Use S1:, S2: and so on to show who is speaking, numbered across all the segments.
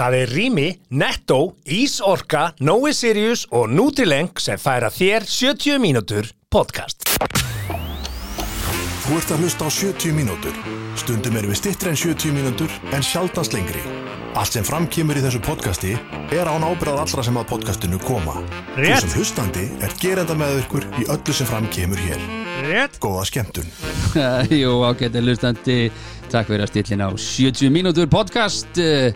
S1: Það er Rými, Netto, Ísorka, Nói Sirius og Nutrileng sem færa þér 70 mínútur podcast.
S2: Þú ert að hlusta á 70 mínútur. Stundum erum við stittri en 70 mínútur en sjaldast lengri. Allt sem framkýmur í þessu podcasti er án ábyrðað allra sem að podcastinu koma. Þú
S1: Rétt.
S2: sem hlustandi er gerenda með ykkur í öllu sem framkýmur hér.
S1: Rétt.
S2: Góða skemmtun.
S3: Jú, ágætti hlustandi Takk fyrir að stillin á 70 mínútur podcast eh,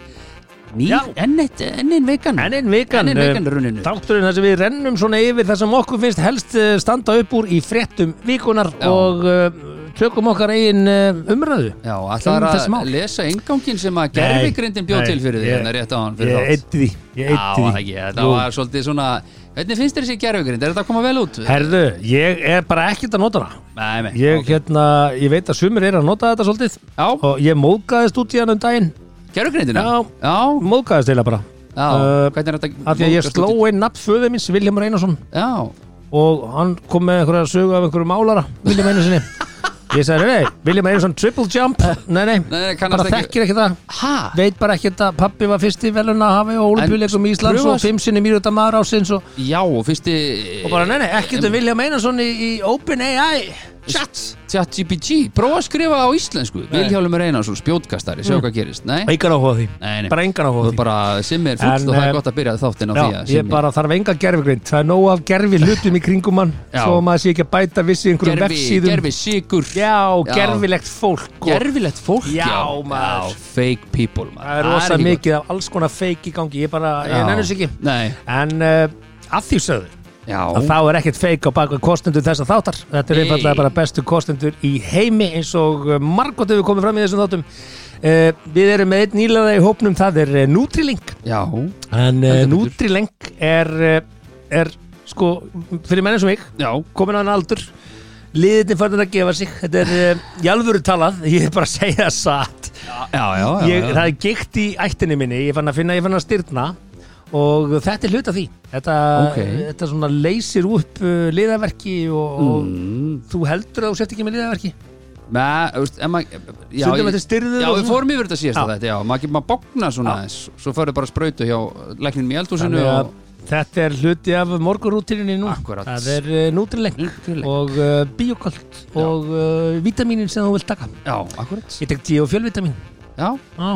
S3: Ný,
S1: Já.
S3: enn eitt, enn einn vegan
S1: En einn vikan, eh,
S3: Enn einn vegan runninu
S1: Þátturinn þar sem við rennum svona yfir það sem okkur finnst helst eh, standa upp úr í fréttum vikunar
S3: Já.
S1: og uh, tökum okkar eigin uh, umræðu.
S3: Já, ætlar
S1: Um þessi mál.
S3: að lesa engangin sem að gerfigrindin bjóð
S1: Nei,
S3: til fyrir því
S1: ég-
S3: hérna rétt á hann
S1: Ég
S3: fyrir þátt
S1: eitti því. Ég
S3: Já,
S1: eyddi
S3: það
S1: því.
S3: ekki, þetta
S1: Jú.
S3: var svolítið svona Hvernig finnst þér þessi gerfugrind, er þetta að koma vel út?
S1: Herðu, ég er bara ekkert að nota hana.
S3: Nei, nei,
S1: Ég,
S3: ok.
S1: hérna, ég veit að sumir er að nota þetta svolítið
S3: Já,
S1: og ég mókaðist út í hann um daginn.
S3: gerfugrindina?
S1: Já.
S3: Já,
S1: Mókaðist eila bara.
S3: já,
S1: Uh,
S3: hvernig er þetta
S1: Af því að ég
S3: mókast
S1: sló
S3: út í-
S1: einn nafn föðu minns, Viljamur Einarsson
S3: Já,
S1: og hann kom með einhverja sögu af einhverju málara Viljam Einarssoni Ég sagði, nei, nei, Viljam Einarsson triple jump Nei, nei,
S3: nei, kannast
S1: bara
S3: ekki-
S1: þekkir ekki það
S3: ha?
S1: Veit bara ekki að pappi var fyrst í veluna að hafa í olimpíuleikum í Íslands
S3: pröfa-
S1: og fimm sinni mýrjóta maður ásins og,
S3: Já, og fyrsti
S1: og bara, nei, nei, ekkert um Viljam Einarsson í, í Open AI Chat
S3: ChatGPT, prófa að skrifa á íslensku Vilhjálmur Einarsson, spjótkastari, sjá hvað gerist Nei,
S1: Engan áhuga á því,
S3: nei, nei.
S1: Mm. bara engan áhuga á
S3: Þú
S1: því
S3: bara sem er fullt
S1: En,
S3: og það
S1: eh,
S3: er gott að byrja þáttinn á
S1: Já,
S3: því að
S1: ég
S3: Simmi-
S1: bara þarf enga gerfigrind Það er nóg af gerfi hlutum í kringum hann
S3: Já.
S1: Svo maður sé ekki að bæta vissi einhverjum
S3: gerfi,
S1: um vefsíðum
S3: gerfi sigur
S1: Já,
S3: Já.
S1: gerfilegt fólk sko. og
S3: gerfilegt fólk
S1: Já,
S3: já,
S1: maður.
S3: já, fake people maður.
S1: Það er rosa
S3: ekki gott.
S1: mikið af alls konar feik í gangi Ég bara,
S3: Já.
S1: ég nennus ekki
S3: Nei,
S1: En uh, að því sögðu
S3: já,
S1: að þá er ekkert feik á baka kostendur þess að þáttar Þetta er
S3: Nei.
S1: einfallega bara bestu kostendur í heimi eins og margótt hefur komið fram í þessum þáttum Uh, við erum með einn nýlega í hópnum, það er uh, Nutrilink
S3: já
S1: En uh,
S3: Heldur betur.
S1: Nutrilink er, uh, er sko, fyrir menn eins og mig
S3: Já,
S1: komin á hann aldur liðinni farin að gefa sig þetta er uh, í alvöru talað, ég er bara að segja það satt
S3: já, já, já,
S1: ég,
S3: já.
S1: það er gikt í ættinni minni ég fann að finna, ég fann að styrna og þetta er hluta því þetta,
S3: Ok.
S1: þetta svona leysir upp uh, liðaverki og,
S3: Mm.
S1: og þú heldur að þú sett ekki með liðaverki
S3: Með, þú veist, en maður já,
S1: Stundum
S3: ég-
S1: þetta er stirður
S3: Já,
S1: og
S3: við
S1: svona.
S3: fórum yfir þetta síðast
S1: Já.
S3: þetta, já Maður maður bóknar svona aðeins Svo færðu bara sprautu hjá lækninum í eldhúsinu
S1: Þannig að
S3: og
S1: þetta er hluti af morgurútininni nú
S3: Akkúrat.
S1: það er uh, nútrileng
S3: Nutrileng.
S1: og uh, biokolt og uh, vitamínin sem þú vilt taka
S3: Já, akkurat
S1: ég tek 10 og fjölvitamín
S3: Já,
S1: á,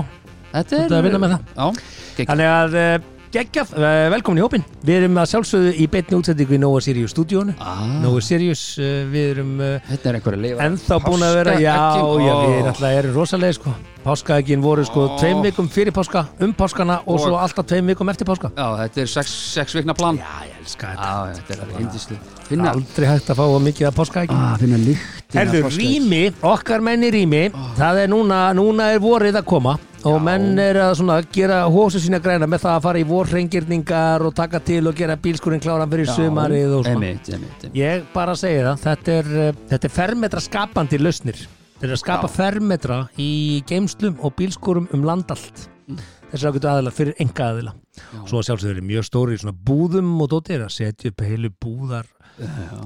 S3: þetta
S1: Þú
S3: er
S1: ert að vinna með það.
S3: Já, gegn
S1: Þannig að uh, geggjaf, uh, velkomin í hópin Við erum að sjálfsögðu í beinni útsendingu í Nóa Sirius stúdíónu
S3: ah,
S1: Nóa Sirius, uh, við erum uh,
S3: Þetta er einhverja leifa
S1: ennþá búin að vera Já,
S3: Páskaeggin,
S1: já,
S3: ó.
S1: við erum alltaf erum rosalega sko Páskaegin voru sko
S3: Ó.
S1: tveim vikum fyrir páska um páskana og,
S3: Og-
S1: svo alltaf tveim vikum eftir páska
S3: Já, þetta er sex, sex vikna plan Já,
S1: Já, ég elska þetta
S3: þetta er alveg indislu
S1: Það
S3: Finna
S1: er Aldrei hægt að fá of mikið af páskaegin
S3: ah, Finna lykt
S1: Herðu, rými, okkar menn í rými Það er núna, núna er vorið að koma Og
S3: Já.
S1: menn er að svona gera hósu sína græna með það að fara í vorrengirningar og taka til og gera bílskurinn kláran fyrir sumarið og svona.
S3: Emitt, emitt, emitt
S1: Ég bara segi það, þetta er, eh, þetta er fermetra skapandi lausnir. Þetta er að skapa
S3: Já.
S1: fermetra í geimslum og bílskúrum um landallt.
S3: Mm.
S1: Þess að getur aðila fyrir enga aðila. Svo að sjálfsögur eru mjög stóri í svona búðum og dóttir að setja upp heilu búðar,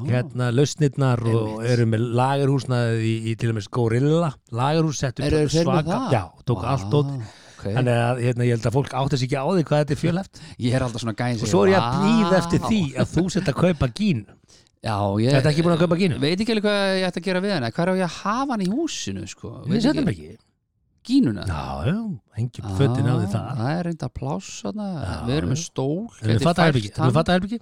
S1: hérna, lausnirnar og eru með lagerhúsnaðið í, í til og með Gorilla. Lagerhús settu
S3: Eru þeir með það?
S1: já, tók allt dótt.
S3: okay.
S1: Þannig að hérna, ég held að fólk átti sig ekki á því hvað þetta er fjölhæft
S3: Ég er alltaf svona gæn
S1: og svo er ég að býða eftir því að þú sett að kaupa gín
S3: Já, ég
S1: Þetta er ekki búin að kaupa gínu?
S3: Veit ekki alveg hvað ég ætti að gera við hana Hvað er á ég að hafa hann í húsinu, sko Veit
S1: Við setjum ekki
S3: Gínuna
S1: Já, já, hengjum fötin á því það
S3: Ah, Það er reynda pláss þarna Við erum með stól
S1: Erum við
S3: Gæti
S1: fatta
S3: fært
S1: herbyggi?
S3: hann.
S1: Erum við fatta herbyggi?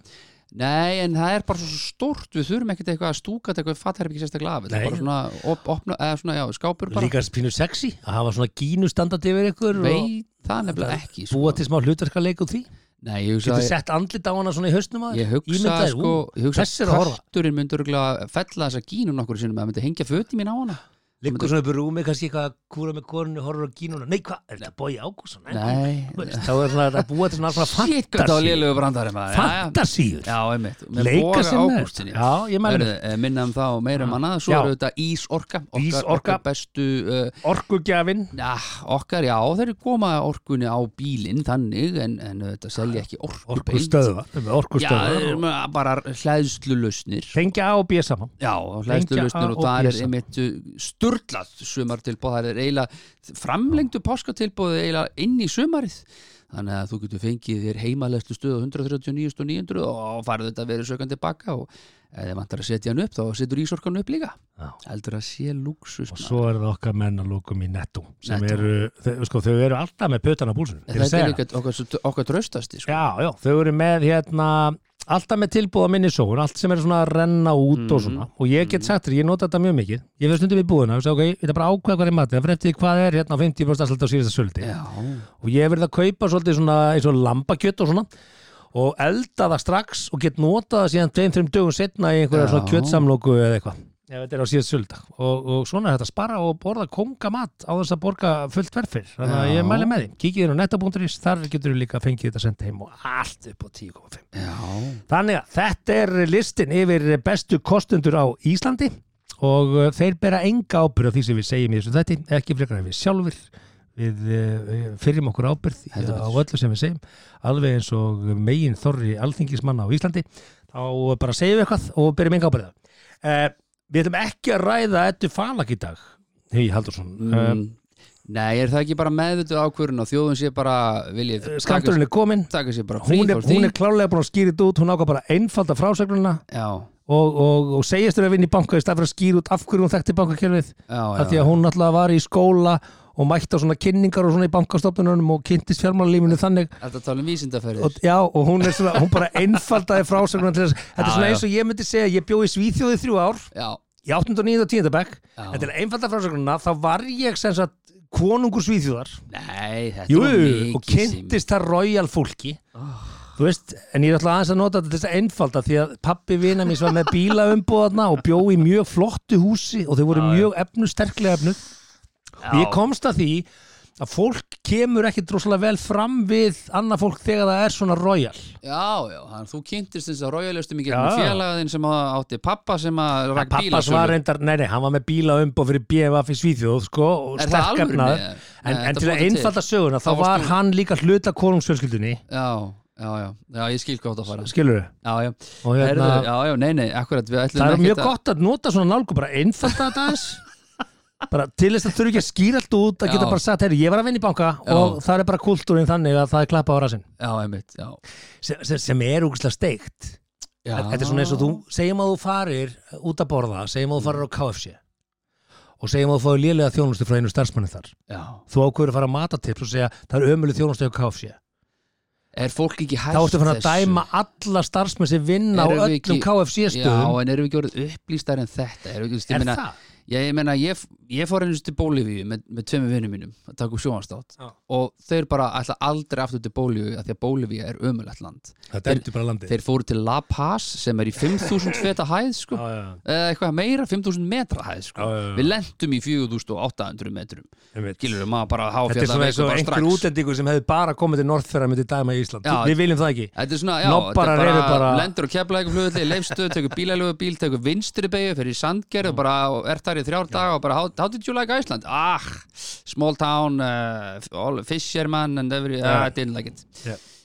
S3: Nei, en það er bara svo stórt Við þurfum ekkert eitthvað að stúka eitthvað fattherbyggir sérstaklega af Þetta
S1: Nei.
S3: er bara svona, op, opna, eða svona já, skápur bara
S1: Líka pínu sexy að hafa svona gínu standandi yfir ykkur og
S3: Veit það nefnilega ekki sko.
S1: búa til smá hlutverkaleik úr því
S3: Nei, ég hugsa,
S1: Getur
S3: að-
S1: sett andlit á hana svona í hausnum að
S3: ég hugsa
S1: Ímyndaði,
S3: sko, ég hugsa
S1: þessi er að horfa.
S3: Kötturinn myndi örugglega fella þessa gínu nokkur sinnum Það myndi hengja föti mín á hana
S1: Liggur svona upp í rúmi, kannski eitthvað að kúra með konunni, horfur á gínuna Nei, hvað? Er þetta bói Ágússon?
S3: Nei.
S1: Þú veist, Þá er svona að búa til svona
S3: Shit, hvað það var
S1: fantasíur
S3: lélegu brandari maður. Jæja.
S1: Fantasíur
S3: Já, einmitt Með
S1: Leika
S3: Boga
S1: sem með
S3: Ágústssyni.
S1: Já, ég mælu
S3: Hörðu, eh, minna um það og meira um annað Svo
S1: Já.
S3: eru þetta Ísorka okkar-
S1: Ísorka.
S3: okkar bestu uh,
S1: Orkugjafinn
S3: Já, okkar, já, þeir eru koma orkunni á bílinn þannig en, en þetta
S1: Ah,
S3: selja ekki orku
S1: Orkustöðvar Við erum með
S3: Já, þeir
S1: Orkustöðvar
S3: eru
S1: og
S3: með bara hlæðslulausnir
S1: Tengja A og B saman
S3: Já,
S1: A
S3: hlæðslulausnir og
S1: og
S3: það er
S1: písa.
S3: einmitt sturlað sumartilbóð, það er eiginlega framlengdu páskatilbóð eiginlega inn í sumarið þannig að þú getur fengið þér heimaleslu stöð á 139 og 900 og farið þetta að vera sökandi baka og ef þið vantar að setja hann upp þá setur ísorkan upp líka
S1: Já.
S3: heldur að sé luxus
S1: og svo er það okkar menn að lókum í netto sem
S3: Netto.
S1: eru, þau, sko, þau eru alltaf með pötan á búlsunum ég að
S3: þetta
S1: segja.
S3: er líka okkar, okkar tröstasti sko.
S1: Já, já, þau eru með hérna alltaf með tilbúða minni sóun, allt sem er svona að renna út og
S3: Mhm.
S1: svona og ég get sagt þér, ég nota þetta mjög mikið ég verð stundum í búðuna og segja, ok, ég ætla bara að ákveða hvað er matið, það fyrir eftir því hvað er hérna á 50% afslætti á síðasta söldi
S3: Já.
S1: og ég verð að kaupa svolítið svona eins og lambakjött og svona og elda það strax og get notað það síðan tveim-þreim dögum setna í einhverja
S3: Já.
S1: svona kjötsamlóku eða eitthvað ef þetta er á síðast sölda og, og svona er þetta að spara og borða konga mat á þess að borga fullt verfir þannig að
S3: Já.
S1: ég mæli með því, kikið þér á netta.is þar getur þú líka að fengið þetta senda heim og allt upp á 10,5
S3: Já.
S1: Þannig að þetta er listin yfir bestu kostendur á Íslandi og uh, þeir bera enga ábyrð á því sem við segjum í þessu þætti, ekki frekar en við sjálfur við uh, fyrjum okkur ábyrð í-
S3: Heldur
S1: á
S3: betur.
S1: öllu sem við segjum alveg eins og megin þorri alþingismanna á Íslandi þá bara segjum við eitthvað og byrjum enga ábyrð uh, Við ætlum ekki að ræða ettu falak í dag Hei Haldursson mm.
S3: Mm. Nei, er það ekki bara meðvituð ákvörun og þjóðun sé bara viljið
S1: uh, Skatturinn er komin
S3: taka sér bara frí
S1: hún er,
S3: frá því?
S1: hún er klálega búin að skýra þetta út hún ákvað bara að einfalda frásögnuna
S3: Já,
S1: og, og, og segjast þér að vinna í banka í stað fyrir að skýra út af hverju hún þekkti bankakerfið
S3: já, já
S1: af því að hún alltaf var í skóla og mætti á svona kynningar og svona í bankastofnunum og kynntist fjármálalífinu þannig
S3: Þetta tala um vísindaferðir
S1: og, já, og hún, er svona, hún bara einfaldaði frásögnuna til þess þetta er
S3: Já,
S1: svona
S3: já.
S1: eins og ég myndi segja ég bjó í Svíþjóði þrjú ár
S3: Já,
S1: í 8. og 9. og 10. bekk
S3: Já.
S1: þetta er einfalda frásögnuna þá var ég sem sagt konungur Svíþjóðar
S3: nei, þetta
S1: Jú,
S3: var mikið
S1: og kynntist það royal fólki Þú veist, en ég er alltaf aðeins að nota þetta til þess að einfalda því að pappi vina mín sem var með bílaumbúðarna og bjó í mjög flottu húsi og þau voru mjög efnu, sterklega efnu og ég komst að því að fólk kemur ekki droslega vel fram við annað fólk þegar það er svona royal
S3: Já, já, þannig að þú kynntist þess að rájaleustum í
S1: Já.
S3: gegnum félagaðinn sem að átti pappa sem að rak bíla
S1: Pappas var reyndar, nei nei, hann var með bílaumbúð fyrir BMF í Svíþjóð, sko og
S3: Er það
S1: sterk
S3: alvöru,
S1: efnaður.
S3: nei?
S1: en,
S3: Nei,
S1: en
S3: þetta
S1: til
S3: búið
S1: að
S3: til.
S1: einfalda söguna þá
S3: Þá varst
S1: var
S3: þú-
S1: hann líka hluta konungsfjölskyldunni,
S3: Já, já, já, já, ég skil hvað það fara
S1: skilur við
S3: Já, já,
S1: Og hérna-
S3: Herðu, já, já, nei, nei, akkurat við ætlum
S1: Það er
S3: ekkert
S1: mjög
S3: að-
S1: gott að nota svona nálgu bara einfalda þetta aðeins bara til þess að þurfi ekki að skýra allt út að
S3: Já.
S1: geta bara sagt, herri, ég var að vinna í banka og það er bara kultúrin þannig að það er klappa á rasinn
S3: Já, einmitt, já,
S1: sem, sem, sem er úkslega steikt
S3: já.
S1: þetta er svona eins og þú, segjum að þú farir út að borða, segjum að þú farir á KFC og segjum að þú fáið lélega þjónustu frá einu starfsmanni þar
S3: Já.
S1: þú ákveður að fara að matatips og segja það er ömuleg þjónustu á KFC
S3: Er fólk ekki hægt
S1: þá ertu fann að
S3: þessu?
S1: dæma alla starfsmenn sem vinna á
S3: Erum
S1: öllum
S3: við ekki-
S1: KFC stöðum
S3: Já, en erum við ekki orðið upplýstar en þetta? Erum við ekki, ég
S1: er
S3: meina,
S1: það?
S3: Ég, ég meina, ég, ég fór einu sinni til Bólífíu með, með tveimur vinnum mínum að taka upp sjónastátt
S1: Já.
S3: og þeir bara ætla aldrei aftur til Bólífíu af því að Bólífíu er ömulegt land
S1: Þetta ertu bara landið
S3: Þeir fóru til La Paz sem er í 5000 feta hæð sko
S1: Já, já, já.
S3: eða eitthvað meira, 5000 metra hæð sko
S1: Já, já, já.
S3: Við lentum í 4800 metrum
S1: Einmitt.
S3: Gilur maður bara
S1: Þetta er svona
S3: háfjalla
S1: eins og
S3: bara
S1: einhver
S3: strax
S1: útlendingur sem hefði bara komið til Norðferðar myndi dæma í Ísland.
S3: Já.
S1: Við viljum það ekki.
S3: Þetta er svona, já,
S1: Nobbar
S3: þetta er
S1: að
S3: bara,
S1: reyfi bara-
S3: lendur og kepla eitthvað flugulli, leifstöð, tekur bílalögu bíl, tekur vinstri beigju, fer í sandgerð og bara er þar í þrjár daga og bara how, how did you like Iceland? Ah, small town, uh, all fisherman and every, ah, I didn't like it.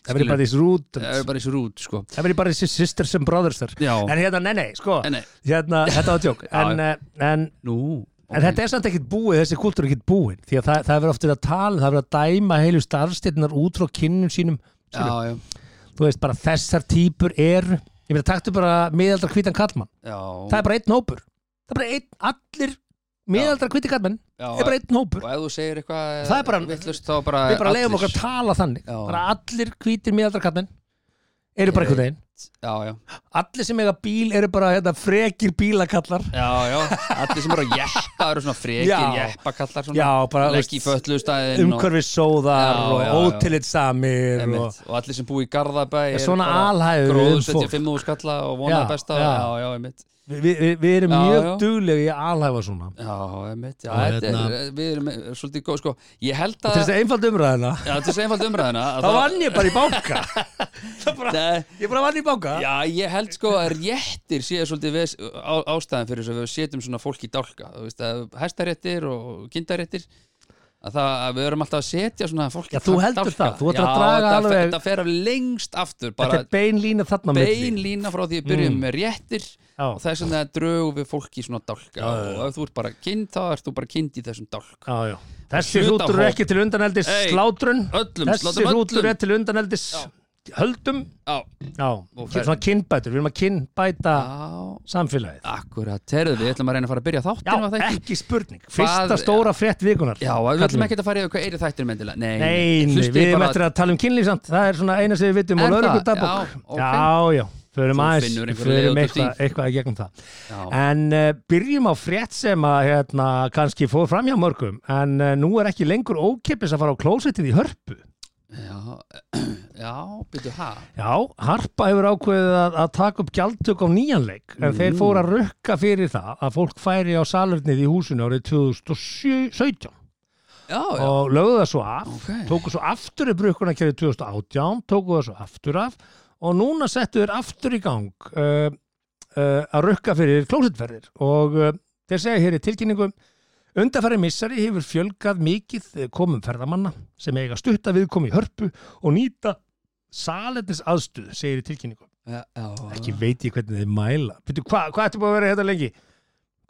S1: Everybody's rude.
S3: Það er bara þessi rút, sko.
S1: Everybody's sisters and brothers þar.
S3: Já.
S1: En hérna, nei, nei, sko.
S3: En nei,
S1: Hérna, þetta var tjók.
S3: Já,
S1: En, eh, en,
S3: nú,
S1: en þetta er samt ekkit búið, þessi kultúr er ekkit búin. Því að það, það er verið oft verið að tala, það er verið að dæma heilu starfstétnar út frá kynnum sínum.
S3: já, já,
S1: Þú veist, bara þessar típur eru. Ég meina, taktu bara miðaldra hvítan kallmann.
S3: já.
S1: Það er bara einn hópur. Það er bara einn, allir miðaldra hvíti kallmenn
S3: já,
S1: er bara einn hópur.
S3: Og ef þú segir eitthvað,
S1: Það er bara-
S3: vittlust, þá bara,
S1: við bara leiðum okkur
S3: allir-
S1: að tala þannig
S3: Já.
S1: bara allir hvítir miðaldrakallin eru bara einhvern veginn
S3: Já, já,
S1: allir sem eiga bíl eru bara hérna, frekir bílakallar
S3: já, já, allir sem eru að jeppa, eru svona frekir,
S1: Já.
S3: jeppakallar, svona,
S1: já, bara um
S3: legg í fötlustæðin
S1: umhverfið sóðar
S3: Já, já, já.
S1: og ótillit samir og
S3: Einmitt. og allir sem búi í Garðabæ
S1: Er svona alhæfur um
S3: gróðu setja
S1: fólk.
S3: fimm úr skalla og vona
S1: Já,
S3: besta
S1: já.
S3: já, já, einmitt
S1: við vi, vi, vi erum
S3: Já,
S1: mjög
S3: já.
S1: duglegi í að alhæfa svona
S3: já, einmitt, já,
S1: Og
S3: þetta
S1: hérna-
S3: er við erum eh, svolítið góð, sko, ég held
S1: til
S3: að
S1: þess að einfald umræðina
S3: já, til þess að einfald umræðina að
S1: þá vann ég bara í banka
S3: Nei,
S1: ég bara vann í banka
S3: já, ég held sko að réttir sé svolítið ves, á, ástæðan fyrir þess að við setjum svona fólk í dálka, þú veist að hæstaréttir og kindaréttir að, það, að við erum alltaf að setja svona fólk
S1: Já, þú heldur það, þú ætlar að draga
S3: þetta,
S1: alveg-
S3: þetta fer af lengst aftur
S1: Þetta
S3: bara
S1: er bein lína þarna á milli. Mm.
S3: bein lína frá því að byrjum með réttir
S1: Já.
S3: og þess að það drögum við fólk í svona dálka
S1: já, já.
S3: og ef þú ert bara kind þá ert þú bara kind í þessum dálka
S1: Já, já. Þessi
S3: Hlutahóp.
S1: hrútur er ekki til undaneldis
S3: Ei,
S1: slátrun
S3: öllum,
S1: Þessi
S3: slátum
S1: hrútur
S3: öllum.
S1: er til undaneldis höldum
S3: Já,
S1: Já,
S3: fer-
S1: svona kynbætur, við erum að kynbæta
S3: já
S1: samfélagið
S3: akkurat, herðu við ætlum að reyna að fara að byrja
S1: Já,
S3: þáttinum að þætti
S1: ekki spurning, fyrsta stóra frétt vikunar
S3: Já, og við ætlum
S1: Kallum.
S3: ekki að um fara yfir hvað er í þættinum endilega Nei,
S1: Nei, nei,
S3: hlustið
S1: við erum
S3: bara-
S1: eftir að tala um kynlífsamt Það er svona eina sem við vitum
S3: Er
S1: og
S3: það?
S1: lögur dagbók
S3: Já, ok.
S1: Já, já, förum
S3: Þú
S1: aðeins
S3: finnur einhverja leið
S1: Förum
S3: út úr
S1: eitthvað, eitthvað í gegnum það
S3: Já,
S1: En uh, byrjum á frétt sem að hérna, kannski fór fram hjá mörgum En uh, nú er ekki lengur ókipis að fara á klósettið í hörpu
S3: já, já, byrju, hæ
S1: Já, Harpa hefur ákveðið að, að taka upp gjaldtök á nýjanleik en þeir fóru að rukka fyrir það að fólk færi á salernið í húsinu árið 2017
S3: Já, já,
S1: og lögðu það svo af,
S3: Ok.
S1: tóku svo aftur upp rukkunarkerfið 2018, tóku það svo aftur af og núna settu þeir aftur í gang uh, uh, að rukka fyrir klósetferðir og uh, þeir segja hér í tilkynningum Undarfæri missari hefur fjölgað mikið eh, komum ferðamanna sem eiga stutta viðkomi í hörpu og nýta salernis aðstuð, segir í tilkynningum.
S3: já, já
S1: Ekki veit ég hvernig þeir mæla. Býttu, hvað hva ertu búin að vera hérna lengi?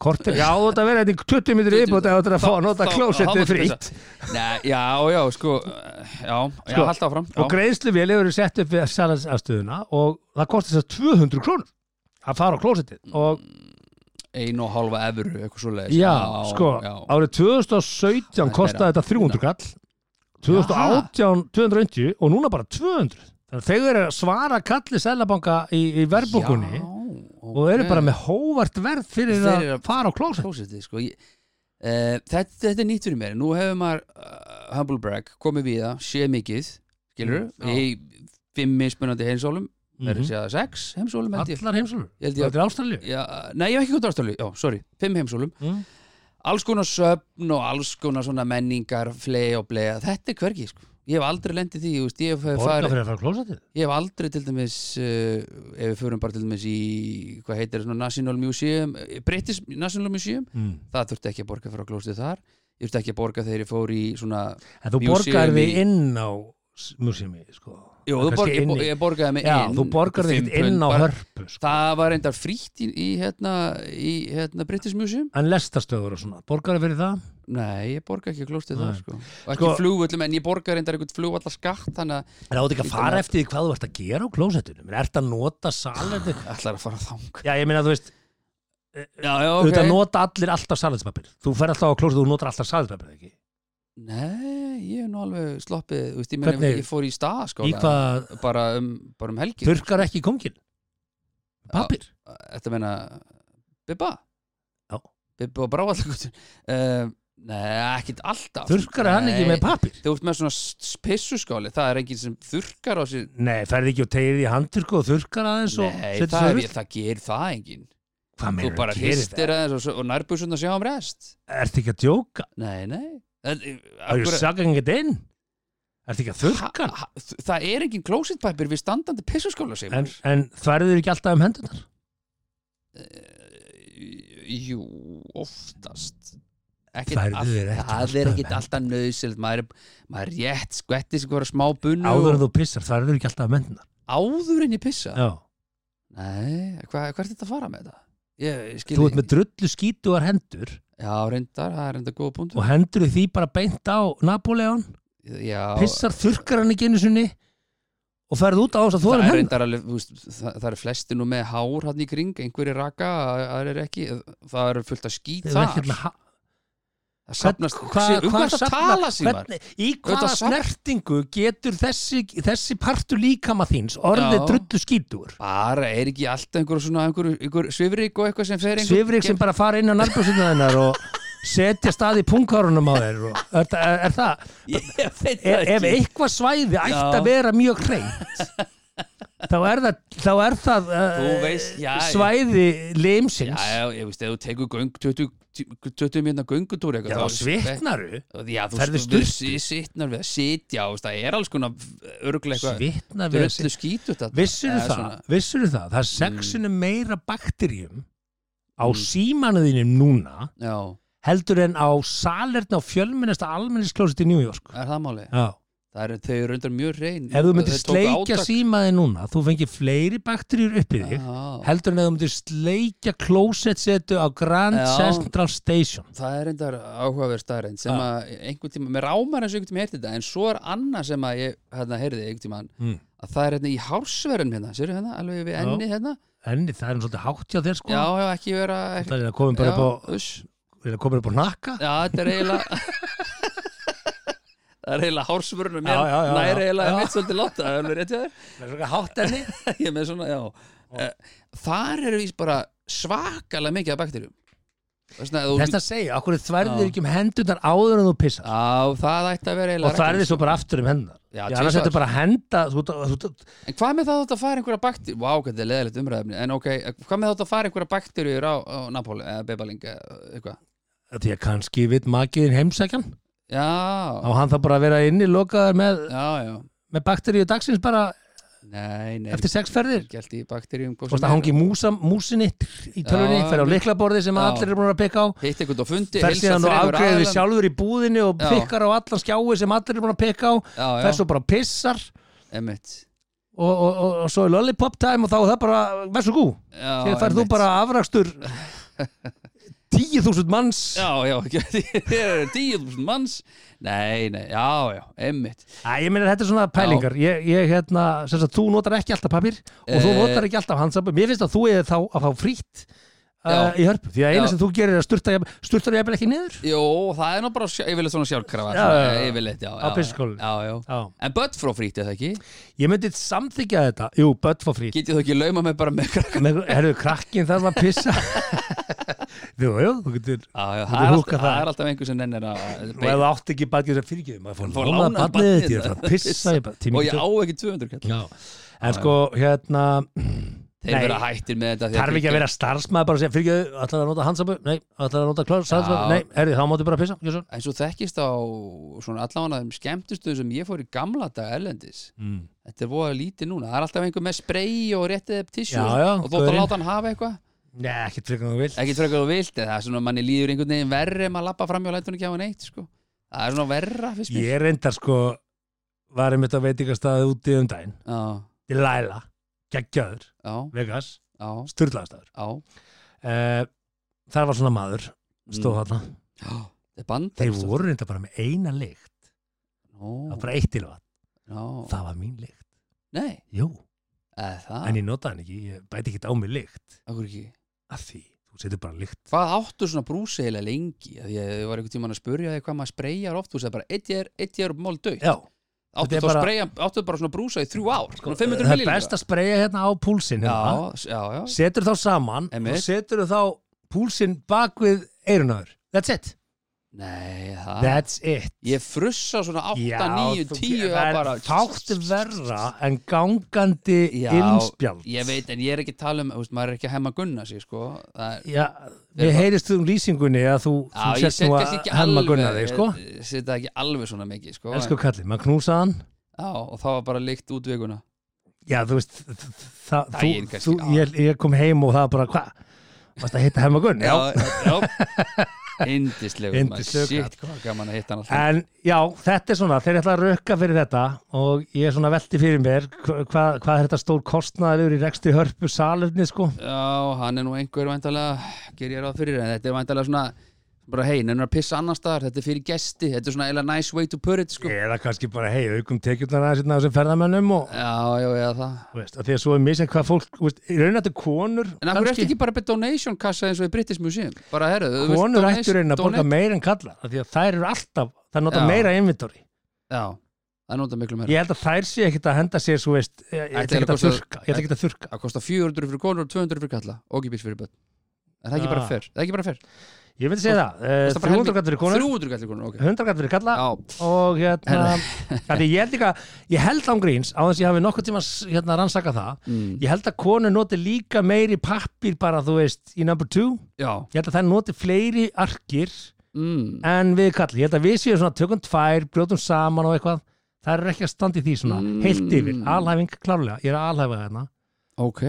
S1: Kortir, já, þú ert að vera hérna í 20 minnir
S3: 20
S1: viðbútt eða þú ert að fá að nota
S3: Þá- þá-
S1: klósettið fritt.
S3: hámarkspeysa. Nei, já, já, sko Já, já,
S1: Sko,
S3: haldt áfram já.
S1: Og greiðsluvél hefur verið sett upp við salernis aðstuðuna og það kostar þess að 200 krónur að fara á klósettið og
S3: Ein og hálfa evru, eitthvað svo leiðis
S1: Já, sko,
S3: Mm, já.
S1: árið 2017
S3: er
S1: kostaði
S3: meira.
S1: þetta 300 kall 2018 290 og núna bara 200 þannig að þeir eru að svara kalli selabanka í, í verðbókunni
S3: Já,
S1: og eru
S3: ok.
S1: bara með hóvart verð fyrir
S3: Þeir
S1: að
S3: eru að-
S1: fara á klóset
S3: klósettið sko. ég, uh, þetta, þetta er nýtt fyrir mér nú hefur maður uh, humble brag komið við það, sé mikið skilur,
S1: Mm, já.
S3: í fimm mismunandi heimsólum mm -hmm.
S1: Mhm.
S3: segja sex heimsólum held ég.
S1: allar heimsálfur,
S3: Ég held ég-
S1: þetta er ástralju
S3: Já, nei, ég hef ekki komið ástælu, já, sorry, fimm heimsólum
S1: Mm.
S3: alls konar söfn og alls konar svona menningar, flei og blei þetta er hvergi, sko, ég hef aldrei lendið því, þú veist, ég hef
S1: borga
S3: farið
S1: fyrir að fara á klósetið
S3: Ég hef aldrei til dæmis uh, ef við förum bara til dæmis í hvað heitir það, National Museum eh, British National Museum
S1: mm.
S3: það þurfti ekki að borga fyrir að klóstið þar ég þurfti ekki að borga þegar ég fór í svona
S1: en þú
S3: Museum
S1: borgar þig
S3: í-
S1: inn á s- museumi sko.
S3: Jú,
S1: Það
S3: þú
S1: er
S3: borg,
S1: kannski
S3: ég,
S1: inn
S3: bo-
S1: í-
S3: ég borgaði mig
S1: já,
S3: inn
S1: þú borgar þig
S3: Fimm
S1: ekkert inn á
S3: pund bara.
S1: hörpu sko.
S3: það var reyndar frítt í, í, hérna, í hérna British Museum
S1: en lestastöður og svona, borgar þig fyrir það
S3: nei, ég borga ekki klóstið þar
S1: Nei.
S3: sko. og ekki
S1: Sko-
S3: flugvöllum, en ég borga reyndar einhvern flugvallaskatt þannig að
S1: En það átt ekki að
S3: Lítið
S1: fara
S3: mat.
S1: eftir því hvað þú ert að gera á klósettunum Er þetta að nota salerni?
S3: ætlar að fara þang
S1: Já, ég meina, þú veist,
S3: já, já,
S1: okay.
S3: ok
S1: auðvitað nota allir alltaf salernispapir Þú fer alltaf á klósettunum og þú notar alltaf salernispapir, ekki?
S3: nei, ég hef nú alveg sloppið þú veist, ég, meina,
S1: Hvernig-
S3: ég fór í stað sko,
S1: Í hvað
S3: bara, um, bara um helgi
S1: þurkar ekki kongin? Papir?
S3: þetta meina Bibba
S1: Já.
S3: Bibba og bráallakutun uh, Nei, ekkit alltaf
S1: Þurkar hann ekki
S3: Nei,
S1: með papir?
S3: Þú ert með svona s- pissuskáli, það er enginn sem þurkar á sér
S1: Nei, ferði ekki og tegir í handturku og þurkar aðeins og
S3: Nei,
S1: setur
S3: það,
S1: það
S3: er,
S1: rull?
S3: það ger það enginn
S1: Hvað
S3: Þú
S1: meina,
S3: bara
S1: gerir það?
S3: hristir aðeins og, svo- og nærbúsund að sjá um rest
S1: Ertu ekki að djóka?
S3: Nei, nei En, eh,
S1: Are you
S3: akkur-
S1: sucking it in? Ertu ekki að þurka?
S3: Ha- ha- þ- Það er enginn klósitpæpir við standandi pissuskála sem
S1: En, en þverður ekki alltaf um hendunar?
S3: Eh, Jú, oftast Ekkert
S1: Þærðu þér ekki
S3: all- Það er
S1: alltaf
S3: ekkit
S1: um
S3: alltaf nöðsild maður, er- maður er rétt skvetti sem voru smá bunnu
S1: Áður en
S3: og,
S1: þú pissar, þverður ekki alltaf um hendunar?
S3: áður en ég pissa
S1: Já.
S3: Nei, hva, hvað er þetta að fara með þetta? Ég, ég skil
S1: Þú
S3: ekki.
S1: ert með drullu skítugar hendur
S3: Já, reyndar, það er reyndar góða punktur
S1: og hendur því bara beint á Napoleon,
S3: Já,
S1: pissar þurkar hann ekki einu sinni og ferð út á þess að þú
S3: það
S1: erum
S3: er
S1: henn
S3: reyndar alveg, þú veist, það, það er flesti nú með hár hann í kring, einhverju raka það er ekki, það er fullt að skýt
S1: Það er ekkert
S3: þar
S1: með ha- hvern-
S3: Það safnast,
S1: hvað-
S3: um
S1: hvað
S3: hvað það
S1: safnar-
S3: tala sem var
S1: hvernig- Í hvaða
S3: Auðvitað safn-
S1: snertingu getur þessi, þessi partur líkama þíns orðið
S3: Já.
S1: drullu skítur
S3: Bara er ekki alltaf einhverju svona einhverju, einhverju svifrik og eitthvað sem fer einhver
S1: Svifrik sem bara fara inn á narbjörnsutna þennar og setja stað í punghárunum á þér og, er, það- er, er það
S3: Ég veit
S1: ef,
S3: það
S1: ef
S3: ekki
S1: eitthvað svæði ætti
S3: Já.
S1: að vera mjög hreint þá er það, þá er það
S3: Þú
S1: uh,
S3: veist, já, já.
S1: svæði limsins
S3: Já, já, ég veist, ef þú tekur göng 20, 20 minna hérna göngutúr
S1: Já, þá svitnaru
S3: Já, þú
S1: Ferðu
S3: stu- við
S1: sturtu?
S3: si- sitnar við að sitja og það er alls konar örglega eitthvað
S1: Svitna við
S3: dröllu skítu þetta
S1: Vissur
S3: Eða
S1: það,
S3: svona.
S1: vissur það Það er
S3: Mm.
S1: sexinu meira bakterjum á mm. símanuðinum núna
S3: Já,
S1: heldur en á salerni á fjölmennasta almennisklósit í New York
S3: er það máli
S1: Já.
S3: það er, þau eru undar mjög reyn
S1: ef þú myndir sleikja símaði núna þú fengir fleiri bakteríur upp í þig heldur en ef þú myndir sleikja klósetsetu á Grand
S3: Já.
S1: Central Station
S3: það er reyndar áhugaverð staðreynd
S1: Já.
S3: sem að einhvern tíma, mér rámar eins og einhvern tíma heyrti þetta en svo er annað sem að ég hérna heyrði einhvern tíma
S1: Mm.
S3: að það er hérna í hársverðum hérna, sérðu hérna, alveg við
S1: Já.
S3: enni hérna
S1: enni það er nú svolítið hátt hjá þér sko
S3: já, já, ekki vera ekki,
S1: það er að komin
S3: já,
S1: bara upp á,
S3: uss.
S1: er að komin upp á nakka
S3: já, þetta er eiginlega það er eiginlega hársverðum
S1: Já, já, já, já.
S3: það er
S1: Já.
S3: eiginlega mitt svolítið láta það er alveg rétt hjá þér
S1: það er svona hátt enni
S3: ég er með svona, já Eh, þar eru vís bara svakalega mikið af bakterjum
S1: þetta
S3: þetta
S1: að segja, okkur
S3: Já.
S1: þværðir ekki um hendurnar áður en þú pissar
S3: Já, það ætti að vera eiginlega
S1: og þværðir
S3: reglan,
S1: svo bara aftur um hendunar
S3: Já,
S1: Já, annars
S3: tvisvar.
S1: þetta er bara að henda þú, þú, þú,
S3: En hvað með það að þetta fara einhverja baktir Vá, hvað þetta er leðilegt umræðefni En ok, hvað með það að fara einhverja bakterjur á, á Napoli eða Bebaling eða eitthvað
S1: Því að kannski vitt makiðin heimsækjan
S3: Já,
S1: og hann þarf bara að vera inni lokaður með,
S3: já, já
S1: með bakteríu dagsins bara
S3: Nei, nei
S1: eftir sex ferðir
S3: Gælt í bakterjum
S1: Þú veist að hangi músa, músinni í tölunni,
S3: Já,
S1: fer á
S3: mik-
S1: leiklaborði sem
S3: já.
S1: allir er búin að peka á
S3: Hitt einhvern á fundi
S1: fer
S3: heilsa
S1: síðan og
S3: þremur
S1: afgreðið
S3: aðilum.
S1: sjálfur í búðinni og
S3: Já.
S1: pikkar á allan skjái sem allir er búin að peka á
S3: Já,
S1: fer
S3: já,
S1: svo bara og pissar og,
S3: emmitt
S1: og, og, og svo er lollipop time og þá er það bara, verð svo gú
S3: Þegar
S1: þegar færð þú bara afrakstur 10.000 manns
S3: Já, já, tíu þúsund manns Nei, nei, já, já, emmitt
S1: Æ, ég meina þetta er svona pælingar ég, ég hérna, sem sagt, þú notar ekki alltaf papír og þú
S3: Eh.
S1: notar ekki alltaf handsamband mér finnst að þú eða þá að fá frýtt uh,
S3: Já.
S1: í hörpu, því að eina
S3: Já.
S1: sem þú gerir er að sturta jafn- sturtar jafnvel ekki niður
S3: Jó, það er nú bara sjá- yfirleitt svona sjálfkrafa
S1: Já,
S3: svona,
S1: já, já.
S3: eh, Yfirleitt, já,
S1: Á
S3: já,
S1: pissuskólu.
S3: já, já
S1: Já.
S3: En börn frá frýtt, eða ekki?
S1: ég myndi samþykja þetta, jú, börn fá frýtt
S3: Getið þú ekki lauma mig bara með krakka?
S1: Með- herðu, krakkin þarf að pissa jú, jú, þú getur
S3: Já,
S1: Þú
S3: já, það er,
S1: getur
S3: alltaf,
S1: húkkað það.
S3: það er alltaf einhver sem nennir að að
S1: og ef
S3: beina.
S1: þú átt ekki badgið sem fyrirgjöðum maður
S3: Fá
S1: fór lána
S3: lánað
S1: badnið
S3: barnið
S1: þetta, ég þarf að pissa ég bara, tími
S3: og ég
S1: ekki
S3: á ekki 200 kall
S1: Já. en sko, hérna
S3: þeir
S1: Nei.
S3: vera hættir með þetta því
S1: þarf ekki að vera starfsmaður bara að segja fyrirgjöðu, ætlaðu að nota handsabu nei, ætlaðu að nota klár,
S3: Já.
S1: handsabu nei, herði, þá máttu bara pissa Gjörsson.
S3: en svo þekkist á svona allavega þeim skemmtustuðum sem ég fór í gamla dag erlendis
S1: Mm.
S3: þetta er voða lítið núna, það er alltaf einhver með spray og réttið upp tissjú
S1: Já, já,
S3: og þú ætti að
S1: gaurinn.
S3: láta hann hafa eitthvað
S1: nei, ekki tryggum þú vil
S3: ekki frekar þú vilt, eða það er svona manni líður einhvern veginn verri maður lappa fram hjá lætunum ekki á hann eitt sko. það er svona verra fyrst mér
S1: ég reyndar sko var einmitt á veitingastæði úti um daginn
S3: já,
S1: til Laila, geggjaður,
S3: já,
S1: Vegas
S3: já,
S1: sturlaðastæður
S3: já,
S1: uh, þar var svona maður stóð þarna,
S3: Mm. já það er band
S1: þeir voru reynda bara með eina lykt, það var bara eitt til vatn
S3: já,
S1: það var mín lykt,
S3: nei,
S1: jú
S3: eða það
S1: en ég notaði hann ekki, ég bæti ekki á mig lykt
S3: akkur ekki
S1: af því, þú setur bara lykt
S3: Hvað áttu svona brúsi eiginlega lengi? Af Því að ég var einhvern tímann að spurja þig hvað maður spreyjar oft, þú sagði bara, eitt ég er, eitt ég er mál dögt.
S1: já,
S3: Áttu
S1: þetta er
S3: þá að
S1: bara- Sko,
S3: spreyja, áttu bara svona brúsa í þrjú ár, svona
S1: það
S3: 500
S1: er
S3: millilítra.
S1: best að spreja hérna á púlsinn hérna.
S3: Já, s- já, já.
S1: setur þá saman
S3: Einmitt.
S1: og setur þá púlsinn bak við eirunaður, that's it
S3: Nei, það.
S1: that's it
S3: Ég frussa svona 8, 9,
S1: þú-
S3: 10
S1: það
S3: á
S1: er
S3: bara.
S1: fátt verra en gangandi
S3: Já,
S1: innspjald
S3: Ég veit, en ég er ekki að tala um, þú veist, maður er ekki að hemma gunna sig, sko. Það er...
S1: Já, við heyrist um lýsingunni að þú, þú
S3: Já, ég
S1: sérst
S3: set
S1: nú
S3: kannski
S1: að
S3: ekki
S1: hemma
S3: alveg,
S1: gunna þig, sko
S3: ég set ekki alveg svona mikið, sko. en-
S1: Elsku kallið, maður knúsa hann
S3: Já, og það var bara líkt út vikuna.
S1: Já, þú veist, þ- þ- það, þú,
S3: Daginn kannski,
S1: þú,
S3: já.
S1: ég, ég kom heim og það var bara, hva? Varst að hitta hemma gunn?
S3: já. Indislegur,
S1: Yndislegur
S3: maður.
S1: kall.
S3: Shit, hvað gaman að hitta hann alltaf.
S1: En já, þetta er svona, þeir ætla að rökka fyrir þetta og ég er svona velti fyrir mér hva, hvað hvað er þetta stór kostnaður í rekstri hörpu salurni, sko?
S3: Já, hann er nú einhver væntalega, ger ég ráð fyrir, en þetta er væntalega svona, bara hei, nefnir að pissa annar staðar, þetta er fyrir gesti, þetta er svona eiginlega nice way to put it, sko.
S1: Eða kannski bara, hei, aukum tekjurnar aðeins hérna á þessum ferðamönnum og,
S3: Já, já, eða það.
S1: Þú veist, að því að svo er misjænt hvað fólk, þú veist, í raun að þetta er konur
S3: En af hverju ertu ekki bara með donation kassa eins og í British Museum? Bara, herru, þú veist,
S1: konur
S3: donation-
S1: ættu í raun að borga
S3: donate-
S1: meira en kalla af því að þær eru alltaf, þær nota
S3: Já.
S1: meira inventory.
S3: Já, það nota miklu meira.
S1: Ég held að þær sé ekkit að henda sér, svo veist, ég ég
S3: Ætli
S1: ætla ekkit að
S3: að-
S1: þurrka, ég ætla ekkit að þurrka.
S3: Það kostar 400 fyrir konur og 200 fyrir kalla, og ekki bís fyrir börn. Er það ekki
S1: Já.
S3: bara fyrr? Það er ekki bara
S1: Eh,
S3: fyrr?
S1: Ég myndi segja það, eh,
S3: Kostar
S1: 300
S3: bara helming-
S1: kallar fyrir konur,
S3: 300 kallir konur, ok.
S1: 100 kallar fyrir kalla
S3: Já,
S1: og hérna, af því ég held líka, ég held án gríns, á þess að ég hafi nokkuð tíma hérna rannsaka það,
S3: mm.
S1: ég held að konur noti líka meiri pappir bara, þú veist, í number two,
S3: já,
S1: ég held að þær noti fleiri arkir
S3: mm.
S1: en við kalli, ég held að við séum svona tökum tvær, brjótum saman og eitthvað það er ekki að standa í því svona,
S3: Mm.
S1: heilt yfir alhæfing klárlega, ég er að alhæfa hérna
S3: ok.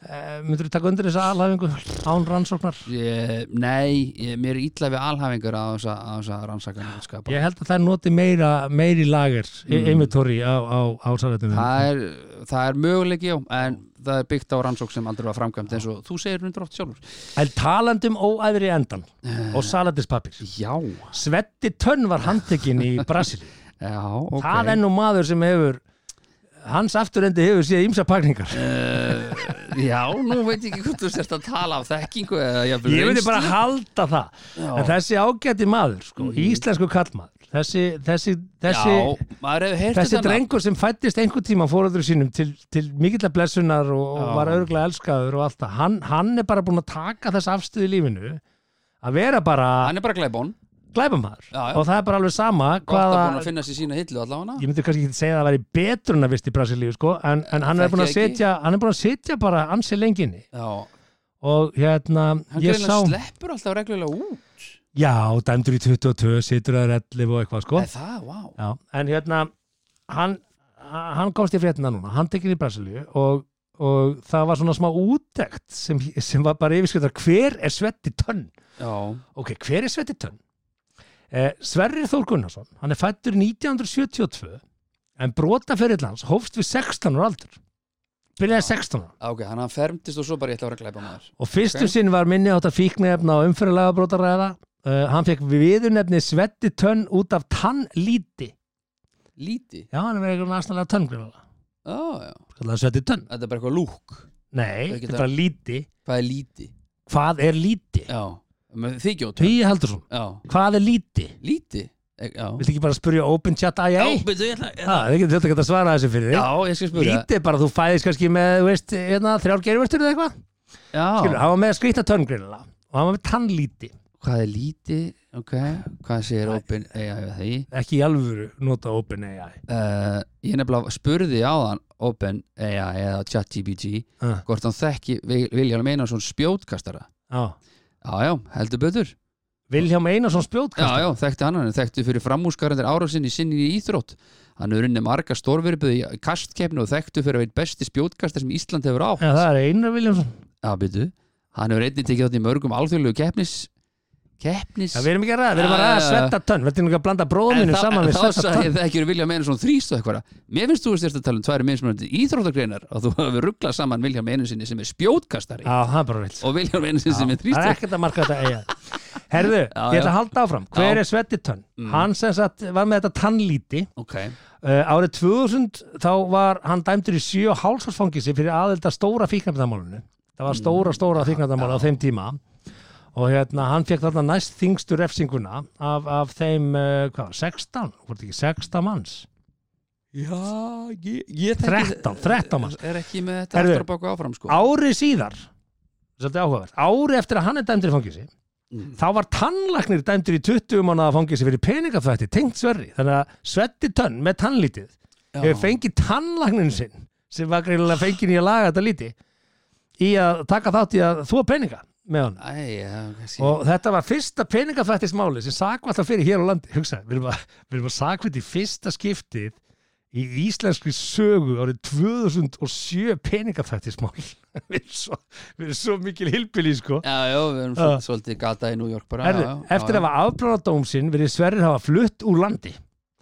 S1: Eh, myndur þú taka undir þessa alhæfingu án rannsóknar?
S3: Ég, nei, ég, mér er illa við alhæfingar á þess að, að, að rannsaka skapa.
S1: Ég held að það noti meira, meiri lager mm. emitori á, á, á sannleitunum.
S3: Það er, það er möguleiki, já, en það er byggt á rannsók sem aldrei var framkvæmt eins og þú segir hundur oft sjálfur.
S1: En talandi um óæðri endan
S3: Eh.
S1: og salatispapir.
S3: Já,
S1: Svetti Tönn var handtekinn í Brasilíu.
S3: já, ok.
S1: Það er nú maður sem hefur, hans afturendi hefur séð ímsa pakningar.
S3: Eh, Já, nú veit ég ekki hvort þú sérst að tala af þekkingu eða jafnvel
S1: Ég myndi
S3: reynslu.
S1: bara halda það. En þessi ágæti maður, sko, íslensku kallmaður, þessi, þessi, þessi,
S3: Mm. Já, maður hefur heyrt
S1: þessi
S3: þetta nafn.
S1: drengur sem fættist einhver tíma fóröður sínum til, til mikill blessunar og, og
S3: Já.
S1: var örgulega elskaður og allt það. Hann, hann er bara búin að taka þess afstöð í lífinu að vera bara
S3: Hann er bara glæbón
S1: glæbamaður
S3: Já, já.
S1: og það er bara alveg sama
S3: Gott að búin
S1: hvaða,
S3: að finna sér sína hillu allavega
S1: ég myndi kannski ekki segja að það væri betrun að vist í Brasilíu sko, en, en hann er
S3: Þekki
S1: búin að
S3: ekki.
S1: setja hann er búin að setja bara ansi lenginni
S3: Já,
S1: og hérna,
S3: hann
S1: ég
S3: greinlega
S1: sá Sko?
S3: sleppur alltaf reglulega út
S1: já, dæmdur í 22, situr að relli og eitthvað sko,
S3: Er það, vá
S1: já, en hérna hann, hann komst í fréttina núna hann tekir í Brasilíu og, og það var svona smá útdekt sem, sem var bara yfirskriftar, hver er svetti tönn
S3: Já,
S1: Ok, hver er Sveti Tönn? Eh, Sverrir Þór Gunnarsson, hann er fættur 1972 en brotaferill hans hófst við 16 ára aldur. Byrjaði 16 ára.
S3: ok, hann hann fermdist og svo bara ég ætla að vera glæbamaður
S1: Og fyrstu
S3: Ok.
S1: sinn var minni átt að fíknefna og umfyrirlega brotaræða. Uh, hann fekk viðurnefni Sveti Tönn út af tannlíti.
S3: Líti
S1: Já, hann er verið eitthvað næstanlega tönngrifaða.
S3: Já, já,
S1: Skallaði Sveti Tönn.
S3: þetta er bara eitthvað lúk
S1: Nei,
S3: Ekki
S1: þetta er bara líti.
S3: Hvað er líti?
S1: Hvað er líti?
S3: Já, með þykjótt
S1: Tvíi Haldursson,
S3: Já,
S1: hvað er líti?
S3: líti E- Já,
S1: Viltu ekki bara spyrja open chat AI?
S3: já betur ég ætla
S1: Já, þið getur þetta ekki að svara þessu fyrir þig.
S3: Já, ég skal spyrja
S1: Lítið bara, þú fæðist kannski með, þú veist, hérna, þrjár gerurvörtur eða eitthvað. Skilur,
S3: Já,
S1: hann var með skrýtna törngrinlega og hann var með tannlíti,
S3: hvað er líti? Ok, hvað segir Open AI við því?
S1: ekki í alvöru nota open AI.
S3: Uh, ég nefnilega spurði á þann Open AI eða ChatGPT
S1: Uh,
S3: hvort hann þekki Vil- Vilhjálm Einarsson spjótkastara
S1: á.
S3: Já, já, heldur betur
S1: Vilhjálm Einarsson spjótkast.
S3: Já, já, þekkti hann, hann er þekkti fyrir framúskarandir árásinn í sinni í Íþrótt Hann er unni marga stórverfið í kastkefni og þekktu fyrir að veit besti spjótkastar sem Ísland hefur á
S1: Já, það er Einar Viljámsson.
S3: Já, byrju, hann hefur einnig tekið þátt í mörgum alþjóðlegu keppnis Keppnis
S1: Já, við erum ekki að ræða, við erum að
S3: Já,
S1: ræða
S3: já, já.
S1: svetta tönn. Við erum ekki að blanda bróðminu saman við
S3: þá
S1: svetta
S3: sagði
S1: tönn.
S3: ég þekkjur Vilja Einarsson þrýst og eitthvað Mér finnst þú styrst að tala um tværi minnsmjöndi íþróttagreinar og þú hefur rugglað saman Vilja Einarssoni sem er spjótkastari
S1: Já, það er bara vilt.
S3: og Vilja Einarssoni sem
S1: Það
S3: er
S1: er
S3: þrýst
S1: ekkert að marka þetta AI. Herðu, ég ætla að halda áfram. Hver
S3: Já. Mm.
S1: er svetti tönn? Hann sem sagt var með þetta tannlíti
S3: Ok,
S1: Uh, árið 2000 þá var hann dæmdur í 7 hálsforsfangisi fyrir aðelda stóra fíknarfnamálunu. Það
S3: Mm.
S1: var stóra, stóra fíknarfnamál á þeim tíma og hérna, hann fekk þarna næst þingstu refsinguna af, af þeim, uh, hvað, var, 16? Hvort ekki, 16 manns?
S3: Já, ég, ég
S1: 13, 13 manns.
S3: Er ekki með þetta
S1: Herðu.
S3: aftur að baka áfram sko
S1: Ári síðar, svolítið áhugavert, ári eftir að hann er dæmdur í fangisi,
S3: Mm.
S1: þá var tannlaknir dæmdur í 20 mannaða fangisi fyrir peningafætti, tengt sverri, þannig að svetti tönn með tannlítið
S3: Já.
S1: hefur fengið tannlagnin sinn sem var greinilega fengið í að laga þetta líti í að taka þátt í að þúa peninga með hann
S3: Æ, já, kannski
S1: og þetta var fyrsta peningafættismáli sem sakva alltaf fyrir hér á landi hugsa, við erum að, við erum að sakvætt í fyrsta skiptið í íslenskri sögu árið 2007 peningafættismál við erum svo, við erum svo mikil hilpili sko
S3: Já, já, við erum
S1: Já.
S3: svol- svolítið gata í New York bara
S1: Herðu,
S3: já, já,
S1: eftir
S3: já,
S1: að var afplánadóm sinn verið Sverrir hafa flutt úr landi.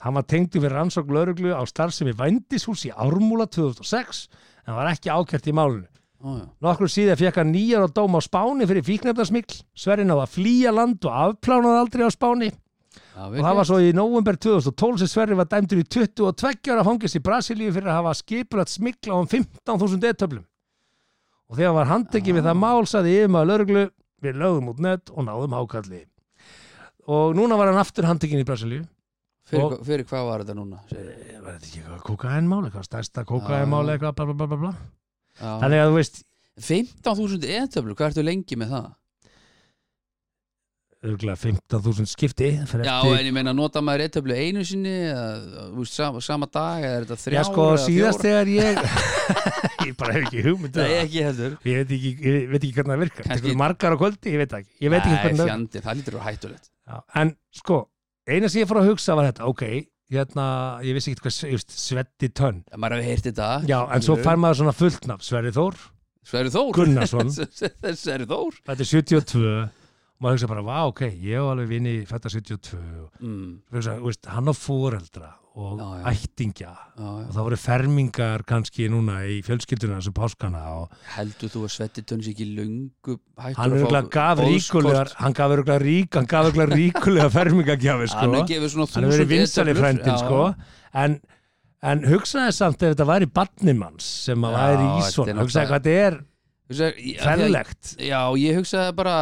S1: Hann var tengdu við rannsók lauruglu á starfsemi vændishús í Ármúla 2006 en var ekki ákjært í málinu.
S3: já, já.
S1: Nokkur síðan fekk hann nýjar á dóm á Spáni fyrir fíknefnarsmikl. Sverrir náða að flýja land og afplánaði aldrei á Spáni
S3: Já,
S1: og það var svo í november 2012 sem Sverrir var dæmdur í 22 ára fangist í Brasilíu fyrir að hafa skipulat smikla á um 15.000 eðtöflum. Og þegar hann var handtekið við það mál sagði yfirmaður lauruglu við lögum út nött og náðum hákalli. Og núna var hann aftur handtekinn í Brasilíu.
S3: fyrir,
S1: og-
S3: hva- fyrir hvað var þetta núna? segirðu?
S1: Ég veit Eh, ekki eitthvað kókaðinmál, eitthvað stærsta kókaðinmál, eitthvað bla bla bla bla bla.
S3: Já.
S1: Ah. Þannig að þú veist,
S3: 15.000 eðtöflur, hvað ertu lengi með það?
S1: örgulega 15.000 skipti. fyrir
S3: Já,
S1: eftir-
S3: en ég meina, nota maður eðtöflu einu sinni eða, þú veist, sama, sama dag eða er þetta þrjá
S1: Já, sko, síðast þegar ég... ég bara hef ekki hugmynd um
S3: Nei,
S1: það.
S3: ekki heldur
S1: Ég veit ekki, ég veit ekki hvernig það virkar.
S3: Kannski-
S1: Kannski... Margar á kvöldi, ég veit það ekki. Ég veit ekki hvernig
S3: Nei,
S1: það
S3: fjandi, það lítur að vera hættulegt
S1: Já, en sko, eina sem ég fór að hugsa var þetta, ok, hérna, ég vissi ekki hvað, just, Svetti Tönn.
S3: En maður hefur heyrt þetta
S1: Já, en svo fær maður svona fullt nafn, Sverri Þór,
S3: Sverri Þór
S1: Gunnarsson,
S3: Sverri Þór
S1: þetta er 72 og maður hugsa bara, vá, ok, ég var alveg vini fætta 72 og
S3: mm.
S1: hugsa, þú veist, hann á foreldra og
S3: Já, já.
S1: ættingja
S3: já, já.
S1: og það voru fermingar kannski núna í fjölskylduna þessu páskana og
S3: heldur þú að Svetti Tönns ekki lungu hættur
S1: hann örgulega gaf ríkulegar hann gaf örgulega rík, hann gaf örgulega ríkulega fermingagjafi sko
S3: hann er gefið svona
S1: hann hefur verið vinsali
S3: etöflur.
S1: frændin
S3: Já.
S1: sko en, en hugsaði samt ef þetta væri barnimanns sem að
S3: Já,
S1: væri í
S3: þetta er
S1: svona hugsaði
S3: náttúrulega-
S1: hvað þetta er
S3: Hugsa- ég- af því að-
S1: ferlegt
S3: já, ég hugsaði bara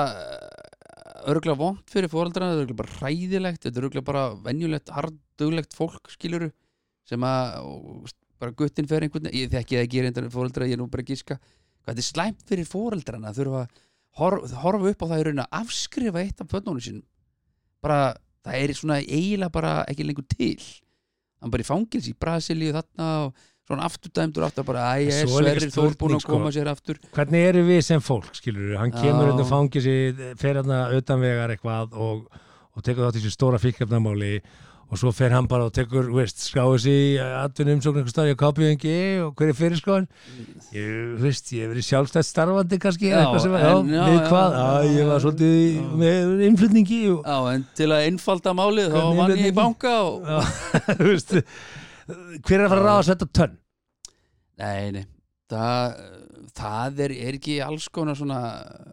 S3: örgulega vond fyrir fóreldrana örgulega bara hræðilegt, þetta er örgulega bara venjulegt, harduglegt fólk skiluru sem að og, bara guttin fer einhvern, ég þekki það ekki reyndan fóreldra, ég er nú bara að gíska hvað þetta er slæmt fyrir fóreldrana að þurfa að horf, horfa upp á það í raun að afskrifa eitt af börnunum sínum bara, það er svona eiginlega bara ekki lengur til hann bara í fangils í Brasilíu þarna og svona afturdæmdur aftur bara, æ, ég er
S1: Svo er líka
S3: sverrið þór búin
S1: spurning,
S3: að
S1: sko.
S3: koma sér aftur
S1: hvernig eru við sem fólk skilur hann
S3: Já.
S1: kemur hérna og fangi sig fer hérna utanvegar eitthvað og, og tekur þátt í þessu stóra fíkjafnamáli og svo fer hann bara og tekur þú veist, skráði sig í atvinnum umsókn einhver staðar í KPNG og hver er fyrir skoðan ég, þú veist, ég hef verið sjálfstætt starfandi kannski
S3: Já,
S1: eða eitthvað sem,
S3: en-
S1: já,
S3: já,
S1: við
S3: já,
S1: hvað,
S3: já,
S1: já, ég var svolítið í-
S3: já.
S1: með innflutningi og,
S3: Já, en til að einfalda málið þá
S1: Hvernig
S3: vann
S1: er
S3: ég í
S1: þetta?
S3: banka og...
S1: Já, þú veist hver er að fara að ráða þetta tönn
S3: Nei, nei, það, það er, er ekki alls konar svona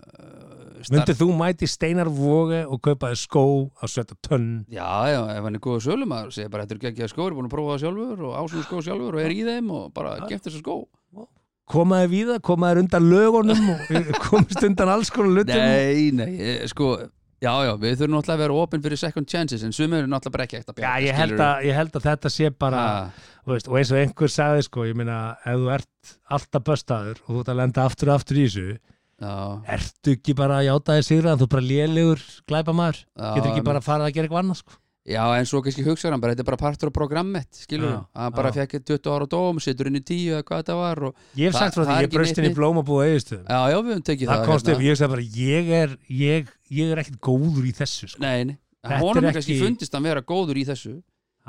S3: uh, starf-
S1: myndir þú mæti steinar voga og kaupaði skó á sveta tönn
S3: Já, já, ef hann er góða sölumar segir bara, þetta er ekki að skóður, búin að prófa það sjálfur og ásum skó sjálfur og er í þeim og bara
S1: Já.
S3: gemt þessu skó
S1: komaði víða, komaði undan lögunum og komist undan alls konar lutum
S3: Nei, nei, eh, sko Já, já, við þurfum náttúrulega að vera opin fyrir second chances en sumir eru náttúrulega bara ekki ekkert að
S1: Já,
S3: bjarga,
S1: ég held,
S3: skilurðu.
S1: að, ég held að þetta sé bara
S3: Ha,
S1: þú veist, og eins og einhver sagði sko, ég meina, ef þú ert alltaf böstaður og þú ert að lenda aftur og aftur í þessu
S3: Ah, Já,
S1: ertu ekki bara að játa þér sigra þú er bara lélegur glæpamaður
S3: já,
S1: getur ekki
S3: en-
S1: bara að fara að gera eitthvað annað sko.
S3: Já, en svo kannski hugsaður hann bara, þetta er bara partur á programmet, skilur
S1: Já,
S3: hann bara
S1: já.
S3: fekk 20 ára dóm, setur inn í 10 eða hvað þetta var og
S1: ég hef
S3: Þa-
S1: sagt frá
S3: það
S1: því,
S3: er
S1: ég
S3: ekki
S1: braust
S3: neitt
S1: inn í
S3: nýtt.
S1: blómabúð eðistöðum
S3: já, já, við höfum tekið
S1: það komst upp,
S3: hérna.
S1: ég sagði bara ég er, ég, ég er ekkert góður í þessu sko.
S3: Nei, nei,
S1: Þetta er
S3: honum er
S1: ekki-
S3: kannski fundist hann vera góður í þessu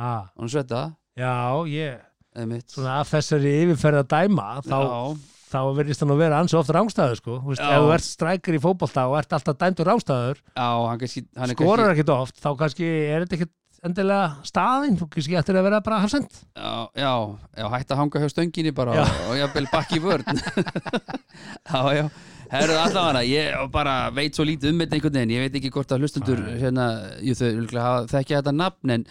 S1: ah,
S3: hann svetta,
S1: já, ég
S3: eða mitt
S1: svona af þessari yfirferð að dæma þá,
S3: Já,
S1: þá verðist hann að vera ansi oft rángstæður sko, Þú veist,
S3: Já.
S1: ef þú ert strækir í fótbolta og ert alltaf dæmdur rángstæður
S3: já, hann kannski hann er
S1: skorar
S3: kannski,
S1: ekkert oft, þá kannski er þetta ekkert endilega staðinn, þú kannski ættir að vera bara hafsend,
S3: já, já, já, hætt að hanga hjá stönginni bara
S1: Já.
S3: og, og jafnvel bakki í vörn Já, já Herðu allavega hana, ég bara veit svo lítið um þetta einhvern veginn, ég veit ekki hvort að hlustendur
S1: Nei.
S3: hérna, jú þau örugglega hafa- þekkja þetta nafn en